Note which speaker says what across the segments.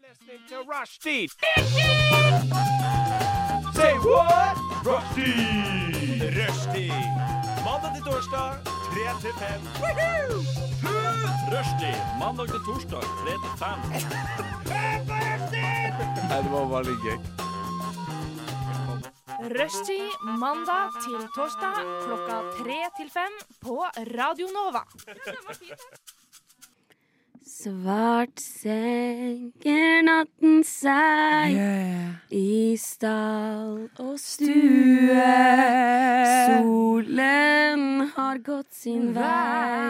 Speaker 1: listening to Rushdie. Say what? Rushdie. Rushdie. Mandag til torsdag, 3 til 5. Rushdie. Mandag til torsdag, 3 til 5.
Speaker 2: Rushtid mandag til torsdag klokka tre til fem på Radio Nova.
Speaker 3: Svart senker natten seg i stall og stue. Solen har gått sin vei,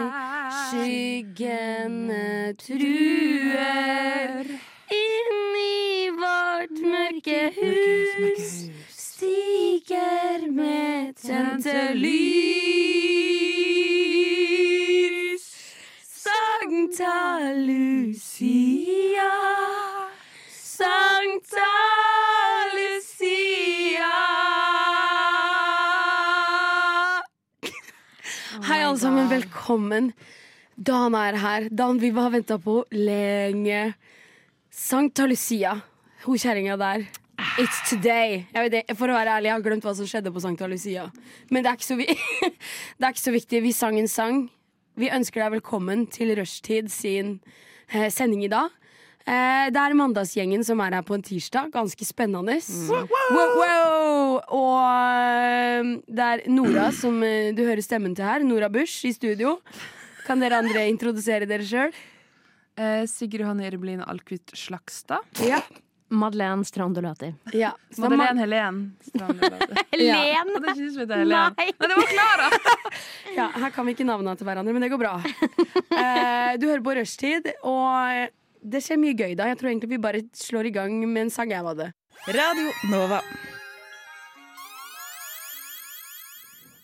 Speaker 3: skyggene eh, truer. Inn i vårt mørke hus stiger med tente lys. Sankta Lucia. Sankta Lucia. Hei, alle sammen. Velkommen. Dan er her. Dan vi har venta på lenge. Sankta Lucia. Hun kjerringa der. It's today. Jeg vet, det, for å være ærlig, jeg har glemt hva som skjedde på Sankta Lucia. Men det er ikke så, vi det er ikke så viktig. Vi sang en sang. Vi ønsker deg velkommen til Rushtid sin eh, sending i dag. Eh, det er Mandagsgjengen som er her på en tirsdag. Ganske spennende. Wow, wow! Og eh, det er Nora som eh, du hører stemmen til her. Nora Bush i studio. Kan dere andre introdusere dere sjøl?
Speaker 4: Eh, Sigurd Johanne Erebelin Alkvist Slagstad.
Speaker 3: Ja.
Speaker 5: Madeleine Strandolati.
Speaker 3: ja. Så det er
Speaker 4: Madeleine Helen Strand. Nei,
Speaker 3: Ja.
Speaker 5: Len!
Speaker 4: det synes vi det er Helen.
Speaker 5: Nei.
Speaker 4: Nei, det var Klara!
Speaker 3: ma- ja, her kan vi ikke navnene til hverandre, men det går bra. Eh, du hører på Rushtid, og det skjer mye gøy da. Jeg tror egentlig vi bare slår i gang med en sang jeg hadde.
Speaker 6: Radio Nova.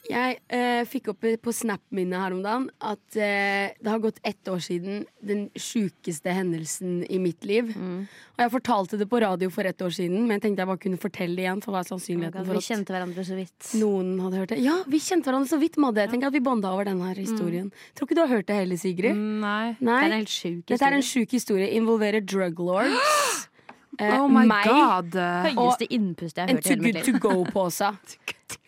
Speaker 3: Jeg eh, fikk opp på Snap-minnet her om dagen at eh, det har gått ett år siden den sjukeste hendelsen i mitt liv. Og jeg fortalte det på radio for ett år siden, men jeg tenkte jeg bare kunne fortelle det igjen. For hva er sannsynligheten
Speaker 5: Vi
Speaker 3: for at
Speaker 5: kjente hverandre så vidt.
Speaker 3: noen hadde hørt det? Ja, vi kjente hverandre så vidt, Madde. Jeg tenker at vi bonda over den her historien. Tror ikke du har hørt det heller, Sigrid.
Speaker 4: Nei.
Speaker 3: Nei.
Speaker 5: Mm. Det er en helt sjuk
Speaker 3: Dette er en
Speaker 5: historie.
Speaker 3: sjuk historie. Involverer drug lords. eh,
Speaker 4: Oh my
Speaker 3: meg,
Speaker 4: god.
Speaker 5: Høyeste innpustet jeg har
Speaker 3: En
Speaker 5: hørt
Speaker 3: too
Speaker 5: i hele
Speaker 3: good
Speaker 5: mitt
Speaker 3: to
Speaker 5: liv.
Speaker 3: go-pose.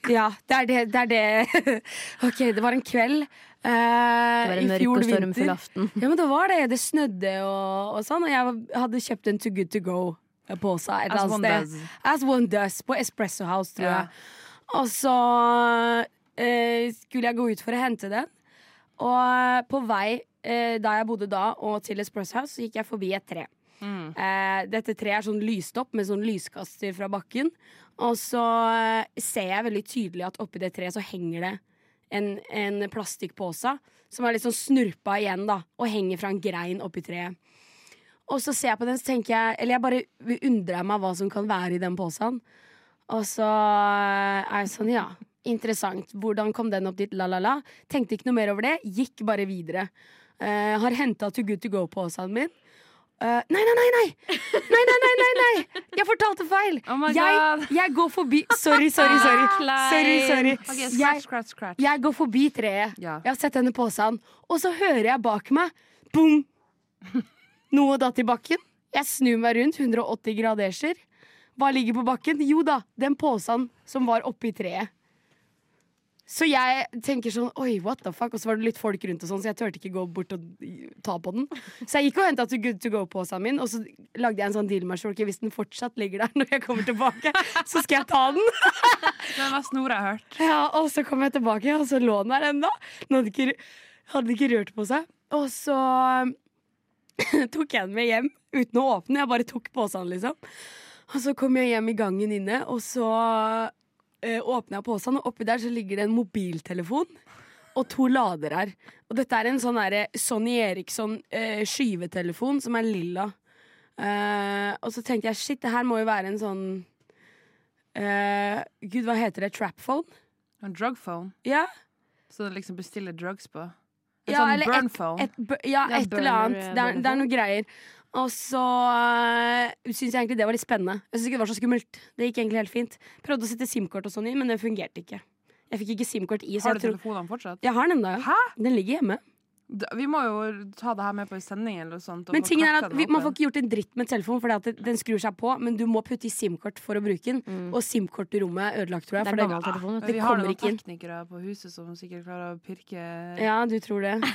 Speaker 3: Ja, det er det. det, er det. ok, det var en kveld eh,
Speaker 5: Det var
Speaker 3: i
Speaker 5: en mørk
Speaker 3: fjor
Speaker 5: og stormfull
Speaker 3: vinter.
Speaker 5: aften.
Speaker 3: Ja, men det var det. Det snødde og, og sånn, og jeg var- hadde kjøpt en too good to go-pose et
Speaker 5: Altså,
Speaker 4: As
Speaker 3: eller
Speaker 4: one
Speaker 3: annet
Speaker 4: does.
Speaker 3: sted. As one does. På Espresso House, tror
Speaker 4: Ja.
Speaker 3: jeg. Og så eh, skulle jeg gå ut for å hente den. Og på vei eh, da jeg bodde da, og til Espresso House, så gikk jeg forbi et tre. Eh, dette treet er sånn lyst opp med sånn lyskaster fra bakken. Og så eh, ser jeg veldig tydelig at oppi det treet så henger det en, en plastikkpose som er litt sånn snurpa igjen, da, og henger fra en grein oppi treet. Og så ser jeg på den, så tenker jeg Eller jeg bare undrer meg hva som kan være i den posen. Og så er jeg sånn, ja. Interessant. Hvordan kom den opp dit? La, la, la. Tenkte ikke noe mer over det. Gikk bare videre. Eh, har henta To Good To Go-posen min. Eh, nei, nei, nei, nei! Nei, nei, nei, nei, nei! Jeg fortalte feil!
Speaker 4: Oh my
Speaker 3: jeg,
Speaker 4: God.
Speaker 3: jeg går forbi Sorry, sorry, sorry. sorry, sorry.
Speaker 4: Ok,
Speaker 3: Ah, Jeg,
Speaker 4: scratch, scratch, scratch.
Speaker 3: jeg går forbi treet.
Speaker 4: Ja.
Speaker 3: Jeg har sett denne posen, og så hører jeg bak meg Boom! Noe datt i bakken. Jeg snur meg rundt 180 graderser. Hva ligger på bakken? Jo da, den posen som var oppi treet. Så jeg tenker sånn Oi, what the fuck? Og så var det litt folk rundt, og sånn så jeg turte ikke gå bort og ta på den. Så jeg gikk og henta Good to go-posen min, og så lagde jeg en sånn deal med meg selv. Ok, Hvis den fortsatt ligger der når jeg kommer tilbake, så skal jeg ta den.
Speaker 4: Den var snora jeg hørt.
Speaker 3: Ja, og så kom jeg tilbake, og så lå den der ennå. Den hadde ikke, hadde ikke rørt på seg. Og så eh, tok jeg den med hjem uten å åpne. Jeg bare tok posen, liksom. Og så kom jeg hjem i gangen inne, og så eh, åpna jeg posen, og oppi der så ligger det en mobiltelefon. Og to lader her. Og dette er en sånn derre Sonny Eriksson eh, skyvetelefon som er lilla. Eh, og så tenkte jeg shit, det her må jo være en sånn eh, Gud, hva heter det? Trapphone?
Speaker 4: En drugphone.
Speaker 3: Ja,
Speaker 4: Så det liksom bestiller drugs på. En
Speaker 3: ja
Speaker 4: sånn
Speaker 3: eller et,
Speaker 4: burnphone.
Speaker 3: et, bu- ja,
Speaker 5: Det er
Speaker 3: et eller
Speaker 5: burner,
Speaker 3: annet.
Speaker 5: eh,
Speaker 3: Det er, det er noen greier. Og så øh, syns jeg egentlig det var litt spennende. Jeg synes ikke det var så skummelt. Det gikk egentlig helt fint. Prøvde å sette SIM-kort og sånn i, men det fungerte ikke. Jeg fikk ikke SIM-kort i, så
Speaker 4: Har
Speaker 3: jeg
Speaker 4: du
Speaker 3: tror
Speaker 4: telefonene fortsatt?
Speaker 3: Jeg har den ennå, ja.
Speaker 4: Hæ?
Speaker 3: Den ligger hjemme.
Speaker 4: D- Vi må jo ta det her med på en sending eller noe sånt. og
Speaker 3: Men
Speaker 4: få
Speaker 3: tingen er
Speaker 4: knekka
Speaker 3: at
Speaker 4: den
Speaker 3: vi, Man får
Speaker 4: åpen.
Speaker 3: ikke gjort en dritt med telefonen, Fordi at det- den skrur seg på, men du må putte i SIM-kort for å bruke den. Og SIM-kort i rommet er ødelagt, tror jeg.
Speaker 5: Mm. Det
Speaker 3: For
Speaker 5: er gammel telefon, vet
Speaker 3: Mm. det
Speaker 4: vi har
Speaker 3: kommer
Speaker 4: noen
Speaker 3: ikke inn.
Speaker 4: teknikere på huset som sikkert klarer å pirke
Speaker 3: Ja, du tror det.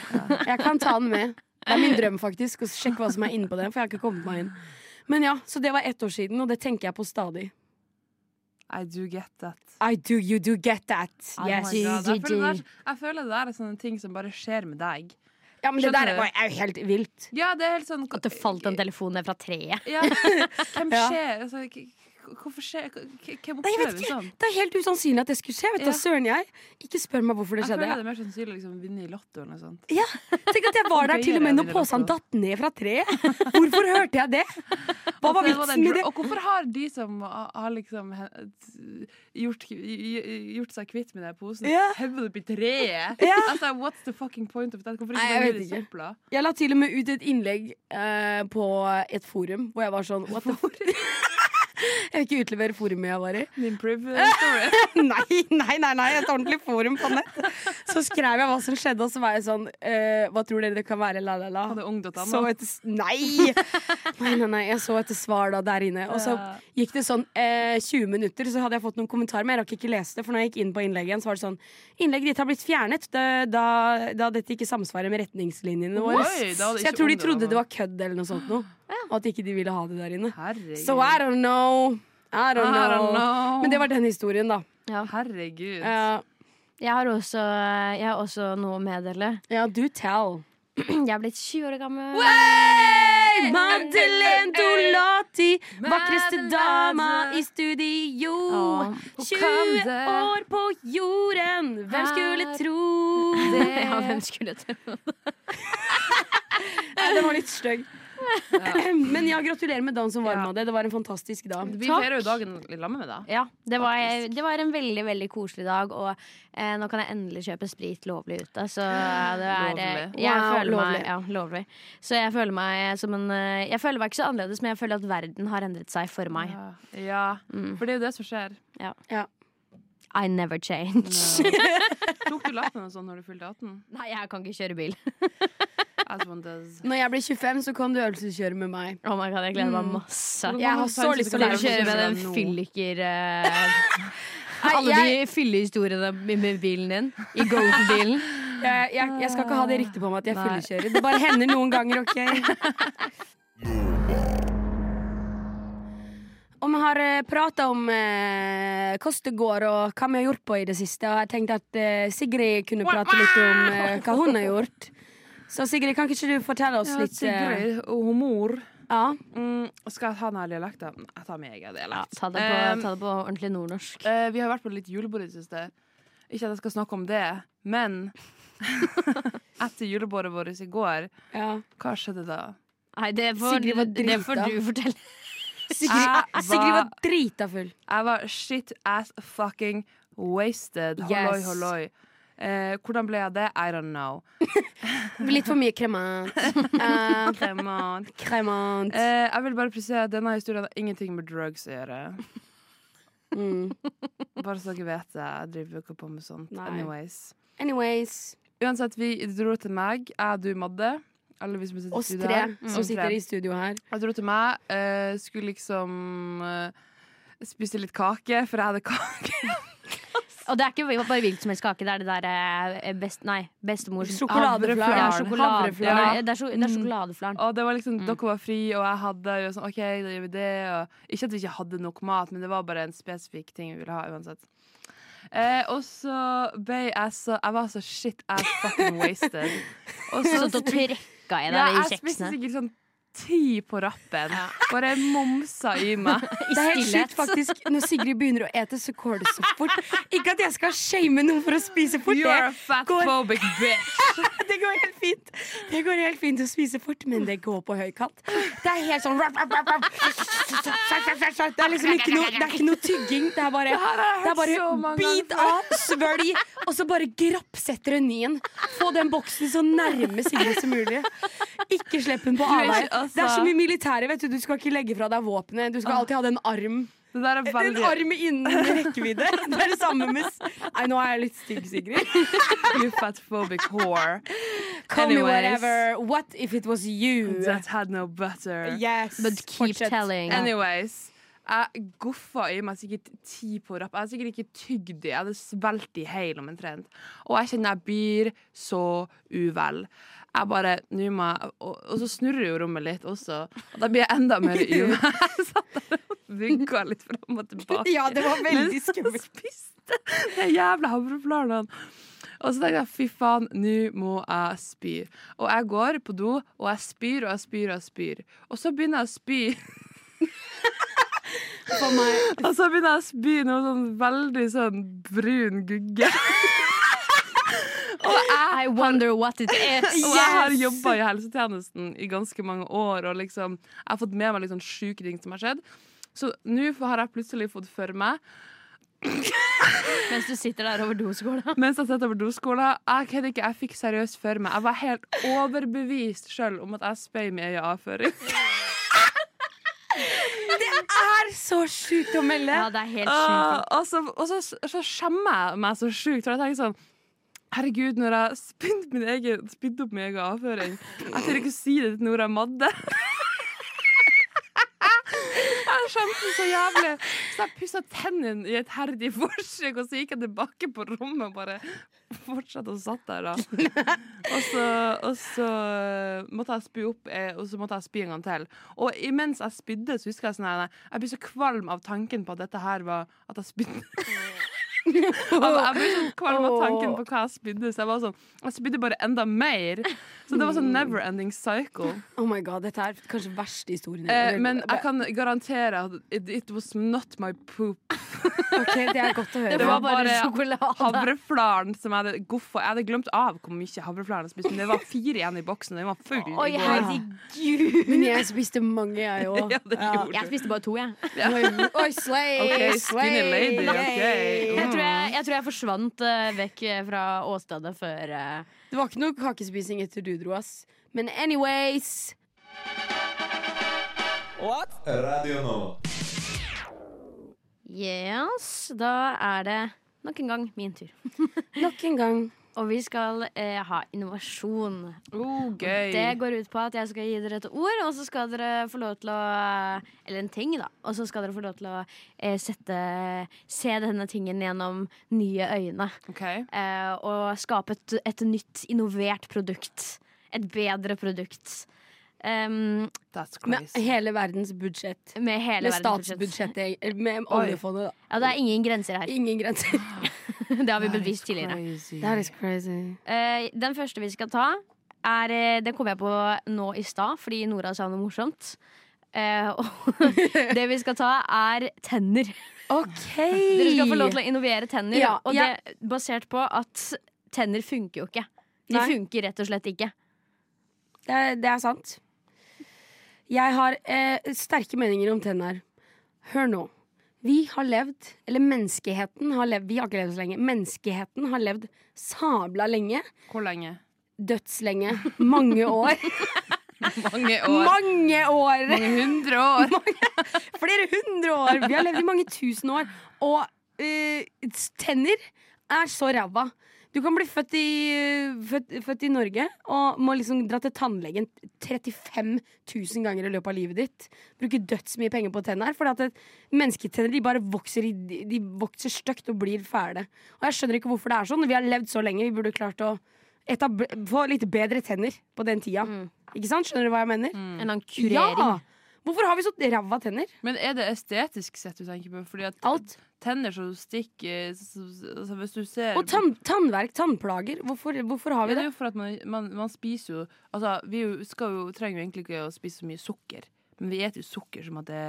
Speaker 3: Jeg kan ta den med. Det er min drøm faktisk å sjekke hva som er inne på den. For jeg har ikke kommet meg inn Men ja, Så det var ett år siden, og det tenker jeg på stadig.
Speaker 4: I do get that.
Speaker 3: I do, you do get that.
Speaker 5: Oh
Speaker 4: Oh
Speaker 3: Yes.
Speaker 4: my God. Jeg
Speaker 5: GGG.
Speaker 4: føler, det der, jeg føler det der er sånne ting som bare skjer med deg.
Speaker 3: Ja, men det
Speaker 4: Skjønner
Speaker 3: der
Speaker 4: du?
Speaker 3: er bare- er jo helt vilt.
Speaker 4: Ja, det er helt sånn
Speaker 5: At det falt en telefon ned fra treet.
Speaker 4: Ja, hvem
Speaker 3: Ja.
Speaker 4: skjer? Altså, k- k- hvorfor skjer k- k- Hvem opplever det sånn?
Speaker 3: Det er helt usannsynlig at det skulle skje. Vet du,
Speaker 4: Ja.
Speaker 3: søren jeg Ikke spør meg hvorfor det
Speaker 4: Jeg føler det
Speaker 3: skjedde.
Speaker 4: er mer sannsynlig å liksom, vinne i Lotto eller noe sånt.
Speaker 3: Ja, Tenk at jeg var der til og med når posen datt ned fra treet! Hvorfor hørte jeg det? Hva var
Speaker 4: Altså, det
Speaker 3: vitsen
Speaker 4: var den
Speaker 3: med
Speaker 4: dra-
Speaker 3: det?
Speaker 4: Og hvorfor har de som har har liksom he- gjort, gjort seg kvitt med den posen,
Speaker 3: Ja.
Speaker 4: hevet opp i treet?
Speaker 3: Ja.
Speaker 4: Altså, what's the fucking point of that? Hvorfor
Speaker 3: Nei,
Speaker 4: ikke
Speaker 3: jeg
Speaker 4: bare
Speaker 3: vet
Speaker 4: hive det i
Speaker 3: ikke.
Speaker 4: søpla?
Speaker 3: Jeg la til og med ut et innlegg eh, på et forum hvor jeg var sånn What the fuck? Jeg vil ikke utlevere forumet jeg var i.
Speaker 4: Min priv story.
Speaker 3: Nei, nei, nei, nei, et ordentlig forum på nett. Så skrev jeg hva som skjedde, og så var jeg sånn eh, Hva tror dere det kan være? La, la, la.
Speaker 4: Hadde ung.no.
Speaker 3: Så et, nei! nei! Nei, nei, jeg så etter svar da der inne. Og så
Speaker 4: Ja.
Speaker 3: gikk det sånn eh, 20 minutter, så hadde jeg fått noen kommentarer, men jeg rakk ikke lese det. For når jeg gikk inn på innlegget igjen, så var det sånn Innlegget ditt har blitt fjernet da, da, da dette ikke samsvarer med retningslinjene våre.
Speaker 4: Oi, da hadde
Speaker 3: så
Speaker 4: ikke
Speaker 3: jeg tror de
Speaker 4: ungdom
Speaker 3: trodde
Speaker 4: noe.
Speaker 3: det var kødd eller noe sånt noe. Og at ikke de ville ha det der inne.
Speaker 4: Herregud.
Speaker 3: So I don't know. I don't know.
Speaker 4: I don't know.
Speaker 3: Men det var den historien, da.
Speaker 4: Herregud.
Speaker 3: Eh,
Speaker 5: Jeg har også, jeg har også noe å meddele.
Speaker 3: ja, do tell.
Speaker 5: Jeg er blitt 20 år gammel.
Speaker 3: Hey, Madeleine Dolati, vakreste dama i studio.
Speaker 5: Ja.
Speaker 3: 20 år på jorden, hvem skulle tro det?
Speaker 5: Ja, hvem skulle tro
Speaker 3: Nei, den var litt stygg. Men ja, gratulerer med dagen som var med det. Det var en fantastisk dag.
Speaker 4: Vi
Speaker 5: Takk.
Speaker 4: feirer jo dagen i lag med deg.
Speaker 5: Ja, det var, det var en veldig veldig koselig dag, og eh, nå kan jeg endelig kjøpe sprit lovlig ute. Så det er eh,
Speaker 4: Lovlig.
Speaker 5: jeg
Speaker 3: Wow,
Speaker 5: føler
Speaker 3: lovlig.
Speaker 5: Meg, ja, lovlig. Så jeg føler meg som en eh, Jeg føler meg ikke så annerledes, men jeg føler at verden har endret seg for meg.
Speaker 4: Ja. ja. For det er jo det som skjer.
Speaker 5: I never change.
Speaker 4: eh, Tok du lappen og sånn når du fylte 18?
Speaker 5: Nei, jeg kan ikke kjøre bil.
Speaker 4: As one does.
Speaker 3: Når jeg ble 25, så kan du øvelseskjøre med meg.
Speaker 5: Oh my god, Jeg gleder meg masse.
Speaker 4: Mm.
Speaker 3: Jeg har så lyst til å
Speaker 5: Dere
Speaker 3: lære
Speaker 5: kjører med
Speaker 4: Nå.
Speaker 5: den fylliker eh, Alle
Speaker 3: jeg-
Speaker 5: de fyllehistoriene med- med bilen din. I Golden-bilen.
Speaker 3: Jeg, jeg, jeg skal ikke ha det riktig på meg at jeg fyllekjører. Det bare hender noen ganger, OK? Og vi har prata om eh, kostegård og hva vi har gjort på i det siste. Og jeg tenkte at eh, Sigrid kunne prate litt om eh, hva hun har gjort. Så Sigrid, kan ikke du fortelle oss
Speaker 4: Ja,
Speaker 3: litt eh,
Speaker 4: Sigrid og mor.
Speaker 3: ja.
Speaker 4: Mm, skal jeg ta den her dialekten? Jeg tar min egen
Speaker 5: Ja,
Speaker 4: dialekt.
Speaker 5: ta, det på,
Speaker 4: Eh,
Speaker 5: ta det på ordentlig nordnorsk.
Speaker 4: eh, vi har vært på litt julebord i det siste. Ikke at jeg skal snakke om det, men etter julebordet vårt i går,
Speaker 3: ja.
Speaker 4: hva skjedde da?
Speaker 5: Nei, det får,
Speaker 3: Sigrid var
Speaker 5: det får
Speaker 3: drita.
Speaker 5: du fortelle.
Speaker 3: Sigrid, ah,
Speaker 4: Jeg
Speaker 3: Sigrid var
Speaker 4: var-
Speaker 3: drita full.
Speaker 4: Jeg var shit ass fucking wasted. Halloi,
Speaker 3: Yes.
Speaker 4: halloi. Eh, hvordan ble jeg det? I don't know.
Speaker 3: Litt for mye kremant. Eh,
Speaker 4: Kremant.
Speaker 3: kremant.
Speaker 4: Eh, jeg vil bare presisere at denne historien har ingenting med drugs å gjøre.
Speaker 3: Mm.
Speaker 4: Bare så dere vet det. Jeg driver jo ikke på med sånt.
Speaker 3: Nei.
Speaker 4: Anyways.
Speaker 3: Anyways.
Speaker 4: Uansett, vi dro til meg. Jeg, du, Madde. Alle vi som sitter i
Speaker 3: Oss
Speaker 4: studio
Speaker 3: tre
Speaker 4: her.
Speaker 3: som
Speaker 4: Mm. Oss tre.
Speaker 3: sitter i studio her.
Speaker 4: Jeg dro til meg. eh, skulle liksom eh, spise litt kake, for jeg hadde kake.
Speaker 5: Og det er ikke bare hvilken som helst kake. Det er det der eh, best, Nei, bestemors
Speaker 3: Sjokoladeflaren.
Speaker 5: Ja,
Speaker 4: Havreflaren.
Speaker 5: sjokolade,
Speaker 4: Havreflaren.
Speaker 5: Nei, det er, sjo- det er sjokoladeflaren.
Speaker 4: Og det var liksom,
Speaker 3: Mm.
Speaker 4: Dere var fri, og jeg hadde jo sånn, OK, da gjør vi det. Og ikke at vi ikke hadde nok mat, men det var bare en spesifikk ting vi ville ha uansett. Eh, og så ble jeg så Jeg var så shit ass fucking wasted. Og
Speaker 5: Så da trekka jeg deg
Speaker 4: ja,
Speaker 5: i
Speaker 4: jeg spiste
Speaker 5: kjeksene.
Speaker 4: sikkert sånn ti på rappen. Bare momsa i meg.
Speaker 5: I
Speaker 3: Det er helt
Speaker 5: stillhet.
Speaker 3: sjukt, faktisk. Når Sigrid begynner å ete, så går det så fort. Ikke at jeg skal shame noen for å spise fort.
Speaker 4: You are a
Speaker 3: Det,
Speaker 4: fatphobic bitch.
Speaker 3: det går helt fint Det går helt fint å spise fort, men det går på høy kant. Det er helt sånn rap, rap, rap, rap. Det er liksom ikke noe, det er ikke noe tygging. Det er bare, det er
Speaker 4: så
Speaker 3: bare
Speaker 4: mange
Speaker 3: bit
Speaker 4: ganger
Speaker 3: av, svølg, og så bare grappsetter en ny en. Få den boksen så nærme Sigrid som mulig. Ikke slipp den på
Speaker 4: er
Speaker 3: avveie.
Speaker 4: ikke- altså- Ah.
Speaker 3: Det er som i militæret, vet du. Du skal ikke legge fra deg våpenet. Du skal alltid ha den arm
Speaker 4: Det der er
Speaker 3: En
Speaker 4: veldig
Speaker 3: arm innen rekkevidde. Det er det samme med s- Nei, nå er jeg litt stygg, Sigrid.
Speaker 4: You fatphobic whore.
Speaker 3: Call me
Speaker 4: Anyways.
Speaker 3: whatever. What if it was you?
Speaker 4: That had no butter.
Speaker 3: Yes.
Speaker 5: But keep
Speaker 3: fortsett.
Speaker 5: telling.
Speaker 4: Anyways. Jeg goffa i meg sikkert ti på rapp. Jeg hadde sikkert ikke tygd de. Jeg hadde svelget de hel om en trend. Og jeg kjenner jeg blir så uvel. Jeg bare, nå må jeg, og, og så snurrer jo rommet litt også. Og da blir jeg enda mer uvel. Jeg satt der og vugga litt fram og tilbake.
Speaker 3: Ja, det var veldig skummelt.
Speaker 4: skummelt. Spiste de jævla havreflarene. Og så tenkte jeg fy faen, nå må jeg spy. Og jeg går på do, og jeg spyr og jeg spyr og jeg spyr. Og så begynner jeg å spy.
Speaker 3: For meg.
Speaker 4: Og så begynner jeg å spy noe sånn veldig sånn brun gugge.
Speaker 5: I wonder what it is.
Speaker 4: Og jeg har jobba i helsetjenesten i ganske mange år, og liksom, jeg har fått med meg litt sånn sjuke ting som har skjedd. Så nå har jeg plutselig fått for meg,
Speaker 5: Mens du sitter der over doskåla.
Speaker 4: mens jeg sitter på doskolen Jeg kødder ikke, jeg fikk seriøst for meg. Jeg var helt overbevist sjøl om at jeg spøy med øye avføring.
Speaker 3: Er så sjukt å melde.
Speaker 5: Ja, det er helt
Speaker 4: Ah,
Speaker 5: sjukt.
Speaker 4: og så, og så, så skjemmer jeg meg så sjukt. For jeg tenker sånn Herregud, når jeg spydde min egen- spydde opp min egen avføring Jeg tør ikke å si det til Nora Madde. Jeg skjemte så jævlig. Så jeg pussa tennene i et herdig forsøk, og så gikk jeg tilbake på rommet og bare fortsatte og satt der, da. Og så, og så måtte jeg spy opp, eh, og så måtte jeg spy en gang til. Og imens jeg spydde, så husker jeg sånn her, Jeg ble så kvalm av tanken på at dette her var at jeg spydde. Altså, jeg ble sånn kvalm av tanken på hva jeg spydde, så jeg var sånn Jeg spydde bare enda mer. Så det var sånn never ending cycle.
Speaker 3: Oh my god, Dette er kanskje verste historien. jeg har
Speaker 4: Eh,
Speaker 3: hørt.
Speaker 4: men jeg kan garantere at it, it was not my poop.
Speaker 3: Ok, Det er godt å høre.
Speaker 5: Det var bare sjokolade.
Speaker 4: Havreflaren som jeg hadde goffa Jeg hadde glemt av hvor mye havreflaren jeg spiste, men det var fire igjen i boksen. og Den var full. i
Speaker 5: Oi,
Speaker 4: går.
Speaker 5: herregud.
Speaker 3: Men jeg spiste mange, jeg òg.
Speaker 4: Ja, det gjorde
Speaker 5: Jeg
Speaker 4: du.
Speaker 5: spiste bare to, jeg.
Speaker 3: Oi, Oi, slay!
Speaker 4: Ok,
Speaker 3: slay.
Speaker 4: skinny lady,
Speaker 3: yay.
Speaker 4: ok.
Speaker 5: Jeg tror jeg, jeg, tror jeg forsvant eh, vekk fra åstedet før eh,
Speaker 3: Det var ikke noe kakespising etter du dro, ass. Men anyways
Speaker 6: Radio Nova.
Speaker 5: Yes, da er det nok en gang min tur.
Speaker 3: Nok en gang.
Speaker 5: Og vi skal eh, ha innovasjon.
Speaker 4: Oh, gøy.
Speaker 5: Det går ut på at jeg skal gi dere et ord, og så skal dere få lov til å Eller en ting, da. Og så skal dere få lov til å eh, sette Se denne tingen gjennom nye øyne.
Speaker 4: OK.
Speaker 5: Eh, og skape et, et nytt, innovert produkt. Et bedre produkt. Em,
Speaker 4: That's
Speaker 3: Med
Speaker 4: crazy.
Speaker 3: hele verdens budsjett.
Speaker 5: med hele
Speaker 3: Med
Speaker 5: verdens budsjett.
Speaker 3: statsbudsjettet. eh, Med
Speaker 4: Oi.
Speaker 3: oljefondet, da.
Speaker 5: Ja, det er ingen grenser her.
Speaker 3: Ingen grenser.
Speaker 5: Det har vi bevist tidligere.
Speaker 3: That is crazy.
Speaker 5: Eh, den første vi skal ta, er, eh, den kom jeg på nå i stad fordi Nora sa noe morsomt. Eh, og det vi skal ta, er tenner.
Speaker 3: OK!
Speaker 5: Dere skal få lov til å innovere tenner.
Speaker 3: Ja,
Speaker 5: og
Speaker 3: ja.
Speaker 5: det basert på at tenner funker jo ikke. De
Speaker 3: Nei.
Speaker 5: funker rett og slett ikke.
Speaker 3: Det er, det er sant. Jeg har eh, sterke meninger om tenner. Hør nå. Vi har levd, eller menneskeheten har levd Vi har ikke levd så lenge. Menneskeheten har levd sabla lenge.
Speaker 4: Hvor lenge?
Speaker 3: Dødslenge. Mange år.
Speaker 4: Mange år.
Speaker 3: Mange år!
Speaker 4: Mange hundre år.
Speaker 3: Flere hundre år! Vi har levd i mange tusen år. Og eh, tenner er så ræva. Du kan bli født i, født, født i Norge og må liksom dra til tannlegen 35 000 ganger i løpet av livet ditt. Bruke dødsmye penger på tenner. For at det- mennesketenner de bare vokser, i, de vokser stygt og blir fæle. Og jeg skjønner ikke hvorfor det er sånn. Vi har levd så lenge. Vi burde klart å etab- få litt bedre tenner på den tida. Ikke sant? Skjønner du hva jeg mener?
Speaker 5: En eller annen kurering.
Speaker 3: Ja! Hvorfor har vi så ræva tenner?
Speaker 4: Men er det estetisk sett du tenker på? Fordi at
Speaker 3: Alt.
Speaker 4: tenner som stikker s- s- altså Hvis du ser
Speaker 3: Og tann, tannverk, tannplager. Hvorfor, hvorfor har
Speaker 4: Ja,
Speaker 3: vi
Speaker 4: det
Speaker 3: det?
Speaker 4: er jo for at man, man, man spiser jo Altså, vi jo skal jo, trenger jo egentlig ikke å spise så mye sukker. Men vi spiser jo sukker som at det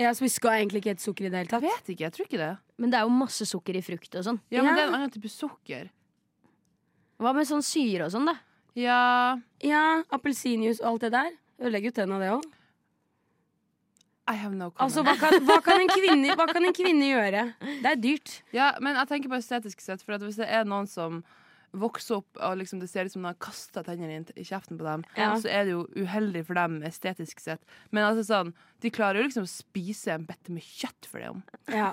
Speaker 3: Ja, så vi skal egentlig ikke hete sukker i det hele
Speaker 4: Jeg
Speaker 3: tatt.
Speaker 4: vet ikke, jeg tror ikke det.
Speaker 5: Men det er jo masse sukker i frukt og sånn.
Speaker 4: Ja,
Speaker 3: Ja.
Speaker 4: men det er en annen type sukker.
Speaker 5: Hva med sånn syre og sånn, da?
Speaker 4: Ja
Speaker 3: Ja, Appelsinjuice og alt det der. Ødelegger jo tenna, det òg.
Speaker 4: I have no comment.
Speaker 3: Altså, hva kan, hva, kan en kvinne, hva kan en kvinne gjøre? Det er dyrt.
Speaker 4: Ja, men jeg tenker på estetisk sett, for at hvis det er noen som vokser opp og liksom det ser ut som de har kasta tennene inn i kjeften på dem,
Speaker 3: Ja.
Speaker 4: så er det jo uheldig for dem estetisk sett. Men altså sånn, de klarer jo liksom å spise en bette med kjøtt for det om.
Speaker 3: Ja.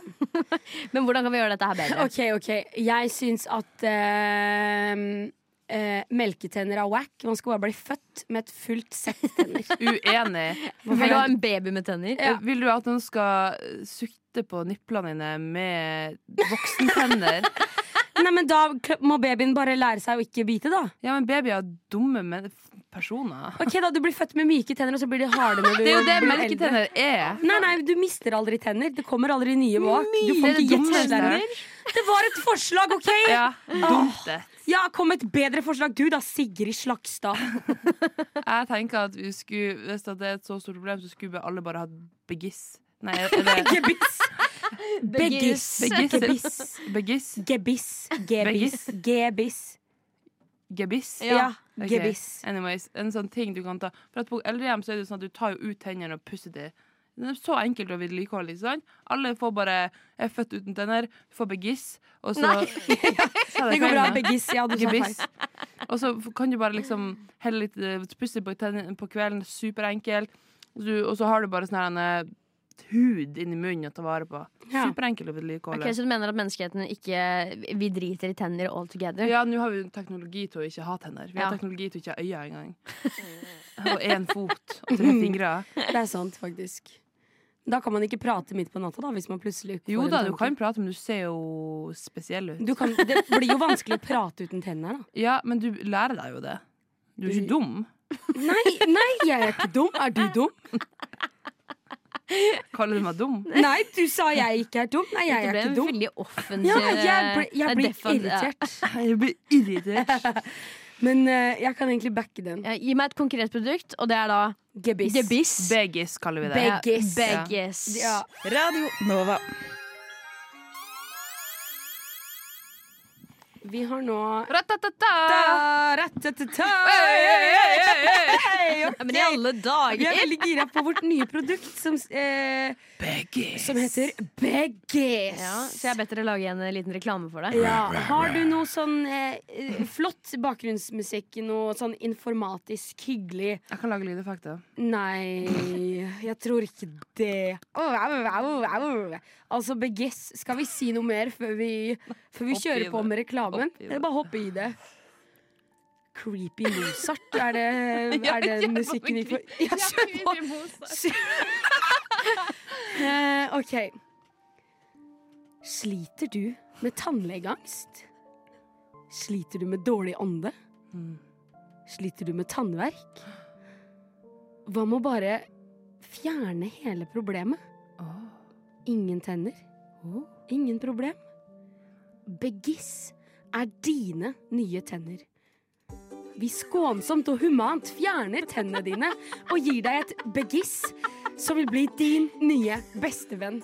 Speaker 5: Men hvordan kan vi gjøre dette her bedre?
Speaker 3: OK, OK. Jeg syns at eh, eh, melketenner av whack. Man skal bare bli født med et fullt sett tenner.
Speaker 4: Uenig.
Speaker 5: Vil du ha en baby med tenner?
Speaker 4: Eh, Vil du at noen skal sutte på niplene dine med voksentenner?
Speaker 3: Nei, men da kl- må babyen bare lære seg å ikke bite, da.
Speaker 4: ja, men babyer er dumme men personer.
Speaker 3: Ok, da Du blir født med myke tenner, og så blir de harde når du
Speaker 4: Det er jo det
Speaker 3: blir eldre.
Speaker 4: melketenner er.
Speaker 3: Nei, nei, du mister aldri tenner. Det kommer aldri nye bak. Du får
Speaker 4: Det er
Speaker 3: ikke
Speaker 4: dumme
Speaker 3: gjettstenner. Det var et forslag, OK?
Speaker 4: Ja, dumt det.
Speaker 3: Ja, kom med et bedre forslag. Du da, Sigrid Slagstad.
Speaker 4: Jeg tenker at vi skulle, hvis at det er et så stort problem, så skulle vi alle bare hatt begiss. Nei, er det
Speaker 3: Gebiss. Beggis.
Speaker 4: Beggis.
Speaker 3: Gebiss.
Speaker 4: begiss?
Speaker 3: Gebiss. Gebiss.
Speaker 4: Beggis.
Speaker 3: Gebiss.
Speaker 4: Gebiss?
Speaker 3: Ja.
Speaker 4: Ok.
Speaker 3: Gebiss.
Speaker 4: Anyways, en sånn ting du kan ta For at på eldrehjem så er det jo sånn at du tar jo ut tennene og pusser dem. Det er så enkelt å vedlikeholde. ikke sant? Alle får bare er født uten tenner, får begiss, og så
Speaker 5: Nei.
Speaker 4: Sa jeg
Speaker 3: Det går bra.
Speaker 4: feil nå?
Speaker 3: Beggis. Ja, du sa feil.
Speaker 4: Gebiss. Og så f- kan du bare liksom helle litt eh, pusse på tennene på kvelden, superenkelt. Og, du, og så har du bare sånn her en, eh, hud inni munnen å ta vare på.
Speaker 3: Ja.
Speaker 4: Superenkelt å vedlikeholde.
Speaker 5: Ok, Så du mener at menneskeheten ikke Vi driter i tenner all together?
Speaker 4: Ja, nå har vi jo teknologi til å ikke ha tenner. Vi har
Speaker 5: Ja.
Speaker 4: teknologi til å ikke ha øyne engang. Og én fot og tre fingre.
Speaker 3: Det er sant, faktisk. Da kan man ikke prate midt på natta, da, hvis man plutselig får
Speaker 4: Jo
Speaker 3: en
Speaker 4: da, du
Speaker 3: tanke.
Speaker 4: kan prate, men du ser jo spesiell ut.
Speaker 3: du kan, Det blir jo vanskelig å prate uten tenner, da.
Speaker 4: Ja, men du lærer deg jo det. Du er ikke dum.
Speaker 3: Nei, nei, jeg er ikke dum. Er du dum?
Speaker 4: Kaller du meg dum?
Speaker 3: Nei, du sa jeg ikke er dum. Nei, jeg
Speaker 5: det
Speaker 3: er
Speaker 5: ble
Speaker 3: ikke
Speaker 5: en
Speaker 3: dum.
Speaker 5: veldig eh, offensiv
Speaker 3: Ja, jeg, ble, jeg
Speaker 5: Mm-hmm. det er
Speaker 3: blir
Speaker 5: defensiv-
Speaker 3: irritert.
Speaker 4: Jeg blir irritert.
Speaker 3: Men eh, jeg kan egentlig backe den.
Speaker 5: Ja, ja, gi meg et konkret produkt, og det er da
Speaker 3: Gebiss.
Speaker 5: gebiss.
Speaker 4: Begis kaller vi det.
Speaker 5: Ja,
Speaker 3: Beggis.
Speaker 5: Beggis.
Speaker 3: Ja.
Speaker 7: Radio Nova.
Speaker 3: Vi har nå
Speaker 5: Ratatata! Ja, Men i alle
Speaker 3: Vi er
Speaker 5: dager!
Speaker 3: veldig gira på vårt nye produkt som, eh,
Speaker 4: Begis.
Speaker 3: som heter Beggis.
Speaker 5: Ja, så jeg har bedt dere lage en eh, liten reklame for det.
Speaker 3: Ja. Har du noe sånn eh, eh, flott bakgrunnsmusikk, noe sånn informatisk, hyggelig
Speaker 4: Jeg kan lage lydeffekter.
Speaker 3: Nei, jeg tror ikke det. Au, au, au, au. Altså, Beggis, skal vi si noe mer før vi, før vi
Speaker 4: Hopp i
Speaker 3: kjører på
Speaker 4: det.
Speaker 3: med reklamen?
Speaker 4: Hopp i det.
Speaker 3: Eller bare hoppe i det? Creepy Mozart, er det,
Speaker 4: Ja,
Speaker 3: er det
Speaker 4: kjør på med
Speaker 3: musikken vi får? Ja, kjør på!
Speaker 4: Nei,
Speaker 3: Eh, ok. Sliter du med tannlegeangst? Sliter du med dårlig ånde?
Speaker 4: Mm.
Speaker 3: Sliter du med tannverk? Hva med å bare fjerne hele problemet? Ingen tenner. Ingen problem. Begiss er dine nye tenner. Vi skånsomt og humant fjerner tennene dine og gir deg et begiss som vil bli din nye bestevenn.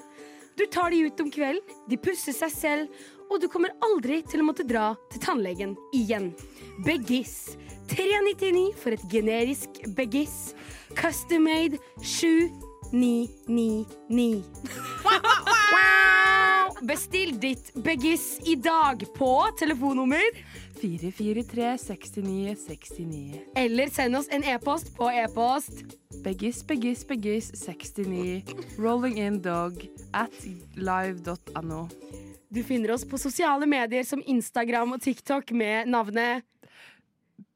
Speaker 3: Du tar de ut om kvelden, de pusser seg selv, og du kommer aldri til å måtte dra til tannlegen igjen. Begiss. 399 for et generisk begiss. Custom made 7999. Wow! Bestill ditt begiss i dag på telefonnummer
Speaker 4: 443 69 69.
Speaker 3: eller send oss en e-post på e-post.
Speaker 4: Begis, begis, begis 69. Rolling in dog at live.no.
Speaker 3: Du finner oss på sosiale medier som Instagram og TikTok med navnet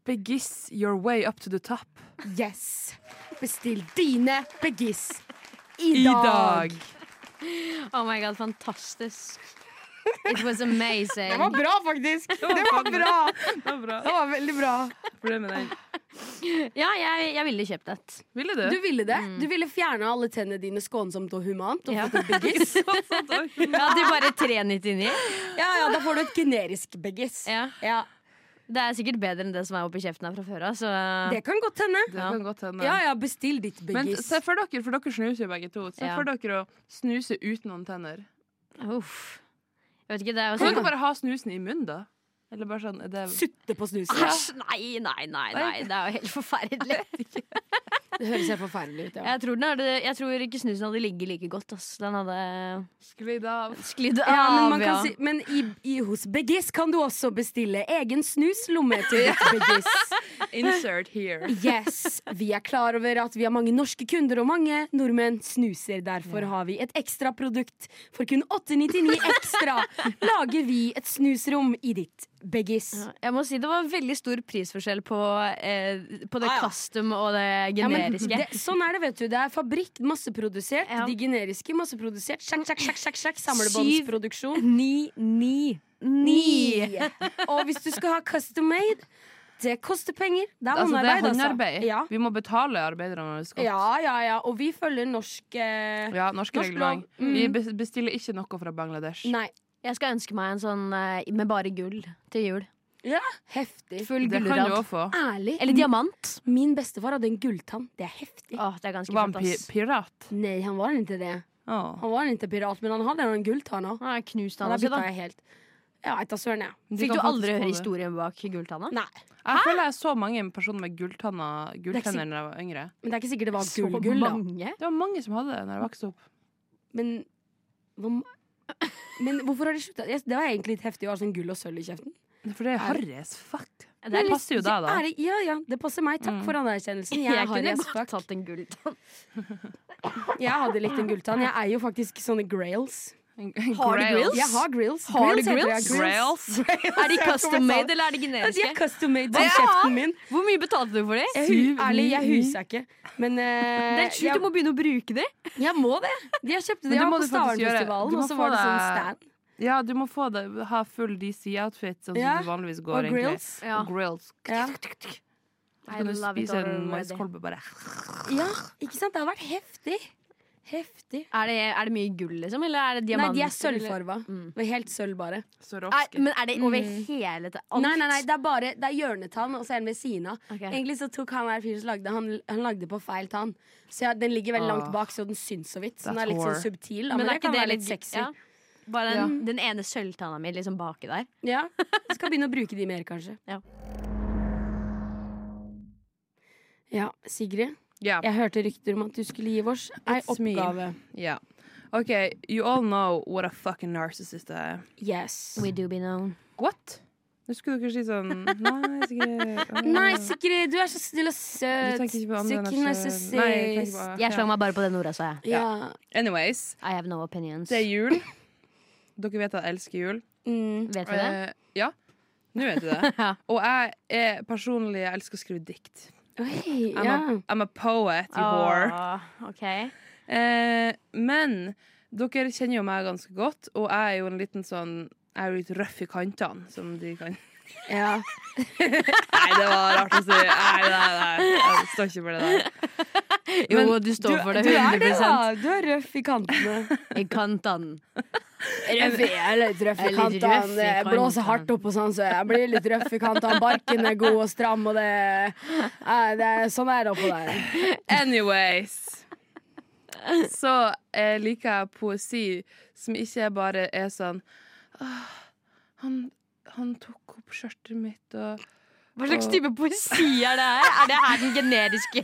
Speaker 4: Begis your way up to the top.
Speaker 3: Yes. Bestill dine begiss i,
Speaker 4: I
Speaker 3: dag.
Speaker 4: dag.
Speaker 5: Oh my god, fantastisk. It was amazing.
Speaker 3: Det var bra, faktisk. Det var bra.
Speaker 4: Det var bra.
Speaker 3: Det var veldig bra.
Speaker 4: Problemet med den.
Speaker 5: Ja, jeg, jeg ville kjøpt et.
Speaker 4: Ville
Speaker 3: Du
Speaker 4: du?
Speaker 3: ville det. Du ville fjerne alle tennene dine skånsomt og humant. Og
Speaker 5: Ja.
Speaker 3: fått et begiss.
Speaker 5: Ja, til bare 399.
Speaker 3: Ja, ja, da får du et generisk begiss.
Speaker 5: Ja.
Speaker 3: Ja,
Speaker 5: Det er sikkert bedre enn det som er oppi kjeften her fra før av. Så
Speaker 3: Det kan godt hende.
Speaker 4: Det kan godt hende.
Speaker 3: Ja, ja, bestill ditt
Speaker 4: Men
Speaker 3: begiss.
Speaker 4: se for dere, for dere snuser jo begge to. Se
Speaker 5: Ja.
Speaker 4: for dere å snuse uten noen tenner.
Speaker 5: uff. Jeg vet ikke, det er
Speaker 4: Kan
Speaker 5: jo sånn-
Speaker 4: dere bare ha snusen i munnen, da? Eller bare sånn er det...
Speaker 3: Sutte på snusen.
Speaker 5: Æsj, nei, nei, nei, nei. Det er jo helt forferdelig.
Speaker 3: Det høres helt forferdelig ut. Ja.
Speaker 5: Jeg tror, den hadde, jeg tror ikke snusen hadde ligget like godt. Ass. Den hadde
Speaker 4: Sklidd av.
Speaker 5: sklidd av.
Speaker 3: Ja, men man
Speaker 5: ja.
Speaker 3: kan si, men i, i, hos Beggis kan du også bestille egen snuslommer til ditt Beggis.
Speaker 4: Insert here.
Speaker 3: Yes, Vi er klar over at vi har mange norske kunder, og mange nordmenn snuser. Derfor har vi et ekstra produkt. For kun 899 ekstra lager vi et snusrom i ditt beggis.
Speaker 5: Ja, Jeg må si det var veldig stor prisforskjell på, eh, på det
Speaker 3: Ah, ja.
Speaker 5: custom og det
Speaker 3: Ja, men
Speaker 5: generiske.
Speaker 3: det, sånn er det, vet du. Det er fabrikk, masseprodusert.
Speaker 5: Ja.
Speaker 3: De generiske, masseprodusert. Sjakk, sjakk, sjakk, sjakk, sjakk. Samlebåndsproduksjon.
Speaker 5: Ni, ni, ni.
Speaker 3: Ni. Og hvis du skal ha custom made, det koster penger. Det er
Speaker 4: Altså, det er
Speaker 3: håndarbeid, altså.
Speaker 4: håndarbeid.
Speaker 3: Ja.
Speaker 4: Vi må betale arbeiderne våre skatt.
Speaker 3: ja, ja, ja. Og vi følger norsk eh,
Speaker 4: Ja, norske
Speaker 3: Norsk
Speaker 4: reglement.
Speaker 3: lov. Mm.
Speaker 4: Vi bes- bestiller ikke noe fra Bangladesh.
Speaker 3: Nei.
Speaker 5: Jeg skal ønske meg en sånn eh, med bare gull til jul.
Speaker 3: Heftig.
Speaker 5: Full
Speaker 4: Det kan du
Speaker 5: gullrad.
Speaker 4: òg få.
Speaker 3: Ærlig.
Speaker 5: Eller Ah. diamant.
Speaker 3: Min bestefar hadde en gulltann. Det er heftig.
Speaker 5: Åh, det er ganske
Speaker 4: Var han
Speaker 5: flott,
Speaker 4: pi
Speaker 5: ass.
Speaker 4: pirat?
Speaker 3: Nei, han var ikke det.
Speaker 4: Åh.
Speaker 3: Han var ikke pirat, men han hadde en gulltann òg.
Speaker 5: Ah, knust
Speaker 3: Da
Speaker 5: han også,
Speaker 3: bytta
Speaker 5: da.
Speaker 3: jeg helt. Ja, veit da søren, jeg.
Speaker 4: Du
Speaker 5: Fikk
Speaker 4: kan
Speaker 5: du
Speaker 4: faktisk
Speaker 5: aldri
Speaker 4: få
Speaker 5: høre
Speaker 4: det.
Speaker 5: historien bak gulltanna?
Speaker 3: Nei.
Speaker 4: Jeg føler jeg så mange personer med gulltanner
Speaker 3: ikke
Speaker 4: gulltenner da jeg var yngre.
Speaker 3: Men det er ikke sikkert det var
Speaker 5: Så
Speaker 3: gull-gull, da.
Speaker 5: mange.
Speaker 4: Det var mange som hadde det når jeg vokste opp.
Speaker 3: Men, hva- men hvorfor har de slutta? Jeg- Det var egentlig litt heftig å ha sånn gull og sølv i kjeften.
Speaker 4: For det er harry as fuck.
Speaker 5: Det er
Speaker 4: Det
Speaker 5: litt-
Speaker 4: passer jo deg, da.
Speaker 3: Er det, ja, ja, det passer meg. Takk
Speaker 4: Mm.
Speaker 3: for anerkjennelsen. Jeg, har
Speaker 5: Jeg kunne
Speaker 3: yes,
Speaker 5: godt
Speaker 3: fuck.
Speaker 5: tatt en gulltann.
Speaker 3: jeg hadde litt en gulltann. Jeg eier jo faktisk sånne grails.
Speaker 5: Har du grills?
Speaker 3: Jeg har grails.
Speaker 5: Har du
Speaker 3: heter det, ja,
Speaker 5: grills?
Speaker 4: Grails?
Speaker 3: jeg
Speaker 5: Er de
Speaker 3: tror jeg
Speaker 5: custom
Speaker 3: sa
Speaker 5: made,
Speaker 3: det.
Speaker 5: eller er de
Speaker 3: Ja, De er
Speaker 5: generiske?
Speaker 3: custom made
Speaker 5: Hva
Speaker 3: til
Speaker 5: faen?
Speaker 3: kjeften min.
Speaker 5: Hvor mye betalte du for de?
Speaker 3: Jeg,
Speaker 4: Syv,
Speaker 3: hu- ærlig, jeg
Speaker 4: ni, ni.
Speaker 3: huser ikke. Men eh,
Speaker 5: Det er sjukt,
Speaker 3: jeg,
Speaker 5: du må begynne å bruke de.
Speaker 3: jeg må det. De har kjøpt
Speaker 4: Men
Speaker 3: det
Speaker 4: det
Speaker 3: ja,
Speaker 4: må
Speaker 3: på
Speaker 4: du faktisk gjøre. Du
Speaker 3: Stavernfestivalen,
Speaker 4: må
Speaker 3: og så
Speaker 4: få
Speaker 3: var det sånn
Speaker 4: deg-
Speaker 3: stand.
Speaker 4: Ja, du må få det, ha full DC-outfit, sånn
Speaker 3: Ja,
Speaker 4: som du vanligvis går.
Speaker 3: Og
Speaker 4: egentlig.
Speaker 3: grills.
Speaker 5: Ja.
Speaker 4: Og grills.
Speaker 3: Ja.
Speaker 4: Så kan du spise en maiskolbe, bare.
Speaker 3: ja, ikke sant? Det har vært heftig. Heftig.
Speaker 5: Er det, er det mye gull, liksom? Eller er det
Speaker 3: Nei,
Speaker 5: diamanter?
Speaker 3: de er
Speaker 5: eller-
Speaker 3: sølvfarva.
Speaker 5: Mm.
Speaker 3: Det er Helt sølv, bare.
Speaker 5: Er,
Speaker 4: Swarovski.
Speaker 5: men er det over hele til alt?
Speaker 3: Nei, nei, nei, det er bare Det er hjørnetann og så en ved siden av.
Speaker 5: Ok.
Speaker 3: Egentlig så tok han her fyren som lagde han, han lagde på feil tann. Så ja, den ligger veldig langt
Speaker 4: Åh.
Speaker 3: bak, så den syns så vidt. Så den er
Speaker 4: That
Speaker 3: litt
Speaker 4: whore.
Speaker 3: sånn subtil. Da, men, det kan være litt sexy.
Speaker 5: ja. Bare den, den ene sølvtanna mi liksom baki der.
Speaker 3: Ja, jeg skal begynne å bruke de mer, kanskje.
Speaker 5: Ja.
Speaker 3: Ja, Sigrid.
Speaker 4: Ja.
Speaker 3: Jeg hørte rykter om at du skulle gi oss ei
Speaker 4: It's me.
Speaker 3: oppgave.
Speaker 4: Ja. OK, you all know what a fucking narcissist I am.
Speaker 3: Yes.
Speaker 5: do be known.
Speaker 4: What? Nå skulle dere si sånn Nei, sikkert ah.
Speaker 3: Nei, Sigrid, du er så snill og
Speaker 4: Du
Speaker 3: søt.
Speaker 4: tenker ikke på andre
Speaker 3: Sigrid
Speaker 4: enn deg selv. Nei, jeg tenker
Speaker 3: narsissist.
Speaker 4: på-
Speaker 5: Jeg slang
Speaker 4: ja.
Speaker 5: meg bare på det Nora sa. jeg.
Speaker 3: Ja.
Speaker 4: Anyways,
Speaker 5: I have no opinions.
Speaker 4: det er jul. Dere vet at jeg elsker jul.
Speaker 3: Mm.
Speaker 5: Vet du det?
Speaker 4: Eh, ja. Nå vet du det.
Speaker 5: Ja.
Speaker 4: Og jeg er personlig Jeg elsker å skrive dikt.
Speaker 3: Oi,
Speaker 4: I'm,
Speaker 3: ja.
Speaker 4: a, I'm a poet, you whore.
Speaker 5: Ah, ok.
Speaker 4: Eh, men dere kjenner jo meg ganske godt, og jeg er jo en liten sånn jeg er jo litt røff i kantene, som de kan
Speaker 3: ja.
Speaker 4: Nei, det var rart å si. Nei, nei, nei. Jeg står ikke for det der. Men
Speaker 5: Jo, du står for det
Speaker 3: Du er det,
Speaker 5: 100
Speaker 3: da. Du er røff i kantene.
Speaker 5: I kanten.
Speaker 3: Røff i, jeg er litt røff i
Speaker 5: Jeg er litt røff i
Speaker 3: kantene. Jeg blåser
Speaker 5: kantene.
Speaker 3: hardt opp og sånn, så jeg blir litt røff i kantene. Barken er god og stram, og det, eh, det er Sånn er det oppå der.
Speaker 4: Anyways. Så eh, liker jeg poesi som ikke bare er sånn «Ah, han, han tok opp skjørtet mitt og
Speaker 5: Hva slags type poesi er det her? Er det her den generiske,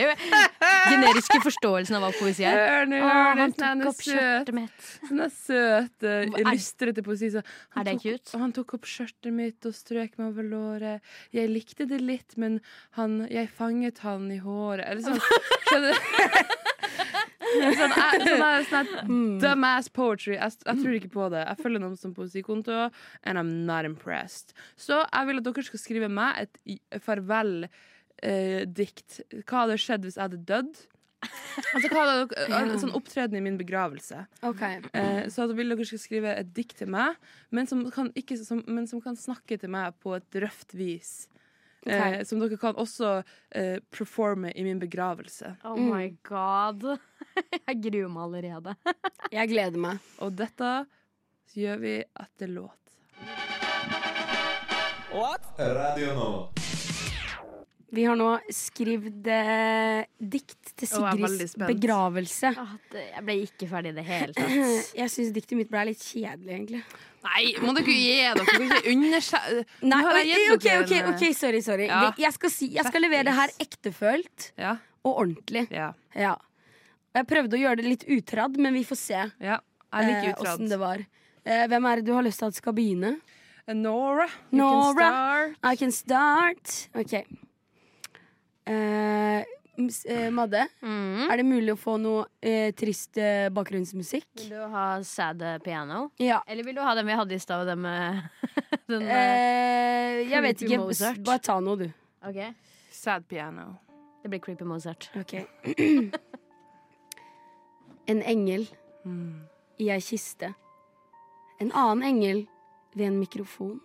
Speaker 5: generiske forståelsen av hva poesi er?
Speaker 4: Hør nå,
Speaker 5: Åh,
Speaker 4: hør nå,
Speaker 5: han
Speaker 4: sånn
Speaker 5: tok
Speaker 4: er
Speaker 5: opp
Speaker 4: søt.
Speaker 5: skjørtet mitt.
Speaker 4: Sånn er søt, eh,
Speaker 5: Hva er-
Speaker 4: illustrerte poesi. Så han
Speaker 5: Er det
Speaker 4: tok-
Speaker 5: cute?
Speaker 4: Han tok opp skjørtet mitt og strøk meg over låret. Jeg likte det litt, men han, jeg fanget han i håret. Eller sånn. Skjønner du? Sånn, eh, sånn, er- sånn er
Speaker 5: Mm.
Speaker 4: dumbass poetry. Jeg, jeg tror ikke på det. Jeg følger noen som poesikonto, and I'm not impressed. Så jeg vil at dere skal skrive meg et i- farvel. eh, dikt. Hva hadde skjedd hvis jeg hadde dødd? Altså, hva hadde, dere- en sånn opptreden i min begravelse. Eh, Så at vil dere skal skrive et dikt til meg, men som kan, ikke, som, men som kan snakke til meg på et røft vis. Eh, som dere kan også eh, performe i min begravelse.
Speaker 5: Oh my god. Jeg gruer meg allerede.
Speaker 3: Jeg gleder meg.
Speaker 4: Og dette gjør vi etter låt.
Speaker 1: What?
Speaker 6: Radio Nova.
Speaker 3: Vi har nå skrevet eh, dikt til
Speaker 4: Å, jeg er veldig
Speaker 3: Sigrids
Speaker 4: spent.
Speaker 3: begravelse.
Speaker 5: Åh, det- Jeg ble ikke ferdig i det hele tatt.
Speaker 3: Jeg syns diktet mitt ble litt kjedelig, egentlig.
Speaker 4: Nei, må dere gi dere! Dere kan ikke underskjære
Speaker 3: Nei,
Speaker 4: har jeg gitt
Speaker 3: ok,
Speaker 4: dere
Speaker 3: ok,
Speaker 4: en,
Speaker 3: ok, sorry, sorry.
Speaker 4: Ja.
Speaker 3: Det- Jeg, skal si, jeg skal levere det her ektefølt
Speaker 4: Ja,
Speaker 3: og ordentlig.
Speaker 4: ja,
Speaker 3: Ja. Jeg prøvde å gjøre det litt utradd, men vi får se
Speaker 4: ja. Jeg liker
Speaker 3: eh, åssen det var.
Speaker 4: utradd.
Speaker 3: Eh, hvem er det du har lyst til at skal begynne?
Speaker 4: Eh, Nora, you
Speaker 3: Nora.
Speaker 4: can start.
Speaker 3: I can start. Ok. Eh, ms- eh, Madde,
Speaker 5: Mm.
Speaker 3: er det mulig å få noe eh, trist eh, bakgrunnsmusikk?
Speaker 5: Vil du ha sad eh, piano?
Speaker 3: Ja.
Speaker 5: Eller vil du ha den vi hadde i stad, den med den, eh,
Speaker 3: Eh, jeg vet
Speaker 5: Creepy
Speaker 3: ikke.
Speaker 5: Mozart.
Speaker 3: S- Bare ta noe, du.
Speaker 5: Ok,
Speaker 4: Sad piano.
Speaker 5: Det blir Creepy Mozart.
Speaker 3: Ok. en engel i ei kiste. En annen engel ved en mikrofon.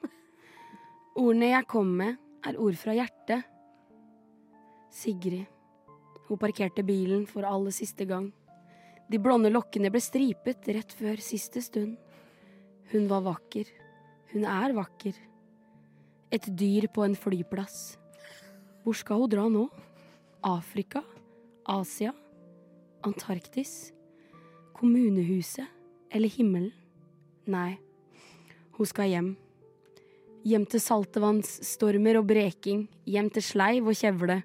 Speaker 3: Ordene jeg kom med, er ord fra hjertet. Sigrid. Hun parkerte bilen for aller siste gang. De blonde lokkene ble stripet rett før siste stund. Hun var vakker. Hun er vakker. Et dyr på en flyplass. Hvor skal hun dra nå? Afrika, Asia, Antarktis, kommunehuset eller himmelen? Nei, hun skal hjem. Hjem til saltvannsstormer og breking, hjem til sleiv og kjevle.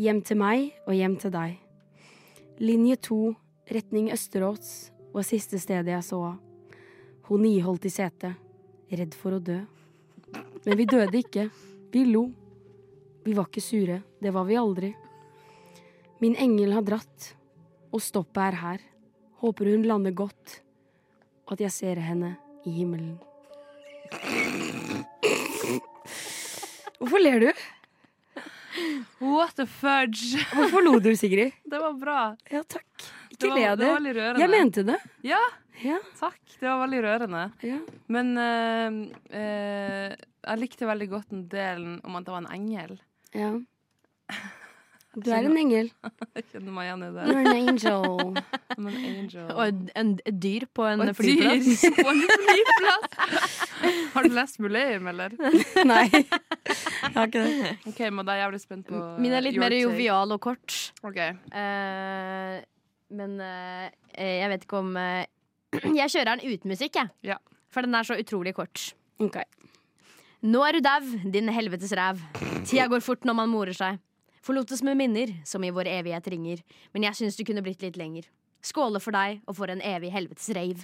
Speaker 3: Hjem til meg og hjem til deg. Linje to, retning Østerås, var siste stedet jeg så av. Hun iholdt i setet, redd for å dø. Men vi døde ikke. Vi lo. Vi var ikke sure. Det var vi aldri. Min engel har dratt, og stoppet er her. Håper hun lander godt, og at jeg ser henne i himmelen. Hvorfor ler du?
Speaker 4: What the fudge!
Speaker 3: Hvorfor lo du, Sigrid?
Speaker 4: Det var bra.
Speaker 3: Ja, takk.
Speaker 4: Det
Speaker 3: Ikke
Speaker 4: var,
Speaker 3: le av
Speaker 4: det
Speaker 3: det.
Speaker 4: var veldig rørende.
Speaker 3: Jeg mente det.
Speaker 4: Ja,
Speaker 3: Ja,
Speaker 4: takk. Det var veldig rørende.
Speaker 3: ja.
Speaker 4: Men eh, eh, jeg likte veldig godt den delen om at det var en engel.
Speaker 3: ja. Du er en engel.
Speaker 4: Jeg kjenner meg igjen i det.
Speaker 3: You're an angel.
Speaker 4: I'm an angel.
Speaker 5: Og en, et dyr på en
Speaker 4: Og et
Speaker 5: flyplass.
Speaker 4: dyr på en flyplass. Har du lest Muleum, eller?
Speaker 3: Nei, jeg har ikke det.
Speaker 4: OK, Madde, jeg er jævlig spent på
Speaker 5: Min er litt
Speaker 4: your
Speaker 5: mer
Speaker 4: take.
Speaker 5: jovial og kort.
Speaker 4: Ok.
Speaker 5: Eh, men eh, jeg vet ikke om eh, Jeg kjører den uten musikk, jeg.
Speaker 4: Ja.
Speaker 5: For den er så utrolig kort.
Speaker 3: Ok.
Speaker 5: Nå er du dau, din helvetes ræv. Tida går fort når man morer seg. Forlotes med minner som i vår evighet ringer. Men jeg syns du kunne blitt litt lenger. Skåle for deg og for en evig helvetes rave.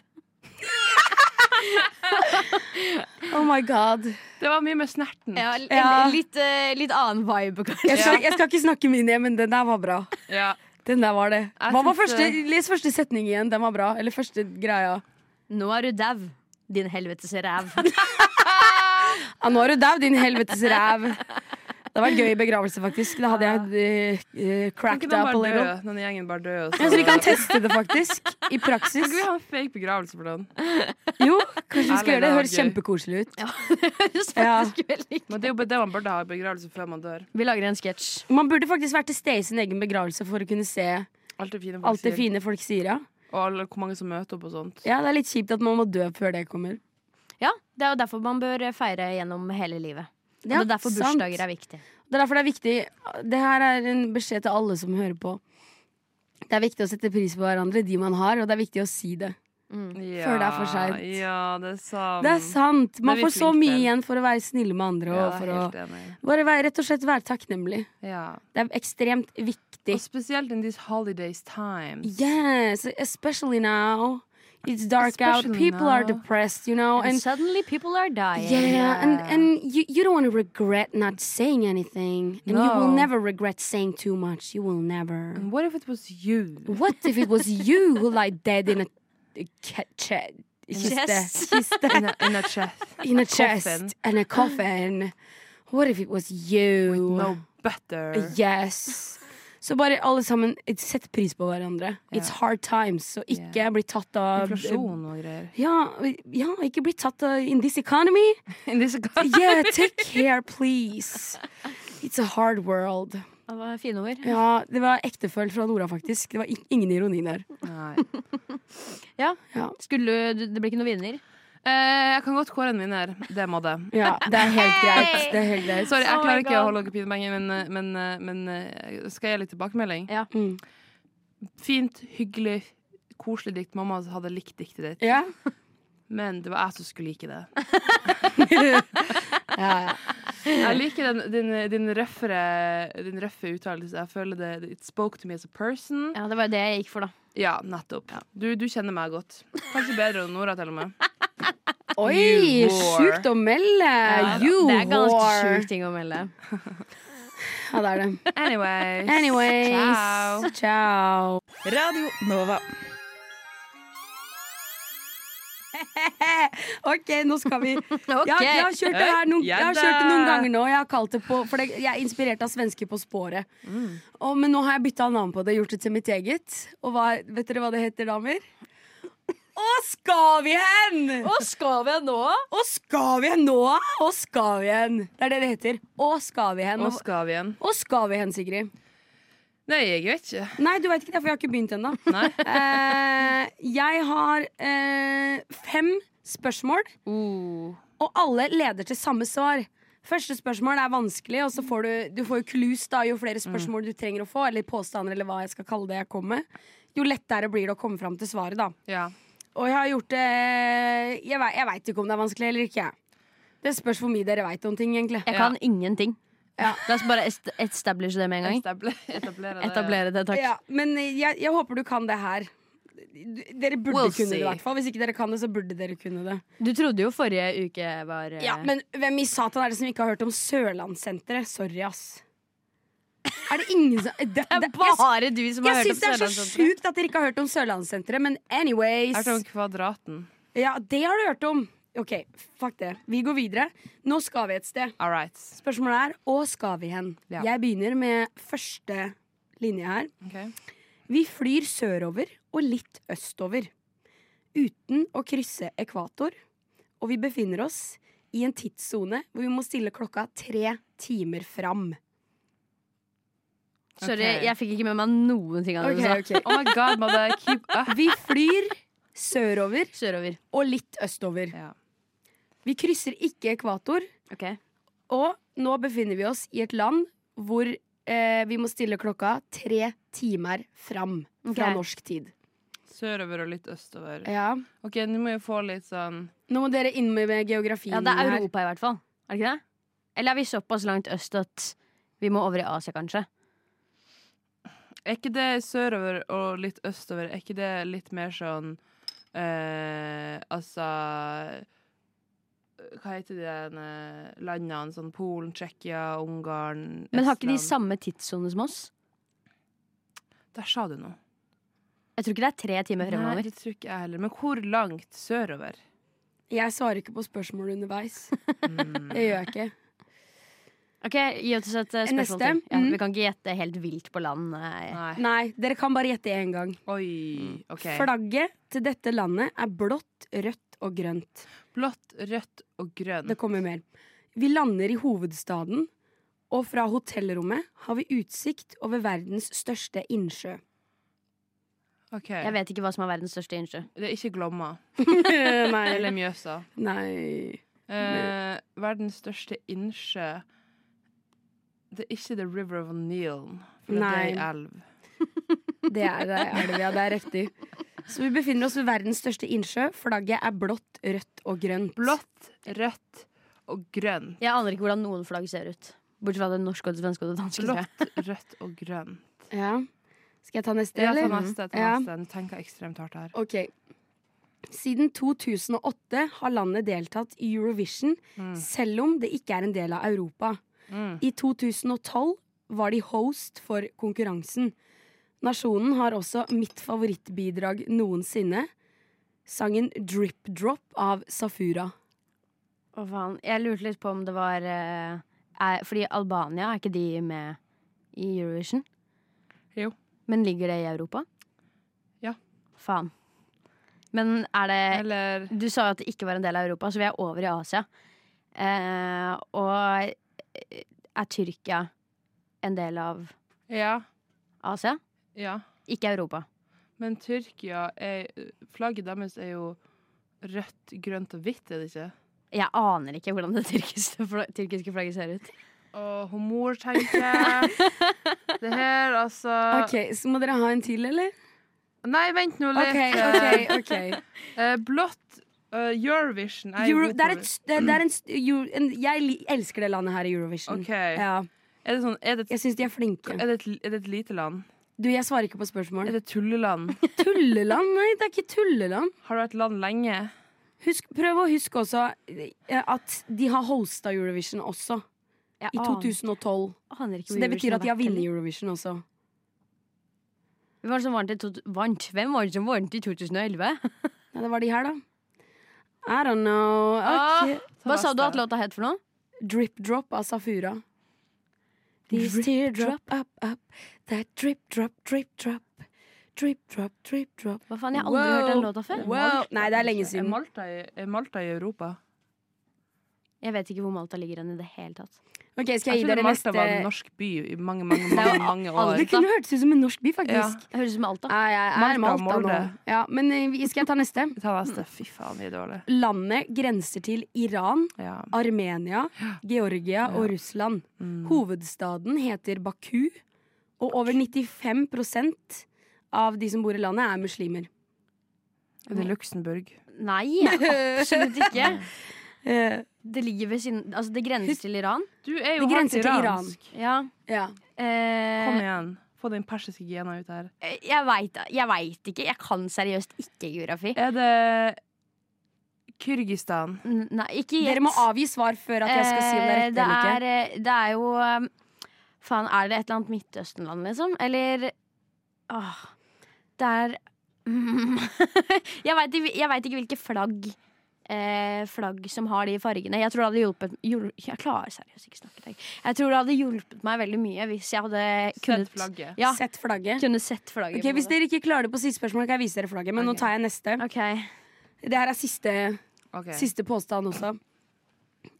Speaker 3: Oh my god.
Speaker 4: Det var mye med snerten.
Speaker 5: Ja, l-
Speaker 3: Ja.
Speaker 5: l- Litt, eh, litt annen vibe, kanskje.
Speaker 3: Jeg skal, jeg skal ikke snakke min hjem, men den der var bra.
Speaker 4: Ja.
Speaker 3: Den der var det.
Speaker 4: Jeg
Speaker 3: Hva var
Speaker 4: synes,
Speaker 3: første,
Speaker 4: eh,
Speaker 3: les første setning igjen. Den var bra. Eller første greia.
Speaker 5: Nå er du dau, din helvetes ræv.
Speaker 3: Ja, nå er du dau, din helvetes ræv. Det var en gøy begravelse, faktisk. Da hadde jeg eh, eh,
Speaker 4: Kan ikke
Speaker 3: cracked
Speaker 4: den
Speaker 3: up a
Speaker 4: bare dø?
Speaker 3: little.
Speaker 4: Den gjengen bare dø.
Speaker 3: Jeg tror vi kan teste det, faktisk. I praksis.
Speaker 4: Skal vi ha en fake begravelse for den?
Speaker 3: Jo, kanskje vi skal
Speaker 4: Ærlig,
Speaker 3: gjøre det.
Speaker 4: det var
Speaker 3: Høres
Speaker 4: gøy.
Speaker 3: kjempekoselig ut.
Speaker 5: Høres faktisk veldig
Speaker 4: Men det er jo bare det man burde ha i begravelse før man dør.
Speaker 5: Vi lager en sketsj.
Speaker 3: Man burde faktisk vært til stede i sin egen begravelse for å kunne se
Speaker 4: Alt det fine folk
Speaker 3: alt det
Speaker 4: sier.
Speaker 3: fine folk sier. Ja,
Speaker 4: Og alle, hvor mange som møter opp og sånt.
Speaker 3: ja det er litt kjipt at man må dø før det kommer.
Speaker 5: Ja, det er jo derfor man bør feire gjennom hele livet. Og
Speaker 3: Ja,
Speaker 5: det er derfor
Speaker 3: sant.
Speaker 5: bursdager er viktig.
Speaker 3: Det er derfor det er viktig Det her er en beskjed til alle som hører på. Det er viktig å sette pris på hverandre, de man har, og det er viktig å si det.
Speaker 4: Ja,
Speaker 3: Før det er for sent.
Speaker 4: Ja, det er sant.
Speaker 3: Det er sant! Man
Speaker 4: det er vi
Speaker 3: får så
Speaker 4: flinke
Speaker 3: mye
Speaker 4: til.
Speaker 3: igjen for å være snille med andre.
Speaker 4: Ja,
Speaker 3: Og for å
Speaker 4: helt enig.
Speaker 3: bare være, rett og slett være takknemlig.
Speaker 4: Ja.
Speaker 3: Det er ekstremt viktig.
Speaker 4: Og spesielt in these holidays times.
Speaker 3: Yes, especially now. It's dark out.
Speaker 4: Especially
Speaker 3: People are
Speaker 4: now.
Speaker 3: depressed, you know.
Speaker 5: And
Speaker 3: And
Speaker 5: suddenly people are dying.
Speaker 3: yeah, and, and you, you don't want to regret not saying anything. And you will
Speaker 4: No.
Speaker 3: never regret saying too much. You will never.
Speaker 4: And What if it was you?
Speaker 3: What if it was you who lay dead in a, a ca- che- kiste,
Speaker 5: Chest.
Speaker 3: kiste,
Speaker 4: In a, in a chest.
Speaker 3: in a
Speaker 4: Coffin.
Speaker 3: chest and a coffin? What if it was you?
Speaker 4: No butter.
Speaker 3: Yes. Så bare alle sammen, sett pris på hverandre. It's hard times, så ikke
Speaker 4: Yeah.
Speaker 3: bli tatt av
Speaker 4: Inflasjon og greier.
Speaker 3: Ja, ja, ikke bli tatt av in this economy.
Speaker 4: In this
Speaker 3: Yeah, take care, please. It's a hard world.
Speaker 5: Det var fine ord.
Speaker 3: Ja, det var ektefølt fra Nora, faktisk. Det var ik- ingen ironi der.
Speaker 4: Nei.
Speaker 5: Skulle, du- det blir ikke noen vinner.
Speaker 4: Eh, jeg kan godt kåre en vinner. Det må det.
Speaker 3: Ja, det er helt greit. Det er helt greit.
Speaker 4: Sorry, jeg
Speaker 5: Oh my
Speaker 4: klarer ikke å
Speaker 5: God.
Speaker 4: holde dere pinebengen, men, eh, men, eh, men eh, skal jeg gi litt tilbakemelding?
Speaker 5: Ja.
Speaker 3: Mm.
Speaker 4: Fint, hyggelig, koselig dikt. Mamma hadde likt diktet ditt,
Speaker 3: Ja.
Speaker 4: men det var jeg som skulle like det.
Speaker 3: Ja, ja.
Speaker 4: Jeg liker den, din, din, røffere, din røffe uttalelse. Jeg føler det It spoke to me as a person.
Speaker 5: Ja, det var jo det jeg gikk for, da.
Speaker 4: Ja, nettopp. Du, du kjenner meg godt. Kanskje bedre enn Nora, til og med.
Speaker 3: Oi,
Speaker 4: You whore.
Speaker 3: sjukt å melde!
Speaker 5: Ja,
Speaker 3: you
Speaker 5: det er ganske
Speaker 3: whore!
Speaker 5: sjuk ting å melde.
Speaker 3: Ja, det er det.
Speaker 4: Anyways.
Speaker 3: Anyways.
Speaker 4: Ciao.
Speaker 3: Ciao.
Speaker 7: Radio Nova.
Speaker 3: OK, nå skal vi
Speaker 5: Ok.
Speaker 3: jeg, jeg har kjørt det her noen,
Speaker 7: Ja
Speaker 3: jeg har
Speaker 7: da.
Speaker 3: kjørt det noen ganger nå. Jeg har kalt det på For det, jeg er inspirert av svensker på sporet. Og, men nå har jeg bytta navn på det, gjort det til mitt eget. Og hva, vet dere hva det heter, damer? Å, skal vi hen?
Speaker 5: Å, skal vi nå?
Speaker 3: Å, skal vi hen nå? Å, skal vi hen? Det er det det heter. Å, skal vi hen?
Speaker 4: Og skal vi igjen?
Speaker 3: Å, skal vi hen, Sigrid?
Speaker 4: Nei, jeg vet ikke.
Speaker 3: Nei, du veit ikke det, for jeg har ikke begynt ennå.
Speaker 4: Nei.
Speaker 3: Eh, jeg har eh, fem spørsmål.
Speaker 4: Uh,
Speaker 3: Og alle leder til samme svar. Første spørsmål er vanskelig, og så får du, du får jo clues da, jo
Speaker 4: Mm.
Speaker 3: flere spørsmål du trenger å få, eller påstander, eller hva jeg skal kalle det jeg kommer med. Jo lettere blir det å komme fram til svaret, da.
Speaker 4: Ja.
Speaker 3: Og jeg har gjort det Jeg, vei- jeg veit ikke om det er vanskelig eller ikke. jeg. Det spørs hvor mye dere veit om ting, egentlig.
Speaker 5: Jeg kan ingenting.
Speaker 3: Ja.
Speaker 5: La oss bare est- establish det med en gang.
Speaker 4: Etablere, etablere det.
Speaker 5: Etablere det, takk.
Speaker 3: Ja, men eh, jeg, jeg håper du kan det her. Du- Dere burde
Speaker 4: We'll
Speaker 3: kunne det, i
Speaker 4: see.
Speaker 3: hvert fall. Hvis ikke dere kan det, så burde dere kunne det.
Speaker 5: Du trodde jo forrige uke var eh,
Speaker 3: Ja, Men hvem i satan er det som ikke har hørt om Sørlandssenteret? Sorry, ass. Er det ingen som det, det,
Speaker 5: Det er
Speaker 3: jeg-
Speaker 5: bare du som har
Speaker 3: Jeg
Speaker 5: hørt
Speaker 3: syns
Speaker 5: om
Speaker 3: det er så
Speaker 5: Sørlandssenteret.
Speaker 3: sjukt at dere ikke har hørt om Sørlandssenteret, men anyways.
Speaker 4: Jeg hørte om Kvadraten.
Speaker 3: Ja, det har du hørt om. OK, fuck det. Vi går videre. Nå skal vi et sted.
Speaker 4: All right.
Speaker 3: Spørsmålet er hvor skal vi hen?
Speaker 4: Ja.
Speaker 3: Jeg begynner med første linje her.
Speaker 4: Ok.
Speaker 3: Vi flyr sørover og litt østover. Uten å krysse ekvator. Og vi befinner oss i en tidssone hvor vi må stille klokka tre timer fram.
Speaker 5: Sorry,
Speaker 4: Ok.
Speaker 5: jeg fikk ikke med meg noen ting av det du sa.
Speaker 4: Oh my god, mother, keep up.
Speaker 3: Vi flyr sørover
Speaker 5: Sørover.
Speaker 3: og litt østover.
Speaker 4: Ja.
Speaker 3: Vi krysser ikke ekvator,
Speaker 5: Ok.
Speaker 3: og nå befinner vi oss i et land hvor eh, vi må stille klokka tre timer fram fra
Speaker 5: Ok.
Speaker 3: norsk tid.
Speaker 4: Sørover og litt østover.
Speaker 3: Ja.
Speaker 4: Ok, nå må jeg få litt sånn
Speaker 3: Nå må dere inn med geografien
Speaker 5: Ja, det er
Speaker 3: her.
Speaker 5: Europa i hvert fall. Er det ikke det? Eller er vi såpass langt øst at vi må over i Asia, kanskje?
Speaker 4: Er ikke det sørover og litt østover, er ikke det litt mer sånn eh, Altså Hva heter de der, eh, landene? Sånn Polen, Tsjekkia, Ungarn
Speaker 5: Men har ikke de
Speaker 4: Estland?
Speaker 5: samme tidssone som oss?
Speaker 4: Der sa du noe.
Speaker 5: Jeg tror ikke det er tre timer
Speaker 4: Nei,
Speaker 5: fremover.
Speaker 4: det tror ikke jeg heller. Men hvor langt sørover?
Speaker 3: Jeg svarer ikke på spørsmål underveis.
Speaker 4: Mm,
Speaker 3: Det gjør jeg ikke.
Speaker 5: Ok, Gi oss et eh,
Speaker 3: Neste.
Speaker 5: spørsmål til. Ja,
Speaker 3: Mhm.
Speaker 5: Vi kan ikke gjette helt vilt på land. eh.
Speaker 4: Nei.
Speaker 3: Nei, dere kan bare gjette én gang.
Speaker 5: Mm.
Speaker 4: Oi. OK.
Speaker 3: Flagget til dette landet er blått, rødt og grønt.
Speaker 4: Blått, rødt og grønn.
Speaker 3: Det kommer mer. Vi lander i hovedstaden, og fra hotellrommet har vi utsikt over verdens største innsjø.
Speaker 4: OK.
Speaker 5: Jeg vet ikke hva som er verdens største innsjø.
Speaker 4: Det er ikke Glomma.
Speaker 3: Nei.
Speaker 4: Eller Mjøsa.
Speaker 3: Nei.
Speaker 4: Eh, verdens største innsjø. Det er ikke The River of Neil, for det er
Speaker 3: Nei.
Speaker 4: ei elv.
Speaker 3: Det er det, er det, ja, det er riktig. Så vi befinner oss ved verdens største innsjø. Flagget er blått, rødt og grønt.
Speaker 4: Blått, rødt og grønn.
Speaker 5: Jeg aner ikke hvordan noen flagg ser ut. Bortsett fra det norske og det svenske og det danske. tror jeg.
Speaker 4: Blått, rødt og grønn.
Speaker 3: Ja. Skal jeg ta neste,
Speaker 4: Ja, ta
Speaker 3: eller?
Speaker 4: neste. Ta
Speaker 3: Ja.
Speaker 4: neste. Nå tenker jeg ekstremt hardt her.
Speaker 3: Ok. Siden 2008 har landet deltatt i Eurovision, selv om det ikke er en del av Europa.
Speaker 4: Mm.
Speaker 3: I 2012 var de host for konkurransen. Nasjonen har også mitt favorittbidrag noensinne. Sangen 'Drip Drop' av Safura.
Speaker 5: Å, faen. Jeg lurte litt på om det var eh, er, Fordi Albania, er ikke de med i Eurovision?
Speaker 4: Jo.
Speaker 5: Men ligger det i Europa?
Speaker 4: Ja.
Speaker 5: Faen. Men er det
Speaker 3: Eh.
Speaker 4: Eller
Speaker 5: Du sa jo at det ikke var en del av Europa, så vi er over i Asia. Eh, og er Tyrkia en del av
Speaker 4: Ja.
Speaker 5: Asia?
Speaker 4: Ja.
Speaker 5: Ikke Europa.
Speaker 4: Men Tyrkia er Flagget deres er jo rødt, grønt og hvitt, er det ikke?
Speaker 5: Jeg aner ikke hvordan det tyrkiske, fla- tyrkiske flagget ser ut.
Speaker 4: Og humor, tenker jeg. Det her, altså
Speaker 3: Ok, Så må dere ha en til, eller?
Speaker 4: Nei, vent nå litt.
Speaker 3: Ok, ok, ok
Speaker 4: Eh, blått eh, Eurovision er
Speaker 3: Euro,
Speaker 4: god
Speaker 3: det er
Speaker 4: på
Speaker 3: et, s- det det er en, s- Euro- en Jeg li- elsker det landet her i Eurovision.
Speaker 4: Ok.
Speaker 3: Ja,
Speaker 4: Er det sånn er det,
Speaker 3: jeg syns de er flinke.
Speaker 4: er, det et, er det et lite land?
Speaker 3: Du, Jeg svarer ikke på spørsmål.
Speaker 4: Er det et tulleland?
Speaker 3: Tulleland? Nei, det er ikke tulleland.
Speaker 4: Har det vært land lenge?
Speaker 3: Husk, prøv å huske også eh, at de har hosta Eurovision også.
Speaker 5: Jeg
Speaker 4: Ah.
Speaker 3: i 2012.
Speaker 5: aner- aner
Speaker 3: Så
Speaker 5: ikke hvor
Speaker 3: det betyr
Speaker 5: Eurovision
Speaker 3: at de har
Speaker 5: vært,
Speaker 3: vunnet
Speaker 5: eller?
Speaker 3: Eurovision også.
Speaker 5: Hvem var det som vant i, to vant? Hvem var det som vant i 2011?
Speaker 3: Ja, det var de her, da. I don't know.
Speaker 4: Ah.
Speaker 3: Ok.
Speaker 5: Hva sa du at låta het for noe?
Speaker 3: Drip Drop av Safura. These
Speaker 5: Drip
Speaker 3: teardrop up up That drip drop drip drop Drip drop drip drop
Speaker 5: Hva faen, Jeg har aldri hørt den låta før.
Speaker 3: Wow. Nei, det er lenge
Speaker 4: Er
Speaker 3: siden.
Speaker 4: Malta i, er Malta i Europa?
Speaker 5: Jeg vet ikke hvor Malta ligger hen i det hele tatt.
Speaker 3: Ok, skal jeg gi
Speaker 4: Jeg trodde
Speaker 3: dere
Speaker 4: Malta
Speaker 3: neste
Speaker 4: var en norsk by i mange, mange, mange, mange år.
Speaker 3: Det kunne hørtes ut som en norsk by,
Speaker 4: Ja.
Speaker 3: faktisk.
Speaker 5: Det høres ut som Alta.
Speaker 3: Nei, jeg er
Speaker 4: Malta,
Speaker 3: Malta, nå.
Speaker 4: Molde.
Speaker 3: Ja, men eh, vi- skal jeg ta neste?
Speaker 4: Ta neste. Fy faen, vi er dårlige.
Speaker 3: Landet grenser til Iran,
Speaker 4: Ja.
Speaker 3: Armenia, Georgia og Russland.
Speaker 5: Mm.
Speaker 4: Mm.
Speaker 3: Hovedstaden heter Baku, og over 95 av de som bor i landet, er muslimer.
Speaker 4: Er det Luxembourg?
Speaker 5: Nei, absolutt ikke.
Speaker 3: Eh,
Speaker 5: Det ligger ved siden Altså, det grenser til Iran.
Speaker 4: Du er
Speaker 3: Det
Speaker 4: jo halvt
Speaker 3: grenser til Iran.
Speaker 4: iransk.
Speaker 5: Ja.
Speaker 3: ja.
Speaker 4: Kom
Speaker 5: Eh,
Speaker 4: igjen. Få den persiske gena ut her.
Speaker 5: jeg veit jeg vet ikke. Jeg kan seriøst ikke geografi.
Speaker 4: Er det Kyrgyzstan?
Speaker 5: N- Nei, ikke gjett.
Speaker 3: Dere må avgi svar før at jeg skal si om det er
Speaker 5: Eh,
Speaker 3: rett eller ikke.
Speaker 5: det er, eh, Det er jo eh, Faen, er det et eller annet Midtøstenland, liksom? Eller Åh. Det er mm. Jeg veit ikke, jeg vet ikke hvilke flagg eh, Flagg som har de fargene. Jeg tror det hadde hjulpet hjul, Jeg klarer seriøst ikke å snakke i dag. Jeg tror det hadde hjulpet meg veldig mye hvis jeg hadde
Speaker 4: Sett
Speaker 5: kunnet
Speaker 4: flagget.
Speaker 5: Ja,
Speaker 3: Sett flagget.
Speaker 5: kunne sett flagget.
Speaker 3: Ok,
Speaker 5: på
Speaker 3: hvis
Speaker 5: det.
Speaker 3: dere ikke klarer det på siste spørsmål, kan jeg vise dere flagget. Men
Speaker 4: Ok.
Speaker 3: nå tar jeg neste.
Speaker 5: Ok.
Speaker 3: Det her er siste,
Speaker 4: Ok.
Speaker 3: siste påstand også.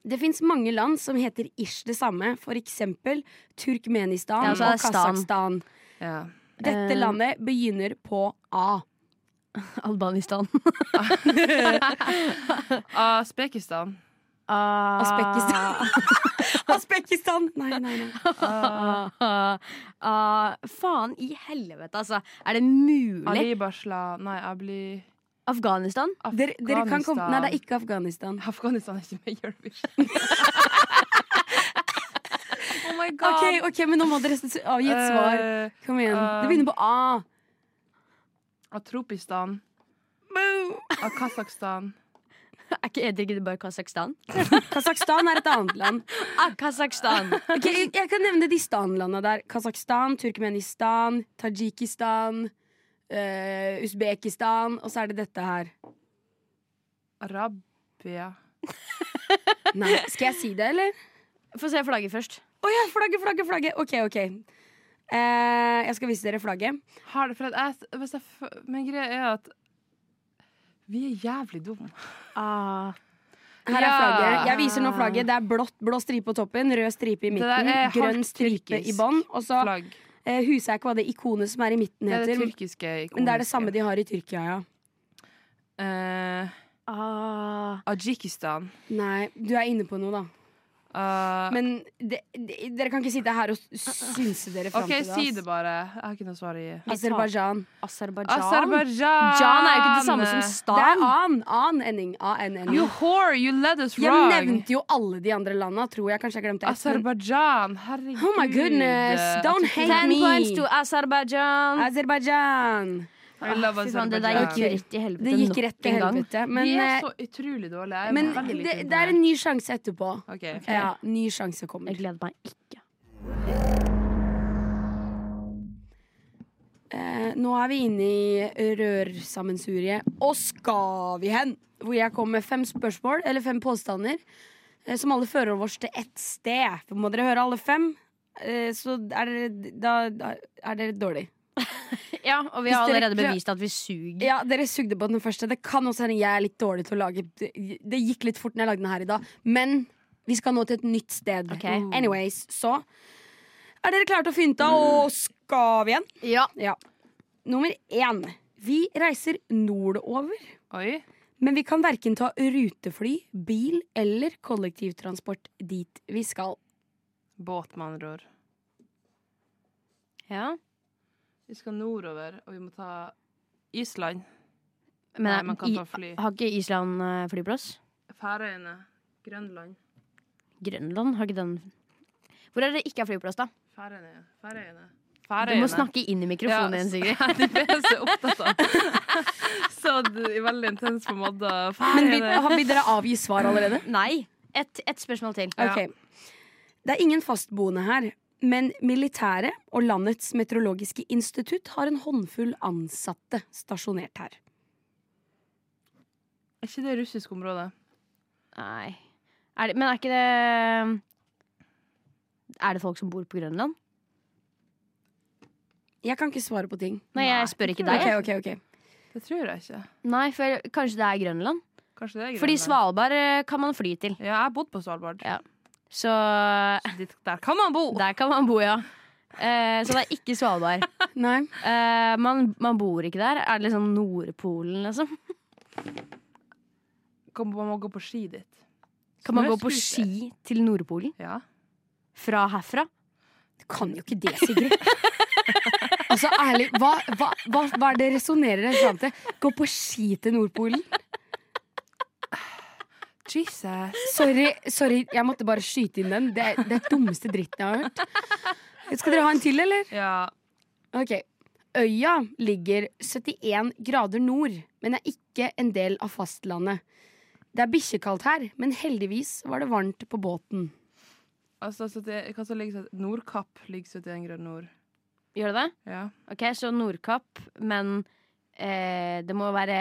Speaker 3: Det fins mange land som heter ish det samme, for eksempel Turkmenistan
Speaker 5: Ja, så er
Speaker 3: og
Speaker 5: det stan.
Speaker 3: Kasakhstan.
Speaker 4: Ja.
Speaker 3: Dette
Speaker 5: Eh.
Speaker 3: landet begynner på A.
Speaker 5: Albanistan.
Speaker 4: Ah, Aspekistan.
Speaker 3: Aspekistan. Ah. Aspekistan! Nei, nei, nei.
Speaker 5: Ah, ah, faen i helvete, altså. Er det mulig?
Speaker 4: Alibasla Nei, jeg blir
Speaker 5: Afghanistan?
Speaker 3: Dere, dere kan komme Nei, det er
Speaker 4: Afghanistan.
Speaker 3: ikke Afghanistan.
Speaker 4: Afghanistan er ikke med i Eurovision. oh my god.
Speaker 3: Ok, ok, men nå må dere s- avgi et svar.
Speaker 4: Eh,
Speaker 3: Kom igjen.
Speaker 4: eh.
Speaker 3: Det begynner på A.
Speaker 4: Atropistan. Av Kasakhstan.
Speaker 5: Er ikke, heter ikke det bare Kasakhstan?
Speaker 3: Kasakhstan er et annet land.
Speaker 5: Ah, Kasakhstan!
Speaker 3: Ok, jeg, jeg kan nevne de stanlandene der. Kasakhstan, Turkmenistan, Tadsjikistan, eh, Usbekistan, og så er det dette her.
Speaker 4: Arabia.
Speaker 3: Nei, skal jeg si det, eller?
Speaker 5: Få se flagget først.
Speaker 3: Å ja, flagget, flagget, flagget! Ok, ok. Eh, jeg skal vise dere flagget.
Speaker 4: Har det, for at jeg, hvis jeg, f- men greia er at vi er jævlig dumme.
Speaker 5: Ah,
Speaker 3: Her er
Speaker 4: Ja.
Speaker 3: flagget. Jeg viser nå flagget. Det er blått, blå stripe på toppen, rød stripe i midten,
Speaker 4: der er
Speaker 3: grønn
Speaker 4: halvt
Speaker 3: stripe i
Speaker 4: tyrkisk
Speaker 3: bånn. Og så uh,
Speaker 4: Flagg.
Speaker 3: huser jeg ikke hva det ikonet som er i midten
Speaker 4: Det er det
Speaker 3: heter,
Speaker 4: tyrkiske ikoniske.
Speaker 3: men det er det samme de har i Tyrkia, ja.
Speaker 4: Eh,
Speaker 5: Ah,
Speaker 4: Adsjikistan.
Speaker 3: Nei, du er inne på noe, da.
Speaker 4: Eh,
Speaker 3: Men det- det- dere kan ikke sitte her og s- synse dere fram
Speaker 4: OK,
Speaker 3: til det.
Speaker 4: si
Speaker 3: ass.
Speaker 4: det bare. Jeg har ikke noe svar å gi.
Speaker 3: Aserbajdsjan.
Speaker 5: Aserbajdsjan?
Speaker 4: Aserbajdsjan!
Speaker 5: Jan er jo ikke det samme som
Speaker 3: Det er
Speaker 5: stan.
Speaker 3: an. An ending. A-N-N.
Speaker 4: You whore, you led us
Speaker 3: Jeg
Speaker 4: wrong.
Speaker 3: nevnte jo alle de andre landa, tror jeg. Kanskje jeg glemte ett. men-
Speaker 4: Aserbajdsjan, herregud.
Speaker 3: Oh my goodness, don't
Speaker 4: Jeg tror-
Speaker 3: hate
Speaker 5: Ten points to
Speaker 3: me!
Speaker 5: Aserbajdsjan.
Speaker 3: Aserbajdsjan.
Speaker 4: I love
Speaker 5: Fy faen, det der
Speaker 4: Aserbajdsjan.
Speaker 5: gikk jo rett i helvete
Speaker 3: Det gikk
Speaker 5: nok
Speaker 3: rett til
Speaker 5: en gang.
Speaker 3: helvete. Men,
Speaker 4: Vi er
Speaker 3: eh,
Speaker 4: så utrolig dårlige. Jeg er
Speaker 3: men
Speaker 4: veldig
Speaker 3: det,
Speaker 4: lite
Speaker 3: det er en ny sjanse etterpå.
Speaker 4: imponert. Ok.
Speaker 3: Ja, ny sjanse kommer.
Speaker 5: Jeg gleder meg ikke.
Speaker 3: Eh, nå er vi inne i rørsammensuriet. Og skal vi hen? Hvor jeg kommer med fem spørsmål, eller fem påstander, eh, som alle fører oss til ett sted. For må dere høre alle fem, eh, så er dere, da, da er dere dårlig.
Speaker 5: Ja, og vi
Speaker 3: Hvis
Speaker 5: har
Speaker 3: dere
Speaker 5: allerede
Speaker 3: klar-
Speaker 5: bevist at vi suger.
Speaker 3: Ja, dere sugde på den første. Det kan også hende jeg er litt dårlig til å lage Det det gikk litt fort når jeg lagde den her i dag. Men vi skal nå til et nytt sted. Mm.
Speaker 5: Ok.
Speaker 3: Anyways, så Er dere klare til å fynte, og skal vi hen?
Speaker 5: Ja.
Speaker 3: Ja. Nummer én. Vi reiser nordover.
Speaker 4: Oi.
Speaker 3: Men vi kan verken ta rutefly, bil eller kollektivtransport dit vi skal.
Speaker 4: Båt, med andre ord.
Speaker 5: ja.
Speaker 4: Vi skal nordover, og vi må ta Island. Nei,
Speaker 5: Men
Speaker 4: man kan
Speaker 5: i,
Speaker 4: ta fly.
Speaker 5: har ikke Island eh, flyplass?
Speaker 4: Færøyene. Grønland.
Speaker 5: Grønland har ikke den Hvor er det ikke er flyplass, da?
Speaker 4: Færøyene.
Speaker 5: Du
Speaker 4: Færøyene.
Speaker 5: må snakke inn i mikrofonen din, Sigrid.
Speaker 4: Ja, det er det jeg er opptatt av. Så det er veldig intens på en måte.
Speaker 3: Men vil,
Speaker 4: Færøyene.
Speaker 3: har- vil dere avgi svar allerede?
Speaker 5: Nei. Ett et spørsmål til.
Speaker 4: Ja.
Speaker 3: Ok. Det er ingen fastboende her, men militæret og landets meteorologiske institutt har en håndfull ansatte stasjonert her.
Speaker 4: Er ikke det russisk område?
Speaker 5: Nei. Er det, men er ikke det Er det folk som bor på Grønland?
Speaker 3: Jeg kan ikke svare på ting.
Speaker 5: Nei, jeg spør ikke deg.
Speaker 3: Ok, ok, ok
Speaker 4: Det tror jeg ikke.
Speaker 5: Nei, for jeg, Kanskje det er Grønland?
Speaker 4: Kanskje det er
Speaker 5: Fordi
Speaker 4: Grønland?
Speaker 5: Svalbard eh, kan man fly til.
Speaker 4: Ja, jeg har bodd på Svalbard.
Speaker 5: Ja. Så eh,
Speaker 4: Så dit- Der kan man bo!
Speaker 5: der kan man bo, ja. Eh, så det er ikke Svalbard.
Speaker 3: Nei.
Speaker 5: Eh, man, man bor ikke der. Er det liksom Nordpolen, liksom?
Speaker 4: Kan man må gå på ski dit.
Speaker 5: Kan man gå på
Speaker 4: Snøscooter.
Speaker 5: ski til Nordpolen?
Speaker 4: Ja.
Speaker 5: Fra herfra?
Speaker 3: Du kan jo ikke det, Sigrid. altså, ærlig, hva, hva, hva, hva er det resonnerer dere fram til? Gå på ski til Nordpolen?
Speaker 4: Jesus.
Speaker 3: Sorry, sorry, jeg måtte bare skyte inn den. Det er det er dummeste dritten jeg har hørt. Skal dere ha en til, eller?
Speaker 4: Ja.
Speaker 3: Ok. Øya ligger 71 grader nord, men er ikke en del av fastlandet. Det er bikkjekaldt her, men heldigvis var det varmt på båten.
Speaker 4: Altså, så det, hva som ligger sånn- Nordkapp ligger 71 grader nord.
Speaker 5: Gjør det det?
Speaker 4: Ja.
Speaker 5: Ok, så Nordkapp, men eh, det må være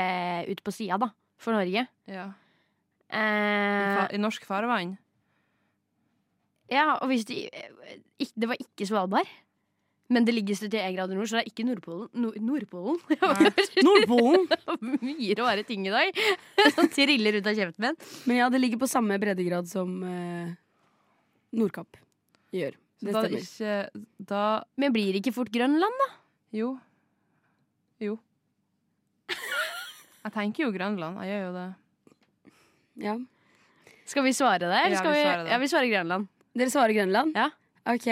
Speaker 5: ute på sida, da. For Norge.
Speaker 4: ja. I,
Speaker 5: Eh,
Speaker 4: fa I norsk farvann.
Speaker 5: ja, og hvis de, eh, ikk- Det var ikke Svalbard. Men det ligger 71 grader nord, så det er ikke Nordpolen. Nor Nordpolen?
Speaker 3: Nordpolen!
Speaker 5: Mye rare ting i dag som triller ut av kjeften min.
Speaker 3: Men ja, det ligger på samme breddegrad som eh, Nordkapp gjør.
Speaker 4: Så
Speaker 3: Det
Speaker 4: da
Speaker 3: stemmer.
Speaker 4: ikke Da
Speaker 5: Men blir det ikke fort Grønland, da?
Speaker 4: Jo. Jo. Jeg tenker jo Grønland. Jeg gjør jo det.
Speaker 3: Ja.
Speaker 5: Skal vi svare det? eller
Speaker 4: Ja,
Speaker 5: skal
Speaker 4: vi
Speaker 5: vi,
Speaker 4: svarer det.
Speaker 5: ja, vi svarer Grønland.
Speaker 3: Dere svarer Grønland?
Speaker 5: Ja.
Speaker 3: Ok.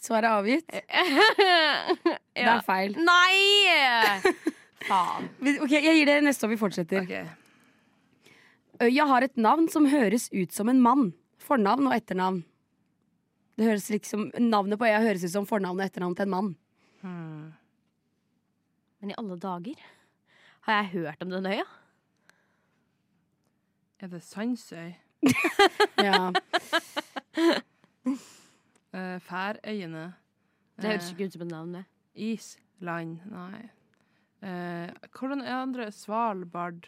Speaker 3: Svaret er avgitt. Det
Speaker 5: ja.
Speaker 3: er feil.
Speaker 5: Nei! Faen.
Speaker 3: Ok, Jeg gir dere neste år vi fortsetter.
Speaker 4: Ok.
Speaker 3: Øya har et navn som høres ut som en mann. Fornavn og etternavn. Det høres liksom, Navnet på øya høres ut som fornavn og etternavn til en mann.
Speaker 4: Hmm.
Speaker 5: Men i alle dager har jeg hørt om den øya?
Speaker 4: Er det Sandsøy?
Speaker 3: Ja.
Speaker 4: Eh, Færøyene?
Speaker 5: Det høres
Speaker 4: Eh,
Speaker 5: ikke ut som et navn, det.
Speaker 4: Island? Nei. Eh, hvordan er andre? Svalbard?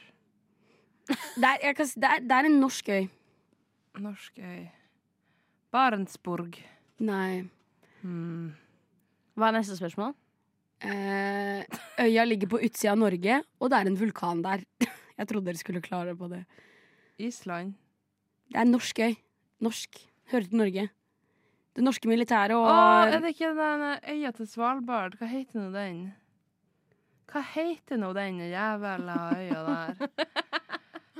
Speaker 3: Det, er, jeg kan, si- det, er, det er en norsk øy.
Speaker 4: Norsk øy? Barentsburg?
Speaker 3: Nei.
Speaker 4: Hmm.
Speaker 5: Hva er neste spørsmål?
Speaker 3: Eh, øya ligger på utsida av Norge, og det er en vulkan der. Jeg trodde dere skulle klare på det.
Speaker 4: Island?
Speaker 3: Det er en norsk øy. Norsk. Hører til Norge. Det norske militæret og
Speaker 4: Å, er det ikke den eh, øya til Svalbard? Hva heter nå den? Hva heter nå den jævla øya der?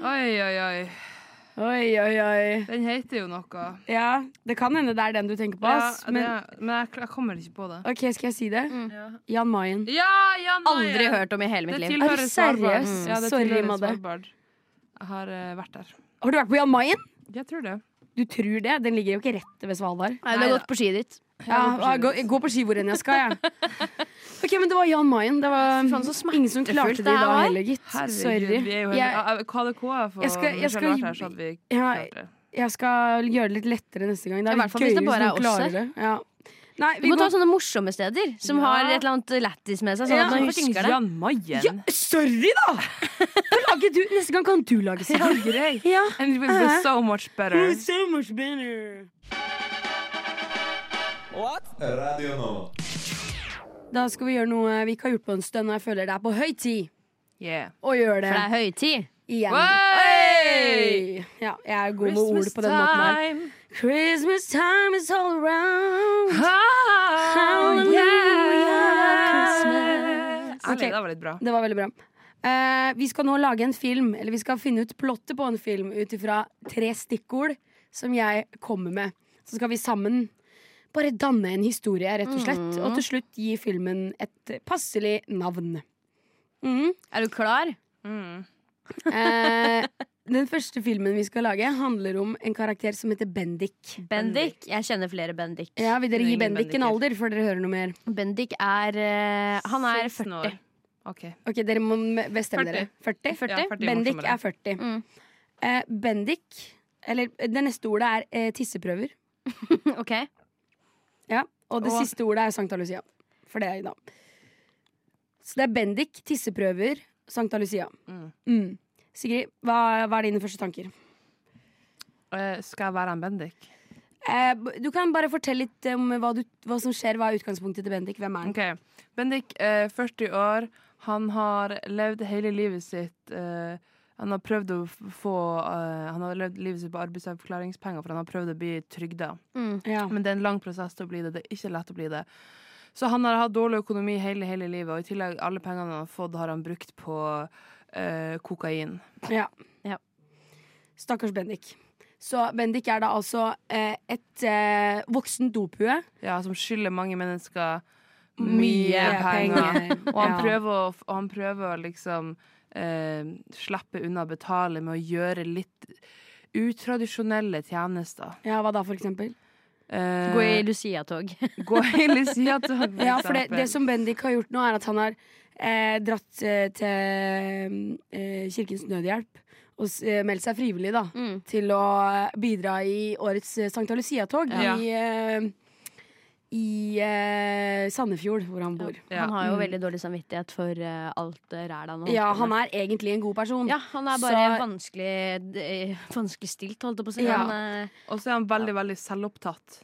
Speaker 4: Oi, oi, oi.
Speaker 3: Oi, oi, oi.
Speaker 4: Den heter jo noe.
Speaker 3: Ja, det kan hende det er den du tenker på.
Speaker 4: Ja,
Speaker 3: ass,
Speaker 4: det,
Speaker 3: men
Speaker 4: men jeg, jeg kommer ikke på det.
Speaker 3: OK, skal jeg si det?
Speaker 4: Ja,
Speaker 3: Jan Mayen.
Speaker 4: ja, Jan
Speaker 5: Aldri
Speaker 4: Mayen.
Speaker 5: hørt om i hele mitt
Speaker 4: Det
Speaker 3: Er
Speaker 5: liv.
Speaker 4: tilhører
Speaker 3: du
Speaker 4: Svalbard.
Speaker 3: seriøs?
Speaker 4: Ja, det
Speaker 3: Sorry,
Speaker 4: tilhører
Speaker 3: Madde.
Speaker 4: Svalbard. Jeg har eh, vært der.
Speaker 3: Har du vært på Jan Mayen?
Speaker 4: Jeg tror det.
Speaker 3: Du tror det? Den ligger jo ikke rett ved Svalbard.
Speaker 5: Nei, du har gått på skiet ditt.
Speaker 3: Ja,
Speaker 4: går på ski
Speaker 3: gå, gå på ski hvor enn jeg skal, jeg. Ok, men det var Jan Mayen. Det var
Speaker 5: Faen, så smertefullt
Speaker 3: ingen som klarte det
Speaker 5: det
Speaker 3: i
Speaker 5: her
Speaker 3: dag
Speaker 5: var.
Speaker 3: heller, gitt.
Speaker 4: Herregud, vi
Speaker 3: Sorry.
Speaker 4: er jo
Speaker 3: Jeg-
Speaker 4: helt KDK for
Speaker 3: Jeg skal- jeg
Speaker 4: Michelle
Speaker 3: skal
Speaker 4: Martin
Speaker 3: gi-
Speaker 4: her, så hadde vi
Speaker 3: Ja,
Speaker 4: klart det.
Speaker 3: Jeg skal gjøre det litt lettere neste gang. Det
Speaker 5: I
Speaker 3: er
Speaker 5: hvert
Speaker 3: litt
Speaker 5: fall hvis det
Speaker 3: gøyere
Speaker 5: bare
Speaker 3: hvis
Speaker 5: er
Speaker 3: noen
Speaker 5: oss
Speaker 3: klarer det. Ja. Nei,
Speaker 5: Du
Speaker 3: vi
Speaker 5: må ta
Speaker 3: går
Speaker 5: sånne morsomme steder som
Speaker 4: Ja.
Speaker 5: har et eller annet lættis med seg. Sånn
Speaker 3: Ja,
Speaker 5: at man
Speaker 4: Fucking
Speaker 5: husker det
Speaker 4: Jan Mayen!
Speaker 3: ja, Sorry, da! Da lager du Neste gang kan du lage seg.
Speaker 4: Greit.
Speaker 3: Ja.
Speaker 4: And it will be so much better.
Speaker 3: So much better.
Speaker 1: What?
Speaker 6: Radio Nova.
Speaker 3: Da skal vi gjøre noe vi ikke har gjort på en stund, og jeg føler det er på høy tid
Speaker 4: Yeah.
Speaker 3: å gjøre
Speaker 5: For det
Speaker 3: det
Speaker 5: er høytid.
Speaker 3: igjen.
Speaker 4: Hey!
Speaker 3: Hey! Ja, jeg er god med ord på den måten her.
Speaker 4: time.
Speaker 3: Christmas time is all around.
Speaker 4: Hallelujah.
Speaker 3: Christmas.
Speaker 4: Ærlig,
Speaker 3: Ok.
Speaker 4: det var litt bra.
Speaker 3: Det var veldig bra. Eh, vi skal nå lage en film, eller vi skal finne ut plottet på en film ut ifra tre stikkord som jeg kommer med. Så skal vi sammen bare danne en historie, rett og slett. Og til slutt gi filmen et passelig navn. Mhm.
Speaker 5: Er du klar?
Speaker 4: Mm.
Speaker 3: Eh, den første filmen vi skal lage, handler om en karakter som heter Bendik.
Speaker 5: Bendik. Jeg kjenner flere Bendik.
Speaker 3: Ja, Vil dere
Speaker 4: Kjenner
Speaker 3: gi
Speaker 4: ingen
Speaker 3: Bendik en
Speaker 4: Bendiker.
Speaker 3: alder før dere hører noe mer?
Speaker 5: Bendik er eh, Han er
Speaker 4: 16 år.
Speaker 5: 40.
Speaker 4: OK.
Speaker 3: Ok, Dere må m- bestemme
Speaker 4: 40.
Speaker 3: dere. 40?
Speaker 5: 40?
Speaker 4: Ja, 40
Speaker 3: Bendik
Speaker 4: morsommere.
Speaker 3: er 40.
Speaker 5: Mm.
Speaker 3: Eh, Bendik Eller det neste ordet er eh, tisseprøver.
Speaker 5: OK?
Speaker 3: Ja, og det
Speaker 4: Og-
Speaker 3: siste ordet er Sankta Lucia. For det er i dag. Så det er Bendik, tisseprøver, Sankta Lucia.
Speaker 4: Mm.
Speaker 3: Mm. Sigrid, hva, hva er dine første tanker?
Speaker 4: Eh, skal jeg være en Bendik?
Speaker 3: Eh, b- du kan bare fortelle litt om hva, du, hva som skjer. Hva er utgangspunktet til Bendik? Hvem er han?
Speaker 4: Ok, Bendik er 40 år. Han har levd hele livet sitt eh, Han har prøvd å f- få eh, Han har levd livet sitt på arbeidsavklaringspenger, for han har prøvd å bli trygda.
Speaker 5: Mm.
Speaker 3: Ja.
Speaker 4: Men det er en lang prosess til å bli det. Det er ikke lett å bli det. Så han har hatt dårlig økonomi hele, hele livet, og i tillegg alle pengene han har fått, har han brukt på eh, kokain.
Speaker 3: Ja.
Speaker 5: Ja.
Speaker 3: Stakkars Bendik. Så Bendik er da altså eh, et eh, voksen dophue.
Speaker 4: Ja, som skylder mange mennesker mye penger. Og han prøver, å, f- og han prøver å liksom eh, slippe unna å betale med å gjøre litt utradisjonelle tjenester.
Speaker 3: Ja, hva da, for eksempel?
Speaker 4: Eh,
Speaker 5: Gå i Lucia-tog.
Speaker 4: gå i Lucia-tog, for
Speaker 3: Ja, for det,
Speaker 4: eksempel.
Speaker 3: det som Bendik har gjort nå, er at han har eh, dratt eh, til eh, Kirkens Nødhjelp og s- eh, meldt seg frivillig da,
Speaker 5: Mm.
Speaker 3: til å eh, bidra i årets eh, Sankta Lucia-tog
Speaker 4: Ja.
Speaker 3: i, eh, i eh, Sandefjord, hvor han bor.
Speaker 4: Ja.
Speaker 5: Han har jo
Speaker 3: Mm.
Speaker 5: veldig dårlig samvittighet for eh, alt eh, ræl han har holdt
Speaker 3: Ja,
Speaker 5: på
Speaker 3: han
Speaker 5: med.
Speaker 3: er egentlig en god person.
Speaker 5: Ja, han er bare
Speaker 3: Så-
Speaker 5: vanskelig, d- vanskelig stilt, holdt jeg på å si.
Speaker 3: Ja.
Speaker 5: Han, eh,
Speaker 4: Og så er han veldig, veldig selvopptatt.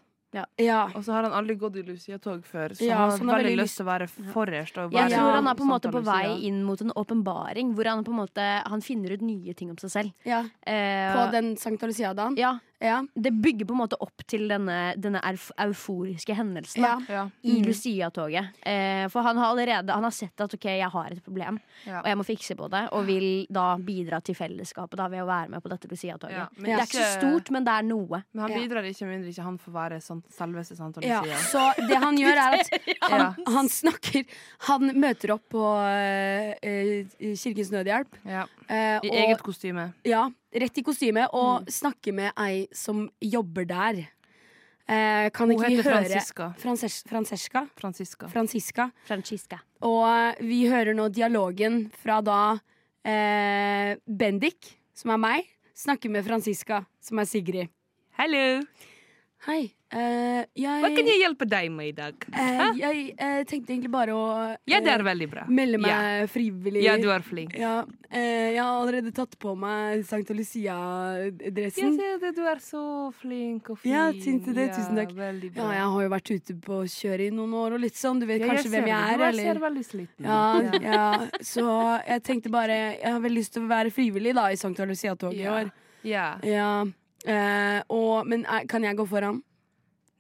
Speaker 3: Ja.
Speaker 4: Og så har han aldri gått i Lucia-tog før, så
Speaker 3: Ja,
Speaker 4: han
Speaker 3: så
Speaker 4: har
Speaker 3: han har
Speaker 4: veldig
Speaker 3: veldig
Speaker 4: lyst til å være forrest. Og
Speaker 5: jeg
Speaker 4: være
Speaker 5: tror han er på en måte
Speaker 4: Santa
Speaker 5: på vei
Speaker 4: Lucia.
Speaker 5: inn mot en åpenbaring, hvor han på en måte han finner ut nye ting om seg selv.
Speaker 3: ja.
Speaker 5: Eh,
Speaker 3: På den Sankta Lucia-dagen.
Speaker 5: ja,
Speaker 3: Ja.
Speaker 5: det bygger på en måte opp til denne, denne erf- euforiske hendelsen da,
Speaker 3: Ja.
Speaker 4: Ja.
Speaker 5: i Lucia-toget. Eh, for han har allerede han har sett at ok, jeg har et problem,
Speaker 4: Ja.
Speaker 5: og jeg må fikse på det. Og vil da bidra til fellesskapet da, ved å være med på dette Lucia-toget.
Speaker 4: Ja, men
Speaker 5: Det er ikke så
Speaker 4: ikke-
Speaker 5: stort, men det er noe.
Speaker 4: Men han
Speaker 3: Ja.
Speaker 4: bidrar ikke mindre ikke han får være sånn, selveste Santa
Speaker 3: Ja,
Speaker 4: Lucia.
Speaker 3: så det han gjør er at han,
Speaker 4: Ja.
Speaker 3: han snakker Han møter opp på eh, eh, Kirkens Nødhjelp.
Speaker 4: Ja.
Speaker 3: eh,
Speaker 4: I
Speaker 3: og,
Speaker 4: eget Mm. kostyme.
Speaker 3: Ja, rett i kostyme, og snakker med ei som jobber der. Eh, kan
Speaker 4: Hun
Speaker 3: ikke vi
Speaker 4: heter
Speaker 3: høre
Speaker 4: Franziska.
Speaker 3: Frances Francesca?
Speaker 4: Franziska.
Speaker 3: Franziska.
Speaker 5: Francisca.
Speaker 3: Og vi hører nå dialogen fra da eh, Bendik, som er meg, snakker med Franziska, som er Sigrid.
Speaker 4: Hello!
Speaker 3: Hei. Eh, jeg
Speaker 4: Hva kan jeg hjelpe deg med i dag?
Speaker 3: eh, jeg eh, tenkte egentlig bare å
Speaker 4: Ja, det
Speaker 3: eh,
Speaker 4: er veldig bra.
Speaker 3: melde meg
Speaker 4: Ja,
Speaker 3: frivillig.
Speaker 4: ja du er flink.
Speaker 3: Ja, eh, jeg har allerede tatt på meg Sankta Lucia-dressen.
Speaker 4: du er så flink og
Speaker 3: fin. Ja, syns du det? Ja, Tusen takk.
Speaker 4: Veldig
Speaker 3: Ja, jeg har jo vært ute på kjøret i noen år og litt sånn. Du vet kanskje hvem jeg er,
Speaker 4: Du
Speaker 3: eller?
Speaker 4: ser veldig sliten
Speaker 3: Ja, ja, så jeg tenkte bare Jeg har veldig lyst til å være frivillig da i Sankta Lucia-toget i
Speaker 4: Ja.
Speaker 3: år. Ja. Eh, og, men er, kan jeg gå foran?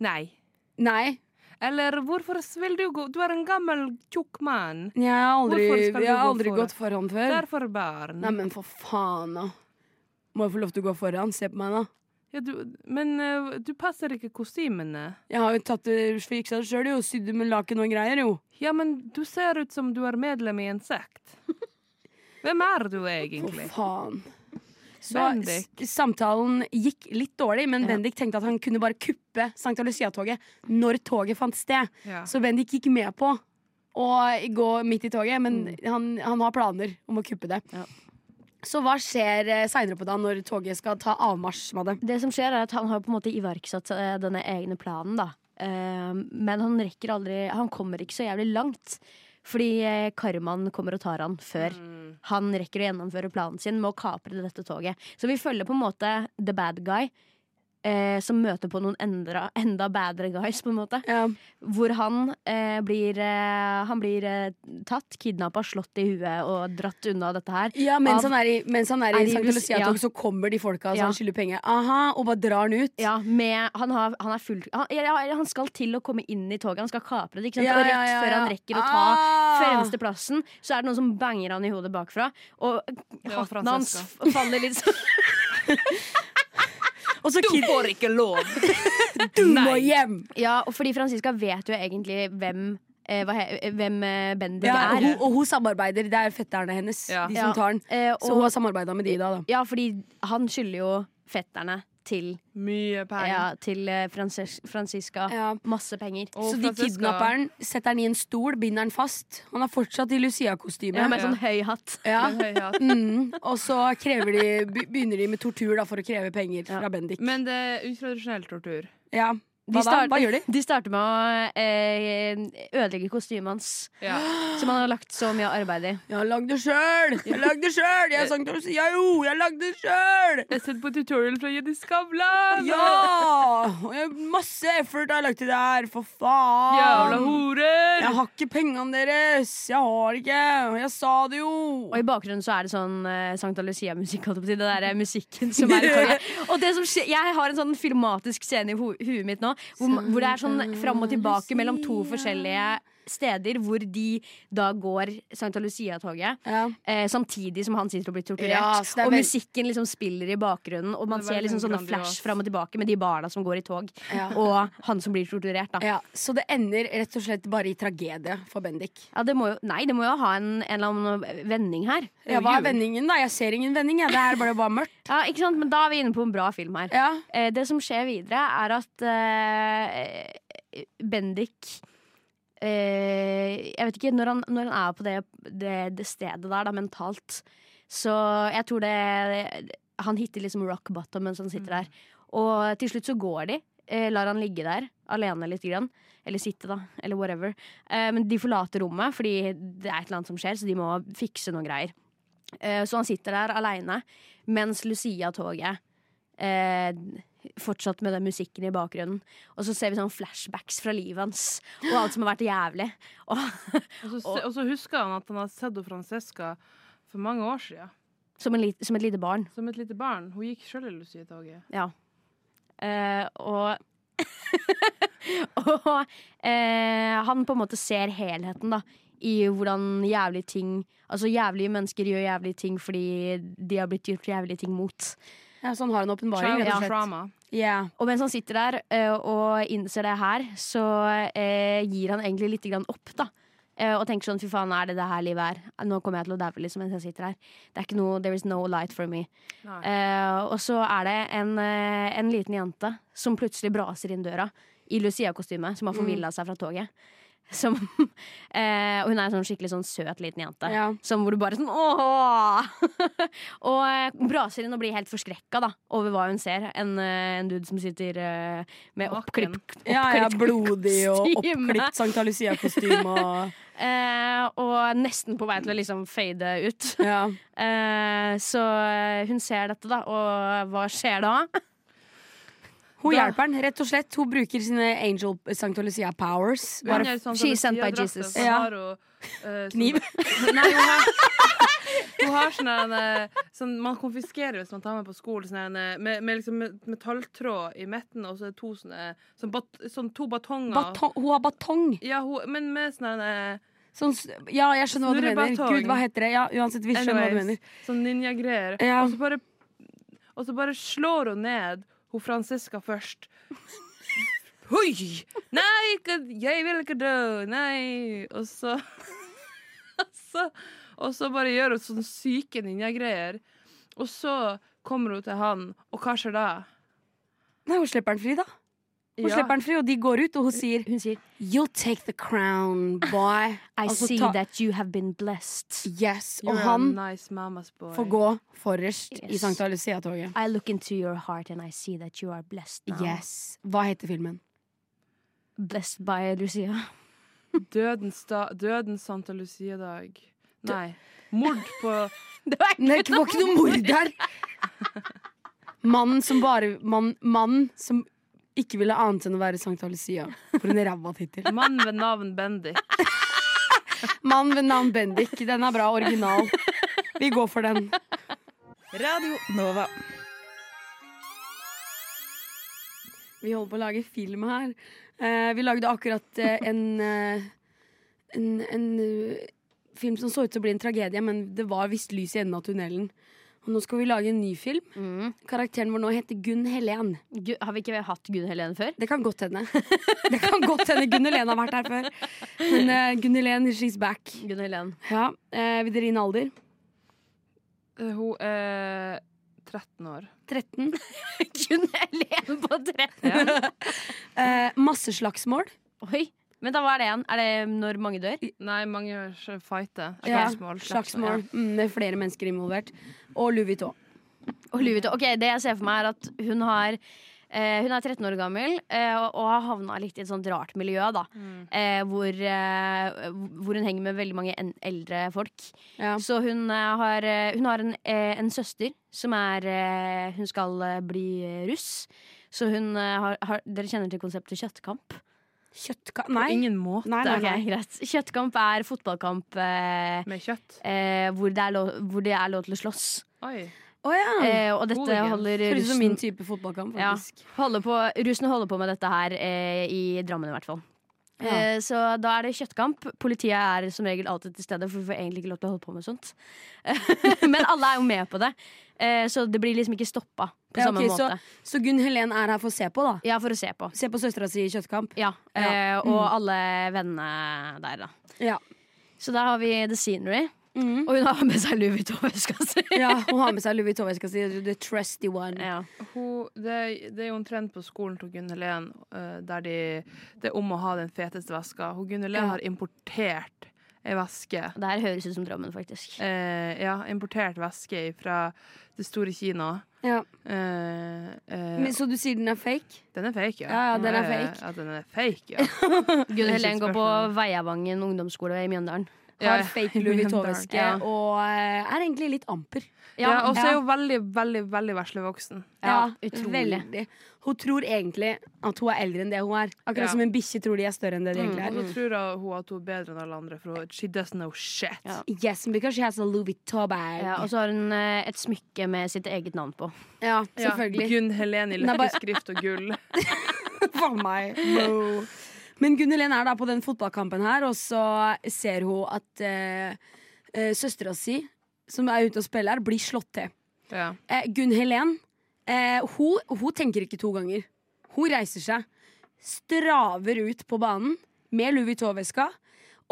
Speaker 4: Nei.
Speaker 3: Nei.
Speaker 4: Eller hvorfor vil du gå? Du er en gammel, tjukk mann.
Speaker 3: Jeg har aldri,
Speaker 4: Hvorfor skal du
Speaker 3: jeg har
Speaker 4: gå
Speaker 3: aldri
Speaker 4: foran?
Speaker 3: gått foran før.
Speaker 4: Derfor barn.
Speaker 3: Nei, men for faen, da. Må jeg få lov til å gå foran? Se på meg, da.
Speaker 4: Ja, du, men eh, du passer ikke kostymene.
Speaker 3: Jeg har jo tatt det fiksa det sjøl, jo. Sydd med laken og greier, jo.
Speaker 4: Ja, men du ser ut som du er medlem i en sekt. Hvem er du egentlig?
Speaker 3: For faen. Så
Speaker 4: Bendik.
Speaker 3: s- samtalen gikk litt dårlig, men Bendik tenkte at han kunne bare kuppe Sankta Lucia-toget når toget fant sted.
Speaker 4: Ja.
Speaker 3: Så Bendik gikk med på å gå midt i toget, men han, han har planer om å kuppe det.
Speaker 5: Ja.
Speaker 3: Så hva skjer eh, seinere på dagen når toget skal ta avmarsj med det?
Speaker 5: Det som skjer er at Han har på en måte iverksatt eh, denne egne planen, da. Eh, men han rekker aldri Han kommer ikke så jævlig langt. Fordi eh, karmaen kommer og tar han før han rekker å gjennomføre planen sin med å kapre dette toget. Så vi følger på en måte the bad guy, eh, som møter på noen endra, enda badere guys, på en måte.
Speaker 3: Ja.
Speaker 5: Hvor han eh, blir, eh, han blir eh, tatt, kidnappa, slått i huet og dratt unna dette her.
Speaker 3: Ja, mens,
Speaker 5: Av-
Speaker 3: han er i, mens han er i
Speaker 5: er i
Speaker 3: Sankta
Speaker 5: Lus-
Speaker 3: Lucia-toget, så kommer de folka som
Speaker 5: Ja.
Speaker 3: han skylder penger. Aha, og bare drar han ut.
Speaker 5: Ja, med, han, har, han er fullt han, ja, ja, han skal til å komme inn i toget, han skal kapre det. Ikke sant?
Speaker 3: Ja,
Speaker 5: og rett
Speaker 3: ja, ja,
Speaker 5: før han
Speaker 3: ja.
Speaker 5: rekker å ta
Speaker 3: Ah!
Speaker 5: fremsteplassen, så er det noen som banger han i hodet bakfra. Og
Speaker 4: var
Speaker 5: hatten hans
Speaker 4: Francesca.
Speaker 5: f- faller litt sånn.
Speaker 3: Og så kid,
Speaker 4: får ikke lov!
Speaker 3: du må hjem!
Speaker 5: Ja, og fordi Franziska vet jo egentlig hvem, eh, hva, he- eh, hvem eh, Bendik
Speaker 3: Ja, og,
Speaker 5: er.
Speaker 3: hun, og hun samarbeider. Det er fetterne hennes,
Speaker 4: Ja.
Speaker 3: de
Speaker 5: Ja.
Speaker 3: som tar den.
Speaker 5: Eh,
Speaker 3: Så hun
Speaker 5: og,
Speaker 3: har samarbeida med de da, da.
Speaker 5: ja, fordi han skylder jo fetterne til,
Speaker 4: Mye penger.
Speaker 5: ja, til eh, Frances- Franziska
Speaker 3: Ja.
Speaker 5: masse penger.
Speaker 4: Og
Speaker 3: Så de
Speaker 4: Francesca-
Speaker 3: kidnapper han, setter han i en stol, binder han fast. Han er fortsatt i Lucia-kostyme.
Speaker 5: Ja, med
Speaker 4: Ja.
Speaker 5: sånn høy hatt.
Speaker 3: Ja.
Speaker 4: Med høy hatt.
Speaker 3: Mm. Og så krever de, be- begynner de med tortur da, for å kreve penger fra Bendik.
Speaker 4: Men det er utradisjonell tortur.
Speaker 3: Ja. Hva, da?
Speaker 5: starter-
Speaker 3: Hva gjør de?
Speaker 5: De starter med å eh, ødelegge kostymet hans,
Speaker 4: Ja.
Speaker 5: som han har lagt så mye arbeid i.
Speaker 3: Jeg har lagd det sjøl! Jeg lagde det sjøl! Jeg sang til ja, jo, jeg lagde det sjøl!
Speaker 4: Jeg har sett på tutorial fra Jenny Skavlan!
Speaker 3: Ja! Og jeg, masse effort har jeg lagt i det her, for faen!
Speaker 4: Jævla horer!
Speaker 3: Jeg har ikke pengene deres! Jeg har det ikke! Jeg sa det jo!
Speaker 5: Og i bakgrunnen så er det sånn eh, Sankta Lucia-musikk, holdt jeg på å si. Det der er musikken som er i toget. Og det som skjer, jeg har en sånn filmatisk scene i ho huet mitt nå, hvor, ma- hvor det er sånn fram og tilbake mellom to forskjellige steder, hvor de da går Sankta Lucia-toget.
Speaker 3: Ja.
Speaker 5: Eh, samtidig som han sitter og blir torturert.
Speaker 3: Ja, så det er
Speaker 5: og
Speaker 3: vel-
Speaker 5: musikken liksom spiller i bakgrunnen, og man
Speaker 4: Det er
Speaker 5: ser
Speaker 4: veldig
Speaker 5: liksom sånne
Speaker 4: grandios.
Speaker 5: flash fram og tilbake med de barna som går i tog,
Speaker 3: Ja.
Speaker 5: og han som blir torturert, da.
Speaker 3: ja. Så det ender rett og slett bare i tragedie for Bendik.
Speaker 5: Ja, det må jo, nei, det må jo ha en, en eller annen vending her.
Speaker 3: Ja, hva er vendingen, da? Jeg ser ingen vending. Jeg. Det her ble bare mørkt.
Speaker 5: Ja, ikke sant? Men da er vi inne på en bra film her.
Speaker 3: Ja.
Speaker 5: Eh, det som skjer videre, er at eh, Bendik eh, Jeg vet ikke, når han, når han er på det, det, det stedet der, da, mentalt, så jeg tror det Han hitter liksom rock bottom mens han sitter der. Og til slutt så går de. Eh, lar han ligge der alene litt. Grann. Eller sitte, da. Eller whatever. Eh, men de forlater rommet, fordi det er et eller annet som skjer, så de må fikse noen greier. Eh, så han sitter der aleine mens Lucia-toget eh, fortsatt med den musikken i bakgrunnen. Og så ser vi sånn flashbacks fra livet hans og alt som har vært jævlig. Og,
Speaker 4: Og så, se- og så husker han at han har sett henne Francesca for mange år siden.
Speaker 5: som, en, lit- som et lite barn.
Speaker 4: Som et lite barn. Hun gikk sjøl i Lucia-toget.
Speaker 5: Ja. Eh, og og eh, han på en måte ser helheten, da. I hvordan jævlige ting Altså jævlige mennesker gjør jævlige ting fordi de har blitt gjort jævlige ting mot.
Speaker 3: ja sånn har han åpenbaring,
Speaker 4: Trauma.
Speaker 3: rett og slett.
Speaker 4: Trauma.
Speaker 3: Ja.
Speaker 5: Og mens han sitter der eh, og innser det her, så eh, gir han egentlig litt grann opp, da. Eh, og tenker sånn fy faen, er det det her livet er? Nå kommer jeg til å daue liksom, mens jeg sitter her. Det er ikke noe, There is no light for me.
Speaker 4: Nei.
Speaker 5: Eh, og så er det en, eh, en liten jente som plutselig braser inn døra i Lucia-kostyme, som har forvilla seg fra toget. Som, eh, og hun er en sånn skikkelig sånn søt liten jente.
Speaker 3: Ja.
Speaker 5: Som hvor du bare sånn åh! og eh, braser inn og blir helt forskrekka da, over hva hun ser. En, eh, en dude som sitter eh, med
Speaker 4: Naken.
Speaker 5: oppklipp,
Speaker 3: Ja, ja,
Speaker 5: oppklipp
Speaker 3: blodig og
Speaker 5: kostyme.
Speaker 3: oppklipt Sankta Lucia-kostyme og
Speaker 5: Eh, og nesten på vei til å liksom fade ut.
Speaker 3: ja.
Speaker 5: Eh, så eh, hun ser dette, da, og hva skjer da?
Speaker 3: Hun
Speaker 5: Da-
Speaker 3: hjelper han, rett og slett. Hun bruker sine Angel Sankta Lucia powers.
Speaker 4: Han
Speaker 3: Bare
Speaker 4: gjør sånn
Speaker 5: She's
Speaker 4: som
Speaker 5: sent by
Speaker 4: Lucia-drakter,
Speaker 5: Jesus.
Speaker 4: så
Speaker 3: Ja.
Speaker 4: har hun, eh, sånn-
Speaker 3: Kniv.
Speaker 4: Nei, hun har, hun har sånn en eh, sånn, Man konfiskerer hvis man tar med på skolen, sånn en, eh, med, med liksom met- metalltråd i midten, og så er det to sånne sånn, bat, sånn to batonger.
Speaker 3: batong, hun har batong.
Speaker 4: Ja, hun, men med sånn en,
Speaker 3: Sånn, s- ja, jeg skjønner hva du mener.
Speaker 4: Snurrebatong.
Speaker 3: Gud, hva heter det? Ja, uansett, vi
Speaker 4: eh,
Speaker 3: skjønner hva du
Speaker 4: anyways,
Speaker 3: mener.
Speaker 4: sånn ninja-greier.
Speaker 3: Ja.
Speaker 4: Og, så bare- og så bare slår hun ned hun Francesca først. Hoi! Nei, ikke, jeg vil ikke dø! Nei! Og så og så- Og så bare gjør hun sånne syke ninja-greier. Og så kommer hun til han, og hva skjer da?
Speaker 3: Nei, hun slipper han fri, da. Hun
Speaker 4: Ja.
Speaker 3: slipper han fri, og de går ut, og hun sier
Speaker 5: Hun sier
Speaker 3: You'll take the crown, boy.
Speaker 5: I
Speaker 3: Altså,
Speaker 5: see
Speaker 3: ta-
Speaker 5: that you have been blessed.
Speaker 3: Yes. Og
Speaker 4: You're a
Speaker 3: han
Speaker 4: nice mama's boy.
Speaker 3: får gå forrest i
Speaker 5: Yes.
Speaker 3: Sankta Lucia-toget.
Speaker 5: I look into your heart and I see that you are blessed now.
Speaker 3: Yes. Hva heter filmen?
Speaker 5: Blessed by Lucia.
Speaker 4: Dødens, da, dødens Santa Lucia-dag. Nei. Mord på
Speaker 3: Nei, det var ikke noe mord der! Mannen som bare Mannen mann som ikke ville annet enn å være Sankta Lucia. For en ræva tittel.
Speaker 4: mannen ved navn Bendik.
Speaker 3: Mann ved navn Bendik. Den er bra original. Vi går for den.
Speaker 7: Radio Nova.
Speaker 3: Vi holder på å lage film her. Eh, vi lagde akkurat eh, en, eh, en En eh, film som så ut til å bli en tragedie, men det var visst lys i enden av tunnelen. Og nå skal vi lage en ny film. Karakteren vår nå heter Gunn Helen.
Speaker 5: Mm. Gu- Har vi ikke hatt Gunn Helene før?
Speaker 3: Det kan godt hende. Det kan godt hende Gunn Helen har vært her før. Men uh, Gunn Helen, she's back.
Speaker 5: Gunn Helene.
Speaker 3: Ja, eh, Vil dere inn alder?
Speaker 4: Eh, Hun er 13 år.
Speaker 3: 13.
Speaker 5: Gunn Helene på 13!
Speaker 3: Eh, masseslagsmål.
Speaker 5: Oi. Men da hva er det igjen? Er det når mange dør?
Speaker 4: Nei, mange s- fighter.
Speaker 3: Ja,
Speaker 4: Slagsmål.
Speaker 3: Slagsmål mm, med flere mennesker involvert. Og Louis Vuitton.
Speaker 5: Og Louis Vuitton. Ok, Det jeg ser for meg, er at hun har Eh, hun er 13 år gammel eh, og, og har havna litt i et sånt rart miljø, da.
Speaker 3: Mm.
Speaker 5: Eh, hvor, eh, hvor hun henger med veldig mange en eldre folk.
Speaker 3: Ja.
Speaker 5: Så hun eh, har, eh, hun har en, eh, en søster som er eh, Hun skal eh, bli eh, russ. Så hun eh, har, har Dere kjenner til konseptet kjøttkamp?
Speaker 3: Kjøttkamp Nei.
Speaker 4: Ingen måte
Speaker 3: Nei, nei,
Speaker 5: Ok,
Speaker 3: nei.
Speaker 5: greit. Kjøttkamp er fotballkamp eh,
Speaker 4: med kjøtt.
Speaker 5: eh, hvor, det er lov, hvor det er lov til å slåss.
Speaker 4: Oi.
Speaker 3: Å ja.
Speaker 5: Eh, og dette
Speaker 4: Hooligan.
Speaker 5: holder
Speaker 3: Høres ut som
Speaker 5: russen
Speaker 3: min type fotballkamp,
Speaker 5: Ja.
Speaker 3: faktisk.
Speaker 5: holder på, Russen holder på med dette her eh, i Drammen, i hvert fall. Eh, så da er det kjøttkamp. Politiet er som regel alltid til stede, for vi får egentlig ikke lov til å holde på med sånt. Men alle er jo med på det, eh, så det blir liksom ikke stoppa på
Speaker 3: Ja,
Speaker 5: samme
Speaker 3: ok,
Speaker 5: måte.
Speaker 3: Så Gunn Helen er her for å se på, da.
Speaker 5: Ja, for å se på.
Speaker 3: Se på søstera si i kjøttkamp.
Speaker 5: Ja, eh, Og
Speaker 3: Mm.
Speaker 5: alle vennene der, da.
Speaker 3: Ja.
Speaker 5: Så da har vi The Scenery.
Speaker 3: Mhm.
Speaker 5: Og hun har med seg Louis Vuitton-veska si.
Speaker 3: ja hun har med seg Louis Vuitton, jeg skal si. The trusty one.
Speaker 5: Ja.
Speaker 4: Hun, det, det er jo omtrent på skolen til Gunn Helen eh, der de, det er om å ha den feteste veska. Hun Gunn Helen
Speaker 3: Ja.
Speaker 4: har importert ei veske.
Speaker 5: Det her høres ut som drømmen, faktisk.
Speaker 4: Eh, ja, importert væske fra det store Kina.
Speaker 3: Ja.
Speaker 4: Eh, eh,
Speaker 3: Men, så du sier den er fake?
Speaker 4: den er fake, ja.
Speaker 3: Ja, ja, den er
Speaker 4: Eh,
Speaker 3: fake.
Speaker 4: Ja, den er fake, ja.
Speaker 5: Gunn Helen går på
Speaker 4: spørsmål.
Speaker 5: Veiavangen ungdomsskole i Mjøndalen.
Speaker 4: Ja,
Speaker 3: Har
Speaker 4: ja.
Speaker 3: fake Louis Vuitton-veske
Speaker 4: Ja.
Speaker 3: og eh, er egentlig litt amper.
Speaker 4: Ja, og så
Speaker 3: ja.
Speaker 4: er hun veldig, veldig, veldig veslevoksen.
Speaker 5: Ja, utrolig.
Speaker 3: veldig. Hun tror egentlig at hun er eldre enn det hun er. Akkurat
Speaker 4: Ja.
Speaker 3: som en bikkje tror de er større enn det de egentlig
Speaker 4: Og
Speaker 3: er.
Speaker 4: så tror hun- hun at hun er bedre enn alle andre, for hun, she doesn't know shit.
Speaker 5: Ja.
Speaker 3: Yes, because she has a Louis Vuitton-bag.
Speaker 5: Ja, og så har hun eh, et smykke med sitt eget navn på.
Speaker 3: Ja,
Speaker 4: Ja,
Speaker 3: selvfølgelig.
Speaker 4: Gunn Helen i
Speaker 3: Nei, bare-
Speaker 4: leppeskrift og gull.
Speaker 3: For meg. Men Gunnelen er da på den fotballkampen her, og så ser hun at uh, søstera si, som er ute og spiller, blir slått til.
Speaker 4: Ja.
Speaker 3: Eh, Gunn Helen eh, hun, hun tenker ikke to ganger. Hun reiser seg, straver ut på banen med Louis Vuitton-veska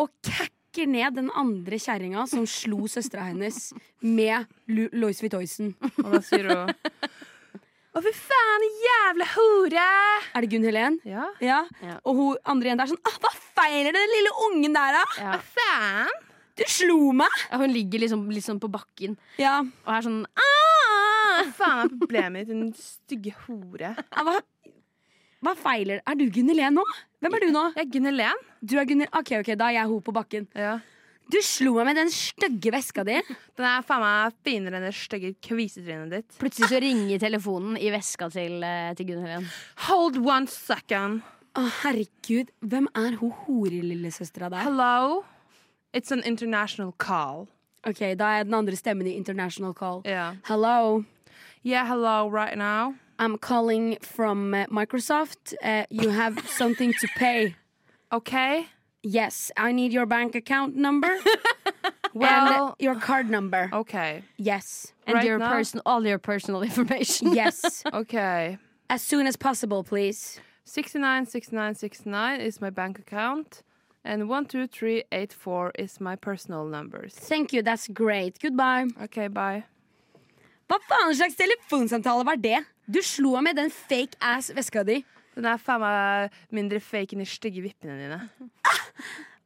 Speaker 3: og kakker ned den andre kjerringa som slo søstera hennes med Lu Louis Vuitton.
Speaker 4: Og da sier hun Å, fy faen, jævla hore!
Speaker 3: Er det Gunn Helen?
Speaker 4: Ja.
Speaker 3: Ja.
Speaker 5: Ja.
Speaker 3: Og hun andre igjen der er sånn ah, Hva feiler den lille ungen der, da?
Speaker 5: Ja.
Speaker 4: Faen!
Speaker 3: Du slo meg!
Speaker 5: Ja, hun ligger liksom, litt sånn på bakken
Speaker 3: Ja.
Speaker 5: og er sånn «Ah!»
Speaker 4: Faen er problemet mitt, din stygge hore.
Speaker 3: Ja, Ah, Hva, hva feiler Er du Gunn Helen nå? Hvem er du nå?
Speaker 4: Ja, Gunn Helen.
Speaker 3: Du er Gunn Ok, ok, da er jeg hun på bakken.
Speaker 4: Ja.
Speaker 3: Du slo meg med den stygge veska di.
Speaker 4: Den er faen meg finere enn det stygge kvisetrynet ditt.
Speaker 5: Plutselig så ringer telefonen i veska til, eh, til Gunn Helen.
Speaker 4: Hold one second.
Speaker 3: Å, herregud. Hvem er hun horelillesøstera der?
Speaker 4: Hello? It's an international call.
Speaker 3: Ok, da er jeg den andre stemmen i International Call.
Speaker 4: Ja.
Speaker 3: Hello,
Speaker 4: Yeah, hello right now.
Speaker 3: I'm calling from eh, Microsoft. Eh, you have something to pay.
Speaker 4: Okay.
Speaker 3: Yes, I need your bank account number.
Speaker 4: Well-
Speaker 3: and your card number.
Speaker 4: Okay.
Speaker 3: Yes.
Speaker 5: And
Speaker 4: Right
Speaker 5: your
Speaker 4: now?
Speaker 5: person, all your personal information.
Speaker 3: Yes.
Speaker 4: Okay.
Speaker 3: As soon as possible, please.
Speaker 4: 69, 69, 69 is my bank account. And 12384 is my personal numbers.
Speaker 3: Thank you, that's great. Goodbye.
Speaker 4: Okay, bye.
Speaker 3: Hva faen slags telefonsamtale var det? Du slo av med den fake ass veska di.
Speaker 4: Den er faen meg mindre fake enn de stygge vippene dine.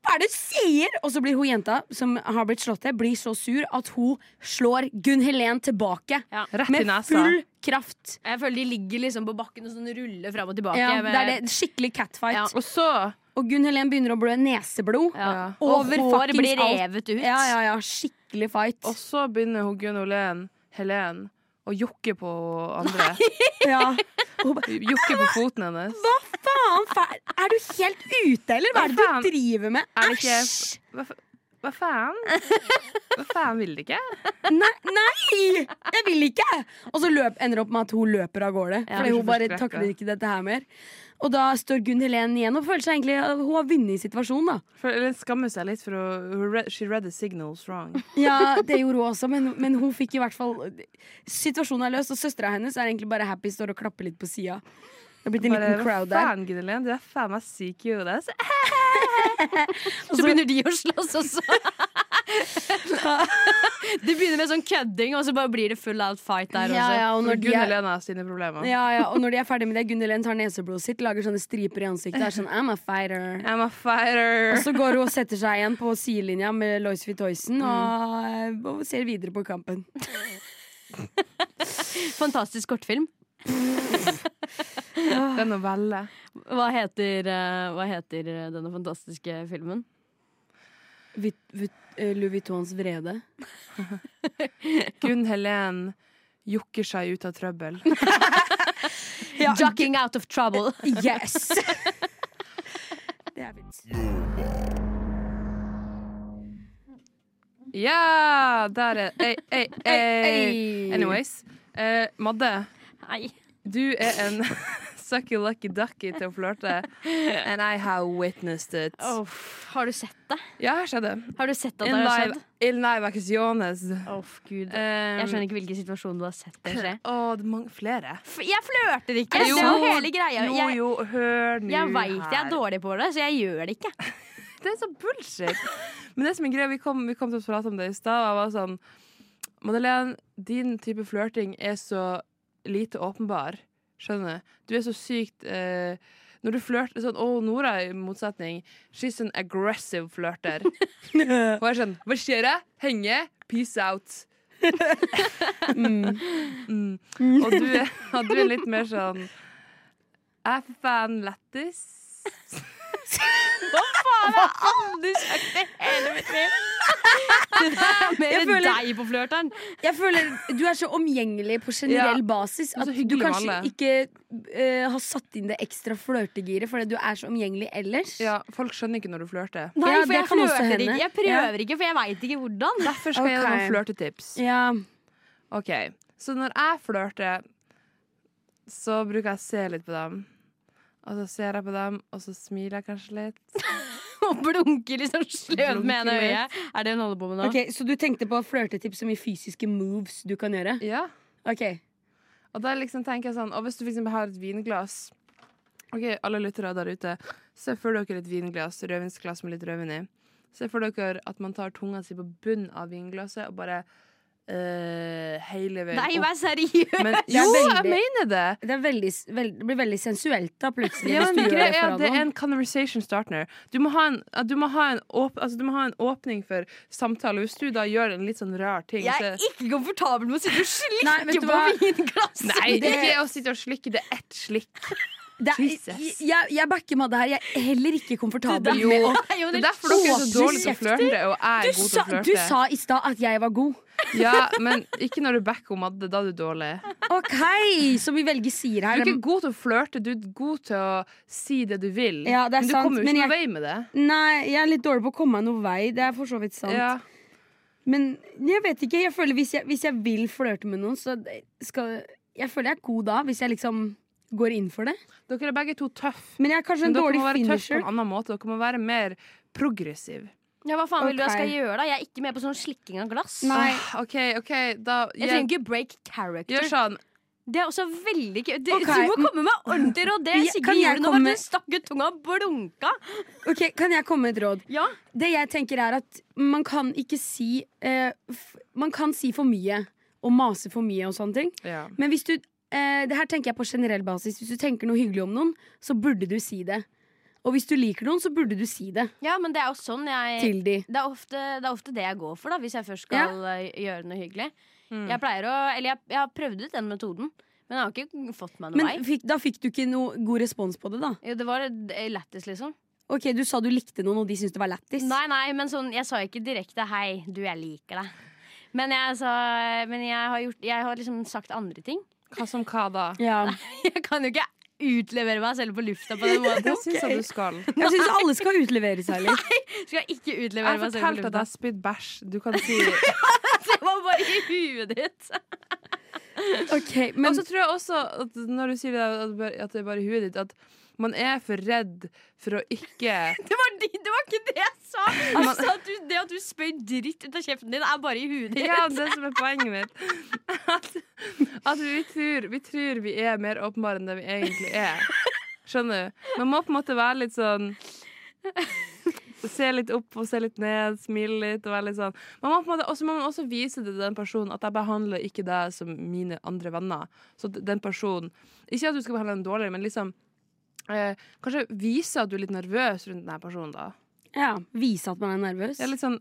Speaker 3: Hva er det du sier? Og så blir hun jenta som har blitt slått til, blir så sur at hun slår Gunn Helen tilbake.
Speaker 5: Ja.
Speaker 4: Rett i
Speaker 3: Med
Speaker 4: nesa.
Speaker 3: full kraft.
Speaker 5: Jeg føler de ligger liksom på bakken og sånn ruller fram og tilbake.
Speaker 3: Ja,
Speaker 5: med-
Speaker 3: det er det. Skikkelig catfight.
Speaker 5: Ja.
Speaker 4: Og så
Speaker 3: Og Gunn Helen begynner å blø neseblod.
Speaker 5: Ja. Og
Speaker 3: Over
Speaker 5: hår
Speaker 3: fuckings
Speaker 5: blir
Speaker 3: alt.
Speaker 5: revet ut.
Speaker 3: Ja, ja, ja. Skikkelig fight.
Speaker 4: Og så begynner hun Gunn Olen, Helen å jokke på andre.
Speaker 3: Ja. Hun ba-
Speaker 4: Jokke på foten hennes.
Speaker 3: Hva faen? fa- Er du helt ute, eller? Hva er det
Speaker 4: Hva faen?
Speaker 3: du driver med?
Speaker 4: Er det ikke
Speaker 3: Æsj!
Speaker 4: Hva, fa- hva faen? Hva faen vil det ikke?
Speaker 3: Nei, nei! Jeg vil ikke! Og så løp, ender det opp med at hun løper av gårde.
Speaker 5: Ja.
Speaker 3: fordi
Speaker 4: Blir så
Speaker 3: hun bare
Speaker 4: forskrekket.
Speaker 3: takler ikke dette her mer. Og da står Gunn Helen igjen og føler seg egentlig Hun har vunnet i situasjonen, da.
Speaker 4: For Hun skammer seg litt, for hun, hun read, she read the signals wrong.
Speaker 3: Ja, det gjorde hun også, men, men hun fikk i hvert fall Situasjonen er løst, og søstera hennes er egentlig bare happy, står og klapper litt på sida. Det har blitt en
Speaker 4: Bare,
Speaker 3: liten
Speaker 4: hva
Speaker 3: crowd der.
Speaker 4: faen, Gunn Helen? Du er faen meg syk i hodet. ass.
Speaker 5: Så begynner de å slåss også. det begynner med sånn kødding, og så bare blir det full out fight der
Speaker 3: Ja,
Speaker 5: også.
Speaker 3: ja, og
Speaker 4: For
Speaker 3: når de
Speaker 4: Gunn
Speaker 3: er
Speaker 4: Helen har sine problemer.
Speaker 3: ja, ja, og når de er ferdig med det, Gunn Helen tar neseblodet sitt, lager sånne striper i ansiktet. Er sånn, I'm a fighter
Speaker 4: I'm a
Speaker 3: Og
Speaker 4: fighter.
Speaker 3: så går hun og setter seg igjen på sidelinja med Lois Vittoisen og, eh, og ser videre på kampen.
Speaker 5: Fantastisk kortfilm.
Speaker 4: Det er novelle.
Speaker 5: Hva heter, eh, hva heter eh, denne fantastiske filmen?
Speaker 3: Vit, vit, eh, Louis Vuittons vrede.
Speaker 4: Gunn Helen jokker seg ut av trøbbel.
Speaker 5: Ducking out of trouble.
Speaker 3: Yes! det er fint.
Speaker 4: Ja! Der er ei, ei, ei. Anyways. Eh, Madde,
Speaker 5: Nei.
Speaker 4: du er en sucky lucky ducky til å flørte. And I have witnessed it.
Speaker 3: Oh.
Speaker 5: Uff, har du sett det?
Speaker 4: Ja, her skjedde det.
Speaker 5: Har du sett at det
Speaker 4: In
Speaker 5: har
Speaker 4: live,
Speaker 5: skjedd?
Speaker 4: in live acciones.
Speaker 5: Uff, Gud.
Speaker 4: Jeg
Speaker 5: Jeg skjønner ikke hvilken situasjon du har sett det skje.
Speaker 4: Eh, Å, det er mange flere.
Speaker 5: F- Jeg flørter ikke!
Speaker 4: Er det
Speaker 5: det er jo
Speaker 4: sant?
Speaker 5: hele greia.
Speaker 4: Jo,
Speaker 5: Jeg,
Speaker 4: jo, hør nå
Speaker 5: jeg veit jeg er
Speaker 4: her.
Speaker 5: dårlig på det, så jeg gjør det ikke.
Speaker 4: Det er så bullshit. Men det som er greia, vi kom, vi kom til å prate om det i stad, og jeg var sånn Madeleine, din type flørting er så lite åpenbar. Skjønner du? Du er så sykt eh, Når du flørter sånn Å, Nora, i motsetning, she's an aggressive flørter. Og jeg er sånn Hva skjer? jeg? Henge? Peace out. mm. Mm. Og du, er- og du er litt mer sånn Jeg er for faen lættis.
Speaker 5: Mer
Speaker 3: føler-
Speaker 5: deg på flørteren.
Speaker 3: Jeg føler Du er så omgjengelig på generell
Speaker 4: Ja.
Speaker 3: basis
Speaker 4: Og
Speaker 3: at
Speaker 4: så
Speaker 3: du
Speaker 4: hyggelig med
Speaker 3: kanskje
Speaker 4: alle.
Speaker 3: ikke eh, har satt inn det ekstra flørtegiret fordi du er så omgjengelig ellers.
Speaker 4: Ja, folk skjønner ikke når du flørter.
Speaker 5: Nei,
Speaker 3: Ja,
Speaker 5: for
Speaker 3: det
Speaker 5: jeg
Speaker 3: kan også
Speaker 5: flørter
Speaker 3: hende.
Speaker 5: ikke. Jeg prøver ikke, for jeg veit ikke hvordan.
Speaker 4: Derfor skal jeg gi deg
Speaker 3: Ok.
Speaker 4: noen flørtetips.
Speaker 3: Ja.
Speaker 4: Ok, Så når jeg flørter, så bruker jeg å se litt på dem. Og så ser jeg på dem, og så smiler jeg kanskje litt.
Speaker 5: Og blunker liksom sløvt med ene
Speaker 4: Blunker litt.
Speaker 5: øyet. Er det hun holder på med nå?
Speaker 3: Ok, Så du tenkte på flørtetips som i fysiske moves du kan gjøre?
Speaker 4: Ja.
Speaker 3: Ok,
Speaker 4: Og da liksom tenker jeg sånn, og hvis du for eksempel har et vinglass Ok, alle lyttere der ute, se for dere et vinglass, rødvinsglass med litt rødvin i. Se for dere at man tar tunga si på bunnen av vinglasset og bare eh, hele veien
Speaker 5: Nei,
Speaker 4: opp.
Speaker 5: vær seriøs!
Speaker 4: Men,
Speaker 3: Det er
Speaker 4: jo, jeg
Speaker 3: veldig-
Speaker 4: mener det!
Speaker 3: Det, er veldig, vel, det blir veldig sensuelt da plutselig.
Speaker 4: Ja,
Speaker 3: hvis
Speaker 4: men
Speaker 3: du gjør
Speaker 4: greia er
Speaker 3: foran
Speaker 4: at det er
Speaker 3: noen.
Speaker 4: en conversation starter. Du må ha en, at du må ha en, åp, altså, du må ha en åpning for samtale. Hvis du da gjør en litt sånn rar ting
Speaker 5: Jeg er
Speaker 4: så,
Speaker 5: ikke komfortabel med å sitte og
Speaker 3: Nei, vet
Speaker 5: slikke
Speaker 3: du
Speaker 5: på
Speaker 3: hva?
Speaker 5: vinglasset!
Speaker 4: Nei, det er
Speaker 3: det-
Speaker 4: ikke å sitte og slikke. Det er ett slikk.
Speaker 3: Det er-
Speaker 4: Jesus.
Speaker 3: jeg, jeg backer Madde her. Jeg er heller ikke komfortabel
Speaker 4: Jo.
Speaker 3: med å
Speaker 5: Nei, jo,
Speaker 4: Det er
Speaker 5: det-
Speaker 4: derfor dere er så
Speaker 3: åpne
Speaker 4: dårlige til å
Speaker 3: kjefter.
Speaker 4: flørte, og jeg
Speaker 3: du
Speaker 4: er god til
Speaker 3: sa,
Speaker 4: å
Speaker 3: du
Speaker 4: flørte.
Speaker 3: sa i stad at jeg var god.
Speaker 4: Ja, men ikke når du backer om Madde. Da er du dårlig.
Speaker 3: OK, så vi velger sier
Speaker 4: Du er
Speaker 3: her.
Speaker 4: ikke god til å flørte. Du er god til å si det du vil.
Speaker 3: Ja, det er
Speaker 4: men du
Speaker 3: sant,
Speaker 4: kommer jo
Speaker 3: men jeg-
Speaker 4: ikke noen vei med det.
Speaker 3: Nei, jeg er litt dårlig på å komme meg noen vei. Det er for så vidt sant.
Speaker 4: Ja.
Speaker 3: Men jeg vet ikke. Jeg føler hvis jeg, hvis jeg vil flørte med noen, så skal Jeg føler jeg er god da, hvis jeg liksom går inn for det.
Speaker 4: Dere er begge to tøff.
Speaker 3: Men jeg er kanskje
Speaker 4: Men
Speaker 3: en
Speaker 4: dere
Speaker 3: dårlig
Speaker 4: må være tøff på
Speaker 3: finisher.
Speaker 4: en annen måte. Dere må være mer progressiv.
Speaker 5: Ja, Hva faen vil du jeg skal
Speaker 3: Ok.
Speaker 5: gjøre, da? Jeg er ikke med på sånn slikking av glass.
Speaker 3: Nei.
Speaker 4: Åh, OK, OK, da
Speaker 5: Jeg
Speaker 4: gjør-
Speaker 5: trenger ikke break character.
Speaker 4: Gjør sånn.
Speaker 5: Det er også veldig gøy. Du,
Speaker 3: Ok.
Speaker 5: du må komme med ordentlig råd. Det
Speaker 3: Vi- kan
Speaker 5: Sigrid
Speaker 3: jeg
Speaker 5: gjorde nå,
Speaker 3: komme-
Speaker 5: var at hun stakk ut tunga og blunka.
Speaker 3: Ok, Kan jeg komme med et råd?
Speaker 5: Ja.
Speaker 3: Det jeg tenker er at man kan ikke si eh, f Man kan si for mye og mase for mye og sånne ting.
Speaker 4: Ja.
Speaker 3: Men hvis du eh, Det her tenker jeg på generell basis. Hvis du tenker noe hyggelig om noen, så burde du si det. Og hvis du liker noen, så burde du si det
Speaker 5: ja, men det er jo sånn jeg
Speaker 3: til de.
Speaker 5: det er, ofte, det er ofte det jeg går for, da hvis jeg først skal eh, gjøre noe hyggelig. Jeg pleier å Eller jeg, jeg har prøvd ut den metoden, men jeg har ikke fått meg noe
Speaker 3: Men
Speaker 5: vei.
Speaker 3: fikk, da fikk du ikke noe god respons på det, da?
Speaker 5: Jo, det var eh, lættis, liksom.
Speaker 3: Ok, Du sa du likte noen, og de syntes det var lættis.
Speaker 5: Nei, nei, men sånn, jeg sa ikke direkte 'hei, du, jeg liker deg'. Men jeg, sa, men jeg har, gjort, jeg har liksom sagt andre ting.
Speaker 4: Hva som hva da?
Speaker 3: Ja.
Speaker 5: Jeg kan jo ikke utlevere meg selv på lufta på den måten.
Speaker 4: Det syns jeg du skal.
Speaker 3: Jeg syns alle skal utlevere seg litt.
Speaker 5: Skal jeg ikke
Speaker 4: Jeg
Speaker 5: utlevere
Speaker 4: har
Speaker 5: meg selv på
Speaker 4: fortalt at jeg
Speaker 5: lufta.
Speaker 4: har spydd bæsj. Du kan si
Speaker 5: Det var bare i huet ditt.
Speaker 3: Ok,
Speaker 4: Og
Speaker 3: men
Speaker 5: Altså-
Speaker 4: så tror jeg også at når du sier det, at bare- at det er bare i huet ditt, at man er for redd for å ikke
Speaker 5: Det var, de, det var ikke det jeg sa. Jeg sa at du, det at du spør dritt ut av kjeften din, er bare i huet ditt.
Speaker 4: Ja, det som er poenget mitt. At, at vi, tror, vi tror vi er mer åpenbare enn det vi egentlig er. Skjønner du? Man må på en måte være litt sånn Se litt opp og se litt ned, smile litt og være litt sånn. Man må på en måte, og så må man også vise det til den personen at jeg behandler ikke deg som mine andre venner. Så at den personen Ikke at du skal behandle den dårligere, men liksom eh, Kanskje vise at du er litt nervøs rundt denne personen, da.
Speaker 3: ja, Vise at man er nervøs.
Speaker 4: Det er litt sånn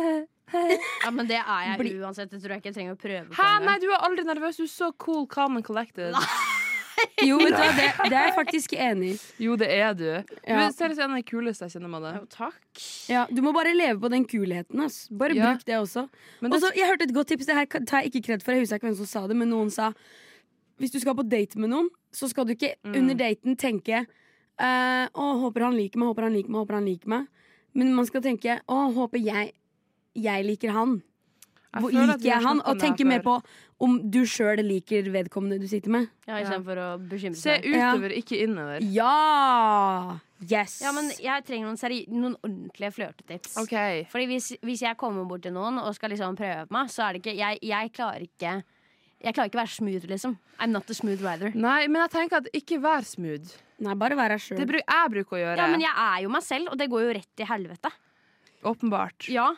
Speaker 5: Ja, men det er jeg uansett. Det tror jeg ikke jeg trenger å prøve.
Speaker 4: Hæ, nei, du er aldri nervøs. Du er så cool, calm and collected.
Speaker 3: Jo, vet du hva, det, det er jeg faktisk enig i.
Speaker 4: Jo, det er du.
Speaker 3: Ja.
Speaker 4: Men seriøst, en av de kuleste jeg kjenner med det.
Speaker 2: takk.
Speaker 3: Ja, du må bare leve på den kulheten. Ass. Bare
Speaker 4: Ja.
Speaker 3: bruk det også.
Speaker 4: Men
Speaker 3: Og så, jeg hørte et godt tips. Det her kan- tar jeg ikke kred for. Jeg husker ikke hvem som sa det, men noen sa hvis du skal på date med noen, så skal du ikke under daten tenke eh, Å, håper han liker meg, håper han liker meg, håper han liker meg. Men man skal tenke Å, håper jeg jeg liker han. Hvor
Speaker 4: føler at
Speaker 3: liker
Speaker 4: vi har
Speaker 3: jeg han?
Speaker 4: snakket om
Speaker 3: Og
Speaker 4: det her
Speaker 3: tenke mer
Speaker 4: før.
Speaker 3: på om du sjøl liker vedkommende du sitter med.
Speaker 5: Ja, Istedenfor å bekymre
Speaker 4: Se
Speaker 5: seg.
Speaker 4: utover, ikke innover.
Speaker 3: Ja! Yes!
Speaker 5: Ja, men jeg trenger noen, seri noen ordentlige flørtetips.
Speaker 4: OK.
Speaker 5: Fordi hvis, hvis jeg kommer bort til noen og skal liksom prøve meg, så er det ikke Jeg, jeg klarer ikke Jeg klarer ikke å være smooth, liksom. I'm not a smooth rider.
Speaker 4: Nei, men jeg tenker at ikke vær smooth.
Speaker 3: Nei, bare vær deg sjøl.
Speaker 4: Det bru jeg bruker å gjøre.
Speaker 5: Ja, men jeg er jo meg selv, og det går jo rett til helvete.
Speaker 4: Åpenbart.
Speaker 5: Ja,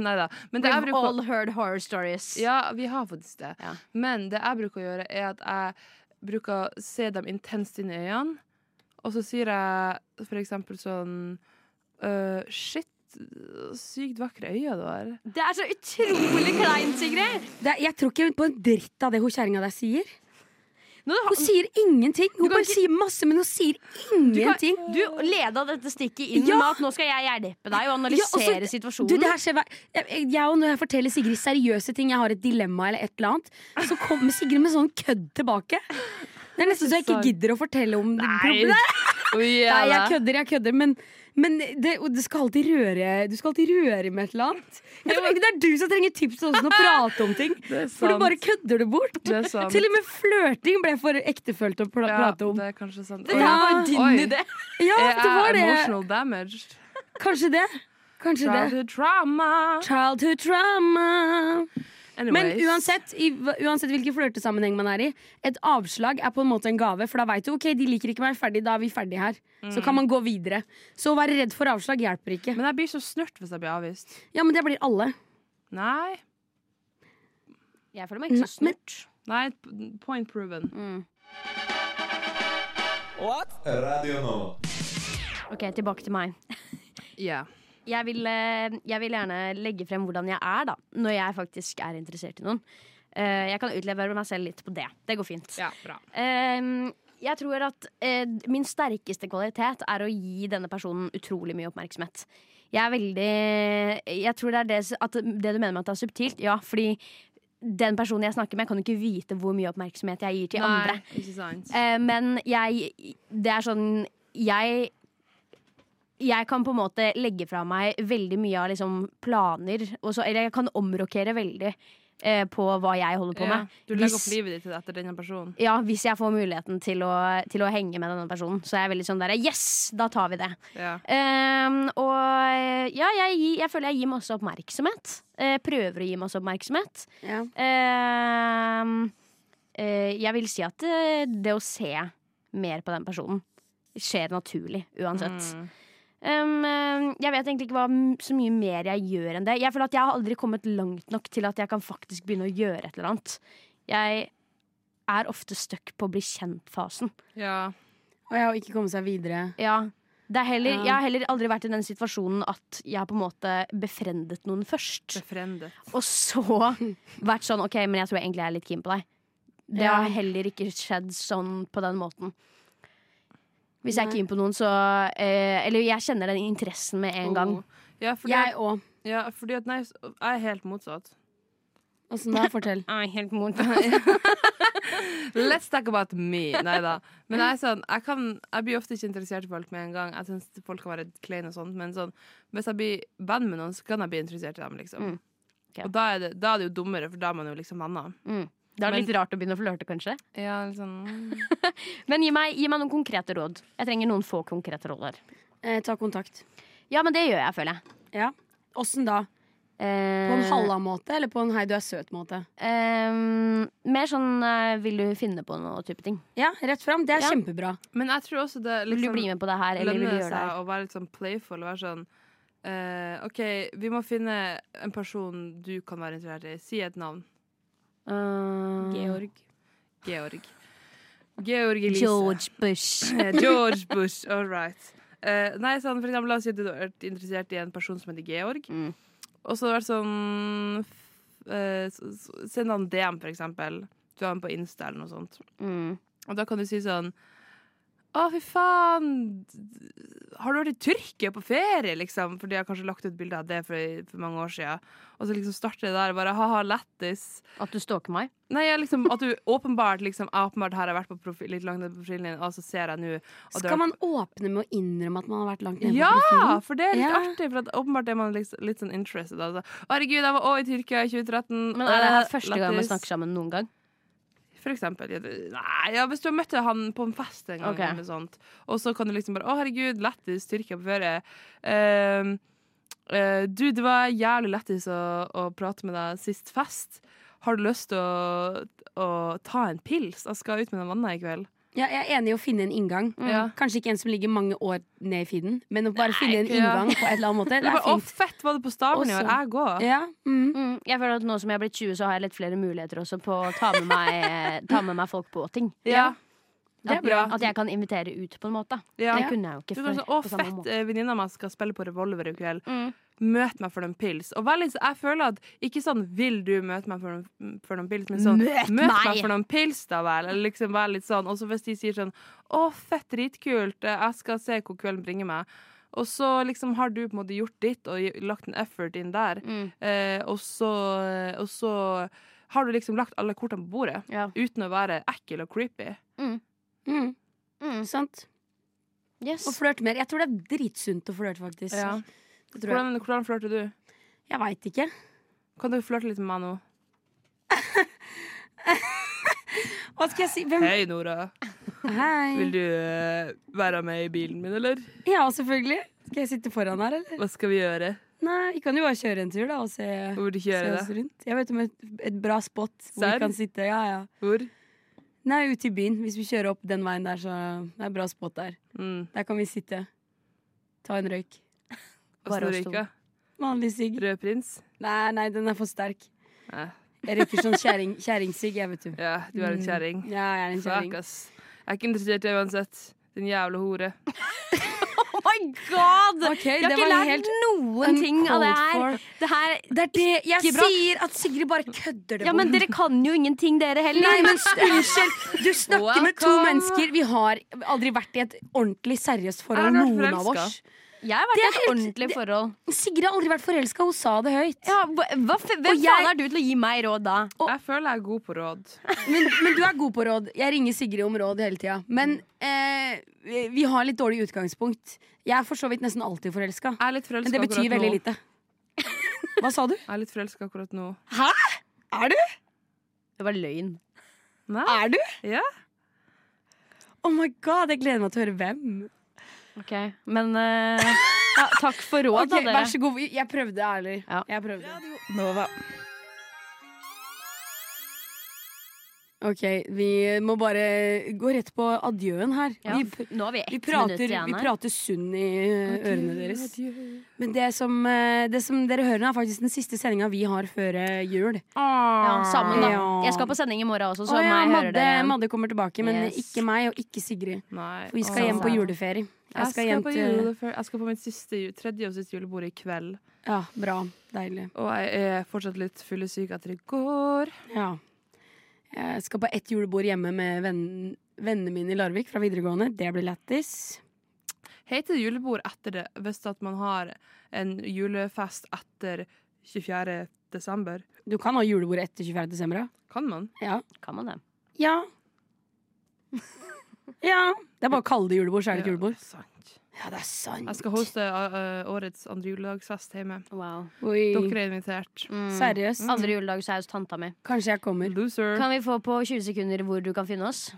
Speaker 4: Neida. Men det jeg
Speaker 5: We've
Speaker 4: bruker
Speaker 5: all heard horror stories.
Speaker 4: Ja, vi har faktisk det.
Speaker 5: Ja.
Speaker 4: Men det jeg bruker å gjøre, er at jeg bruker å se dem intenst inn i øynene. Og så sier jeg for eksempel sånn øh, Shit, sykt vakre øyne du har.
Speaker 5: Det er så utrolig kleint, Sigrid!
Speaker 3: Det er, jeg tror ikke på en dritt av det hun kjerringa der sier.
Speaker 5: Nå,
Speaker 3: Hun sier ingenting. Hun
Speaker 5: kan
Speaker 3: bare
Speaker 5: ikke-
Speaker 3: sier masse, men hun sier ingenting.
Speaker 5: du leda dette stikket inn
Speaker 3: Ja.
Speaker 5: med at nå skal jeg hjelpe deg og
Speaker 3: Ja, og så-
Speaker 5: analysere
Speaker 3: Du,
Speaker 5: situasjonen.
Speaker 3: det her skjer hver jeg, jeg- jeg, og Når jeg forteller Sigrid seriøse ting, jeg har et dilemma eller et eller annet, så kommer Sigrid med sånn kødd tilbake. Det er nesten så jeg ikke gidder å fortelle om det. Nei,
Speaker 4: Oi,
Speaker 3: Nei
Speaker 4: jævla.
Speaker 3: jeg kødder, jeg kødder, men, men det, og det skal alltid røre, du skal alltid røre med et eller annet. Jeg tror ikke det er du som trenger tips til hvordan å prate om ting,
Speaker 4: Det er
Speaker 3: for du
Speaker 4: sant.
Speaker 3: bare kødder det bort.
Speaker 4: Det er sant.
Speaker 3: Til og med flørting ble for ektefølt å pla-
Speaker 4: Ja,
Speaker 3: prate om.
Speaker 4: det er kanskje sant.
Speaker 5: Det
Speaker 4: Oi.
Speaker 5: der var jo din
Speaker 4: Oi.
Speaker 5: idé.
Speaker 3: Ja,
Speaker 4: Er
Speaker 3: det var
Speaker 4: jeg
Speaker 3: det.
Speaker 4: emotional damaged?
Speaker 3: Kanskje det. Kanskje det.
Speaker 4: Childhood trauma.
Speaker 3: Childhood trauma. Men
Speaker 4: Anyways.
Speaker 3: uansett, i, hva- uansett hvilken flørtesammenheng man er i, et avslag er på en måte en gave. For da veit du ok, de liker ikke meg, ferdig, da er vi ferdige her. Så
Speaker 4: Mm.
Speaker 3: kan man gå videre. Så å være redd for avslag hjelper ikke.
Speaker 4: Men jeg blir så snurt hvis jeg blir avvist.
Speaker 3: Ja, men det blir alle.
Speaker 4: Nei.
Speaker 5: Jeg føler meg ikke så
Speaker 3: Nei, men-
Speaker 5: snurt.
Speaker 4: Nei, point proven.
Speaker 3: Mm.
Speaker 6: Radio Nova.
Speaker 5: Ok, tilbake til meg.
Speaker 4: Yeah.
Speaker 5: jeg vil, eh, jeg vil gjerne legge frem hvordan jeg er da når jeg faktisk er interessert i noen. Eh, Jeg kan utlevere meg selv litt på det. Det går fint.
Speaker 4: Ja, bra.
Speaker 5: Eh, Jeg tror at eh, min sterkeste kvalitet er å gi denne personen utrolig mye oppmerksomhet. Jeg er veldig Jeg tror det er det, s- at det du mener med at det er subtilt. Ja, fordi den personen jeg snakker med, kan jo ikke vite hvor mye oppmerksomhet jeg gir til andre.
Speaker 4: Nei, ikke sant.
Speaker 5: Eh, men jeg Det er sånn Jeg jeg kan på en måte legge fra meg veldig mye av liksom planer. Og så, eller jeg kan omrokere veldig eh, på hva jeg holder på
Speaker 4: Ja,
Speaker 5: med.
Speaker 4: Du legger
Speaker 5: Hvis-
Speaker 4: opp livet ditt til- etter denne personen.
Speaker 5: ja, Hvis jeg får muligheten til å, til å henge med denne personen. Så er jeg veldig sånn der Yes! Da tar vi det.
Speaker 4: Ja.
Speaker 5: Ehm, og ja, jeg, gir- jeg føler jeg gir masse oppmerksomhet. Eh, prøver å gi masse oppmerksomhet.
Speaker 3: Ja.
Speaker 5: Ehm, eh, jeg vil si at eh, det å se mer på den personen skjer naturlig uansett.
Speaker 4: Mm.
Speaker 5: Ehm, eh, jeg vet egentlig ikke hva m- så mye mer jeg gjør enn det. Jeg føler at jeg har aldri kommet langt nok til at jeg kan faktisk begynne å gjøre et eller annet. Jeg er ofte stuck på bli kjent-fasen.
Speaker 4: Ja.
Speaker 3: Og jeg har ikke kommet seg videre.
Speaker 5: Ja. Det er heller,
Speaker 3: Ja.
Speaker 5: Jeg har heller aldri vært i den situasjonen at jeg har på en måte befrendet noen først.
Speaker 4: Befrendet.
Speaker 5: Og så vært sånn OK, men jeg tror egentlig jeg er litt keen på deg. Det
Speaker 3: Ja.
Speaker 5: har heller ikke skjedd sånn på den måten. Hvis jeg
Speaker 3: Nei.
Speaker 5: er keen på noen, så eh, Eller jeg kjenner den interessen med en gang.
Speaker 4: Oh. Ja, fordi,
Speaker 3: Jeg òg.
Speaker 4: at- ja, fordi at nei, s- jeg er helt motsatt.
Speaker 3: Åssen da? Fortell.
Speaker 5: helt
Speaker 4: Let's talk about me. Nei da. Men jeg, er sånn, jeg, kan, jeg blir ofte ikke interessert i folk med en gang. Jeg syns folk kan være kleine og sånt, men sånn, hvis jeg blir venn med noen, så kan jeg bli interessert i dem, liksom.
Speaker 5: Mm. Ok.
Speaker 4: Og da er, det, da er det jo dummere, for da er man jo liksom venner.
Speaker 5: mm. Det er
Speaker 4: Men-
Speaker 5: litt rart å begynne å flørte, kanskje.
Speaker 4: Ja, liksom.
Speaker 5: Men gi meg, gi meg noen konkrete råd. Jeg trenger noen få konkrete råd her.
Speaker 3: Eh, ta kontakt.
Speaker 5: Ja, men det gjør jeg, føler jeg.
Speaker 3: Ja. Åssen da? På
Speaker 4: Eh.
Speaker 3: en halla-måte, eller på en hei, du er søt-måte?
Speaker 5: Eh, mer sånn eh, vil du finne på noe type ting.
Speaker 3: Ja, rett fram. Det er
Speaker 5: Ja.
Speaker 3: kjempebra.
Speaker 4: Men jeg tror også det
Speaker 5: Vil
Speaker 4: liksom,
Speaker 5: du bli med på det her, eller vil
Speaker 4: lønner
Speaker 5: du
Speaker 4: det
Speaker 5: gjøre det her?
Speaker 4: seg å være litt sånn playful og være sånn eh, OK, vi må finne en person du kan være interessert i. Si et navn.
Speaker 5: Eh,
Speaker 3: Mm.
Speaker 4: Georg. Georg Elise.
Speaker 5: George Bush.
Speaker 4: Eh, George Bush. All right. Eh, nei, sånn, for eksempel, la oss si at du har vært interessert i en person som heter Georg.
Speaker 5: Mm.
Speaker 4: Og så har det vært sånn uh, Send han DM, for eksempel. Du har han på Insta eller noe sånt.
Speaker 5: Mm.
Speaker 4: Og da kan du si sånn Å, fy faen! Har du vært i Tyrkia på ferie, liksom? Fordi jeg har kanskje lagt ut bilde av det for, for mange år siden. Og så liksom starter det der og bare ha-ha, lættis.
Speaker 5: At du stalker meg?
Speaker 4: Nei, jeg liksom, at du åpenbart liksom, jeg åpenbart her har jeg vært på profil, litt langt ned på profilen din, og så ser jeg nå at du har
Speaker 3: Skal man åpne med å innrømme at man har vært langt nede
Speaker 4: ja,
Speaker 3: på profilen?
Speaker 4: for det er litt
Speaker 3: Ja.
Speaker 4: artig. For at åpenbart er man liksom, litt sånn interested. Altså. Å, Herregud, jeg var også i Tyrkia i 2013.
Speaker 5: Men er det
Speaker 4: eh,
Speaker 5: her første gang vi
Speaker 4: lættis.
Speaker 5: snakker sammen noen gang?
Speaker 4: For eksempel. Ja, det- nei, ja, hvis du har møtt han på en fest en gang,
Speaker 5: Ok.
Speaker 4: eller noe sånt, og så kan du liksom bare Å, herregud, lættis, Tyrkia på ferie. Ehm, eh, du, det var jævlig lættis å, å prate med deg sist fest. Har du lyst til å, å ta en pils? Jeg skal ut med noen venner i kveld.
Speaker 3: Ja, jeg er enig i å finne en inngang.
Speaker 4: Ja.
Speaker 3: Kanskje ikke en som ligger mange år ned i feeden, men å bare finne en
Speaker 4: ikke, ja.
Speaker 3: inngang på et eller annet måte.
Speaker 4: Det
Speaker 3: Det
Speaker 4: er
Speaker 3: er
Speaker 4: bare, å,
Speaker 3: fint.
Speaker 4: fett, var det på Stavern i år?
Speaker 3: Også.
Speaker 4: Jeg går.
Speaker 3: Ja, mm.
Speaker 5: Mm, jeg føler at Nå som jeg er blitt 20, så har jeg litt flere muligheter også på å ta med meg, eh, ta med meg folk på ting.
Speaker 4: Ja.
Speaker 5: At,
Speaker 4: er bra.
Speaker 5: at jeg kan invitere ut, på en måte.
Speaker 4: Ja.
Speaker 5: Det kunne jeg jo
Speaker 4: Du
Speaker 5: ikke
Speaker 4: kan
Speaker 5: før.
Speaker 4: sånn, å,
Speaker 5: på samme
Speaker 4: fett,
Speaker 5: måte.
Speaker 4: eh, venninna mi skal spille på revolver i kveld.
Speaker 5: Mm.
Speaker 4: Møt meg for noen pils. Og veldig, så jeg føler at Ikke sånn 'vil du møte meg for noen, for noen pils', men sånn
Speaker 5: Møt
Speaker 4: meg.
Speaker 5: meg!»
Speaker 4: for noen pils, da vel'. Eller liksom være litt sånn. Og så hvis de sier sånn 'Å, fett, dritkult. eh, Jeg skal se hvor kvelden bringer meg'. Og så liksom har du på en måte gjort ditt og gi- lagt en effort inn der.
Speaker 5: Mm.
Speaker 4: Eh, og, så, eh, og så har du liksom lagt alle kortene på bordet.
Speaker 5: Ja.
Speaker 4: Uten å være ekkel og creepy.
Speaker 3: Mm.
Speaker 5: Mm.
Speaker 3: Sant.
Speaker 5: Yes.
Speaker 3: Og flørte mer. Jeg tror det er dritsunt å flørte, faktisk.
Speaker 4: Ja.
Speaker 3: Det tror jeg
Speaker 4: Hvordan, hvordan flørter du?
Speaker 3: jeg veit ikke.
Speaker 4: Kan du flørte litt med meg nå?
Speaker 3: Hva skal jeg si? Hvem?
Speaker 4: Hei, Nora. Vil
Speaker 3: Hei.
Speaker 4: du eh, være med i bilen min, eller?
Speaker 3: Ja, selvfølgelig. Skal jeg sitte foran her, eller?
Speaker 4: Hva skal vi gjøre?
Speaker 3: Nei, vi kan jo bare kjøre en tur, da, og se,
Speaker 4: Hvor du
Speaker 3: se
Speaker 4: kjører
Speaker 3: oss
Speaker 4: det?
Speaker 3: rundt. Jeg vet om et, et bra spot hvor
Speaker 4: Serr?
Speaker 3: vi kan sitte. Ja, ja.
Speaker 4: Hvor?
Speaker 3: Nei, ute i byen. Hvis vi kjører opp den veien der, så det er et bra spot der.
Speaker 4: Mm.
Speaker 3: Der kan vi sitte. Ta en røyk.
Speaker 5: Bare
Speaker 4: Åssen
Speaker 5: oss to.
Speaker 4: røyka?
Speaker 3: Vanlig sigg.
Speaker 4: Rød prins?
Speaker 3: Nei, nei, den er for sterk.
Speaker 4: Nei.
Speaker 3: Jeg røyker sånn kjerring- kjerringsigg, jeg, vet du.
Speaker 4: Ja, du er en kjerring.
Speaker 3: Ja, Mm. jeg er en
Speaker 4: Fuck,
Speaker 3: kjerring.
Speaker 4: ass. Jeg er ikke interessert i det uansett. Din jævla hore.
Speaker 5: Oh my god!
Speaker 3: Ok,
Speaker 5: altså. jeg har
Speaker 3: det
Speaker 5: ikke
Speaker 3: var
Speaker 5: lært
Speaker 3: helt
Speaker 5: noen ting av det her.
Speaker 3: uncalled
Speaker 5: Det her
Speaker 3: Det er det jeg
Speaker 5: Ikke bra.
Speaker 3: sier, at Sigrid bare kødder det
Speaker 5: ja, men dere kan jo ingenting, dere heller.
Speaker 3: Nei, men s- unnskyld! Du snakker med to
Speaker 4: Welcome.
Speaker 3: mennesker. Vi har aldri vært i et ordentlig seriøst forhold,
Speaker 4: Jeg har vært
Speaker 3: noen av
Speaker 4: forelska.
Speaker 3: oss.
Speaker 5: Jeg har vært i
Speaker 3: Det er
Speaker 5: et
Speaker 3: helt-
Speaker 5: ordentlig
Speaker 3: det-
Speaker 5: forhold.
Speaker 3: Sigrid har aldri vært forelska, hun sa det høyt.
Speaker 5: Ja, hva, hva, f- hvem
Speaker 3: Og jeg-
Speaker 5: faen er du til å gi meg råd da?
Speaker 4: Jeg føler jeg er god på råd.
Speaker 3: Men, men du er god på råd. Jeg ringer Sigrid om råd hele tida. Men eh, vi- vi har litt dårlig utgangspunkt. Jeg er for så vidt nesten alltid forelska.
Speaker 4: Jeg er litt
Speaker 3: Men
Speaker 4: forelska
Speaker 3: det betyr
Speaker 4: akkurat
Speaker 3: veldig
Speaker 4: nå.
Speaker 3: lite. Hva sa du?
Speaker 4: Jeg er litt forelska akkurat nå.
Speaker 3: Er du?
Speaker 5: Det var løgn.
Speaker 4: Nei?
Speaker 3: Er du?
Speaker 4: Ja?
Speaker 3: Oh my god, jeg gleder meg til å høre hvem.
Speaker 5: Ok, Men eh, ja, takk for
Speaker 3: Ok,
Speaker 5: råd, da,
Speaker 3: Vær
Speaker 5: dere.
Speaker 3: så god. Jeg prøvde, ærlig.
Speaker 5: Ja.
Speaker 3: Jeg prøvde.
Speaker 7: Nova.
Speaker 3: Ok, vi må bare gå rett på adjøen her.
Speaker 5: Ja,
Speaker 3: Vi, pr-
Speaker 5: nå har vi ett
Speaker 3: vi, prater,
Speaker 5: minutt igjen
Speaker 3: vi
Speaker 5: her.
Speaker 3: prater sunn i ørene deres.
Speaker 4: Adjø.
Speaker 3: Men det som, eh, det som dere hører, nå er faktisk den siste sendinga vi har før eh, jul.
Speaker 4: Ah.
Speaker 5: Ja, sammen, da.
Speaker 3: Ja.
Speaker 5: Jeg skal på sending i morgen også, så
Speaker 3: Å ja,
Speaker 5: meg hører
Speaker 3: Madde,
Speaker 5: dere igjen.
Speaker 3: Madde kommer tilbake, men
Speaker 5: Yes.
Speaker 3: ikke meg og ikke Sigrid.
Speaker 4: Nei.
Speaker 3: For vi skal
Speaker 4: Åh.
Speaker 3: hjem på juleferie.
Speaker 4: Jeg skal,
Speaker 3: hjem
Speaker 4: på
Speaker 3: til
Speaker 4: julefer- jeg skal på mitt siste, ju- tredje og siste julebord i kveld.
Speaker 3: Ja, bra. Deilig.
Speaker 4: Og jeg er fortsatt litt fyllesyk etter i går.
Speaker 3: Ja. Jeg skal på ett julebord hjemme med venn- vennene mine i Larvik fra videregående. Det blir lættis.
Speaker 4: Heter det julebord etter det hvis at man har en julefest etter 24. desember?
Speaker 3: Du kan ha julebord etter 24. desember, ja.
Speaker 4: Kan man?
Speaker 3: ja.
Speaker 5: Kan man det?
Speaker 3: Ja. Ja. Det er bare å kalle det julebord, så er det et julebord.
Speaker 4: sant.
Speaker 3: Ja, det er sant.
Speaker 4: Jeg skal hoste ø, ø, årets andre juledagsfest hjemme.
Speaker 5: Wow.
Speaker 3: Oi.
Speaker 4: Dere er invitert.
Speaker 5: Mm.
Speaker 3: Seriøst.
Speaker 5: Andre juledag så er jeg hos tanta mi.
Speaker 3: Kanskje jeg kommer.
Speaker 4: Loser.
Speaker 5: Kan vi få på 20 sekunder hvor du kan finne oss?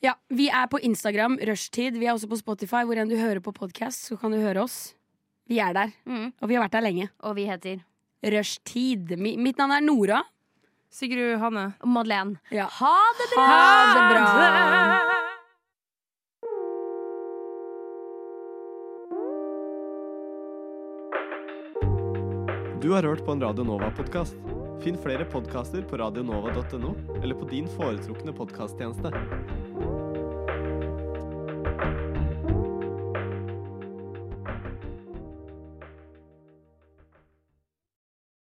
Speaker 3: Ja, Vi er på Instagram, Rushtid. Vi er også på Spotify. Hvor enn du hører på podkast, så kan du høre oss. Vi er der,
Speaker 5: Mm.
Speaker 3: og vi har vært der lenge.
Speaker 5: Og vi heter
Speaker 3: Rushtid. Mi, mitt navn er Nora.
Speaker 4: Sigrid Hanne.
Speaker 5: Madeleine.
Speaker 3: Ja.
Speaker 5: Ha det bra!
Speaker 3: Ha det bra!
Speaker 8: Du har hørt på en Radio Nova-podkast. Finn flere podkaster på radionova.no eller på din foretrukne podkasttjeneste.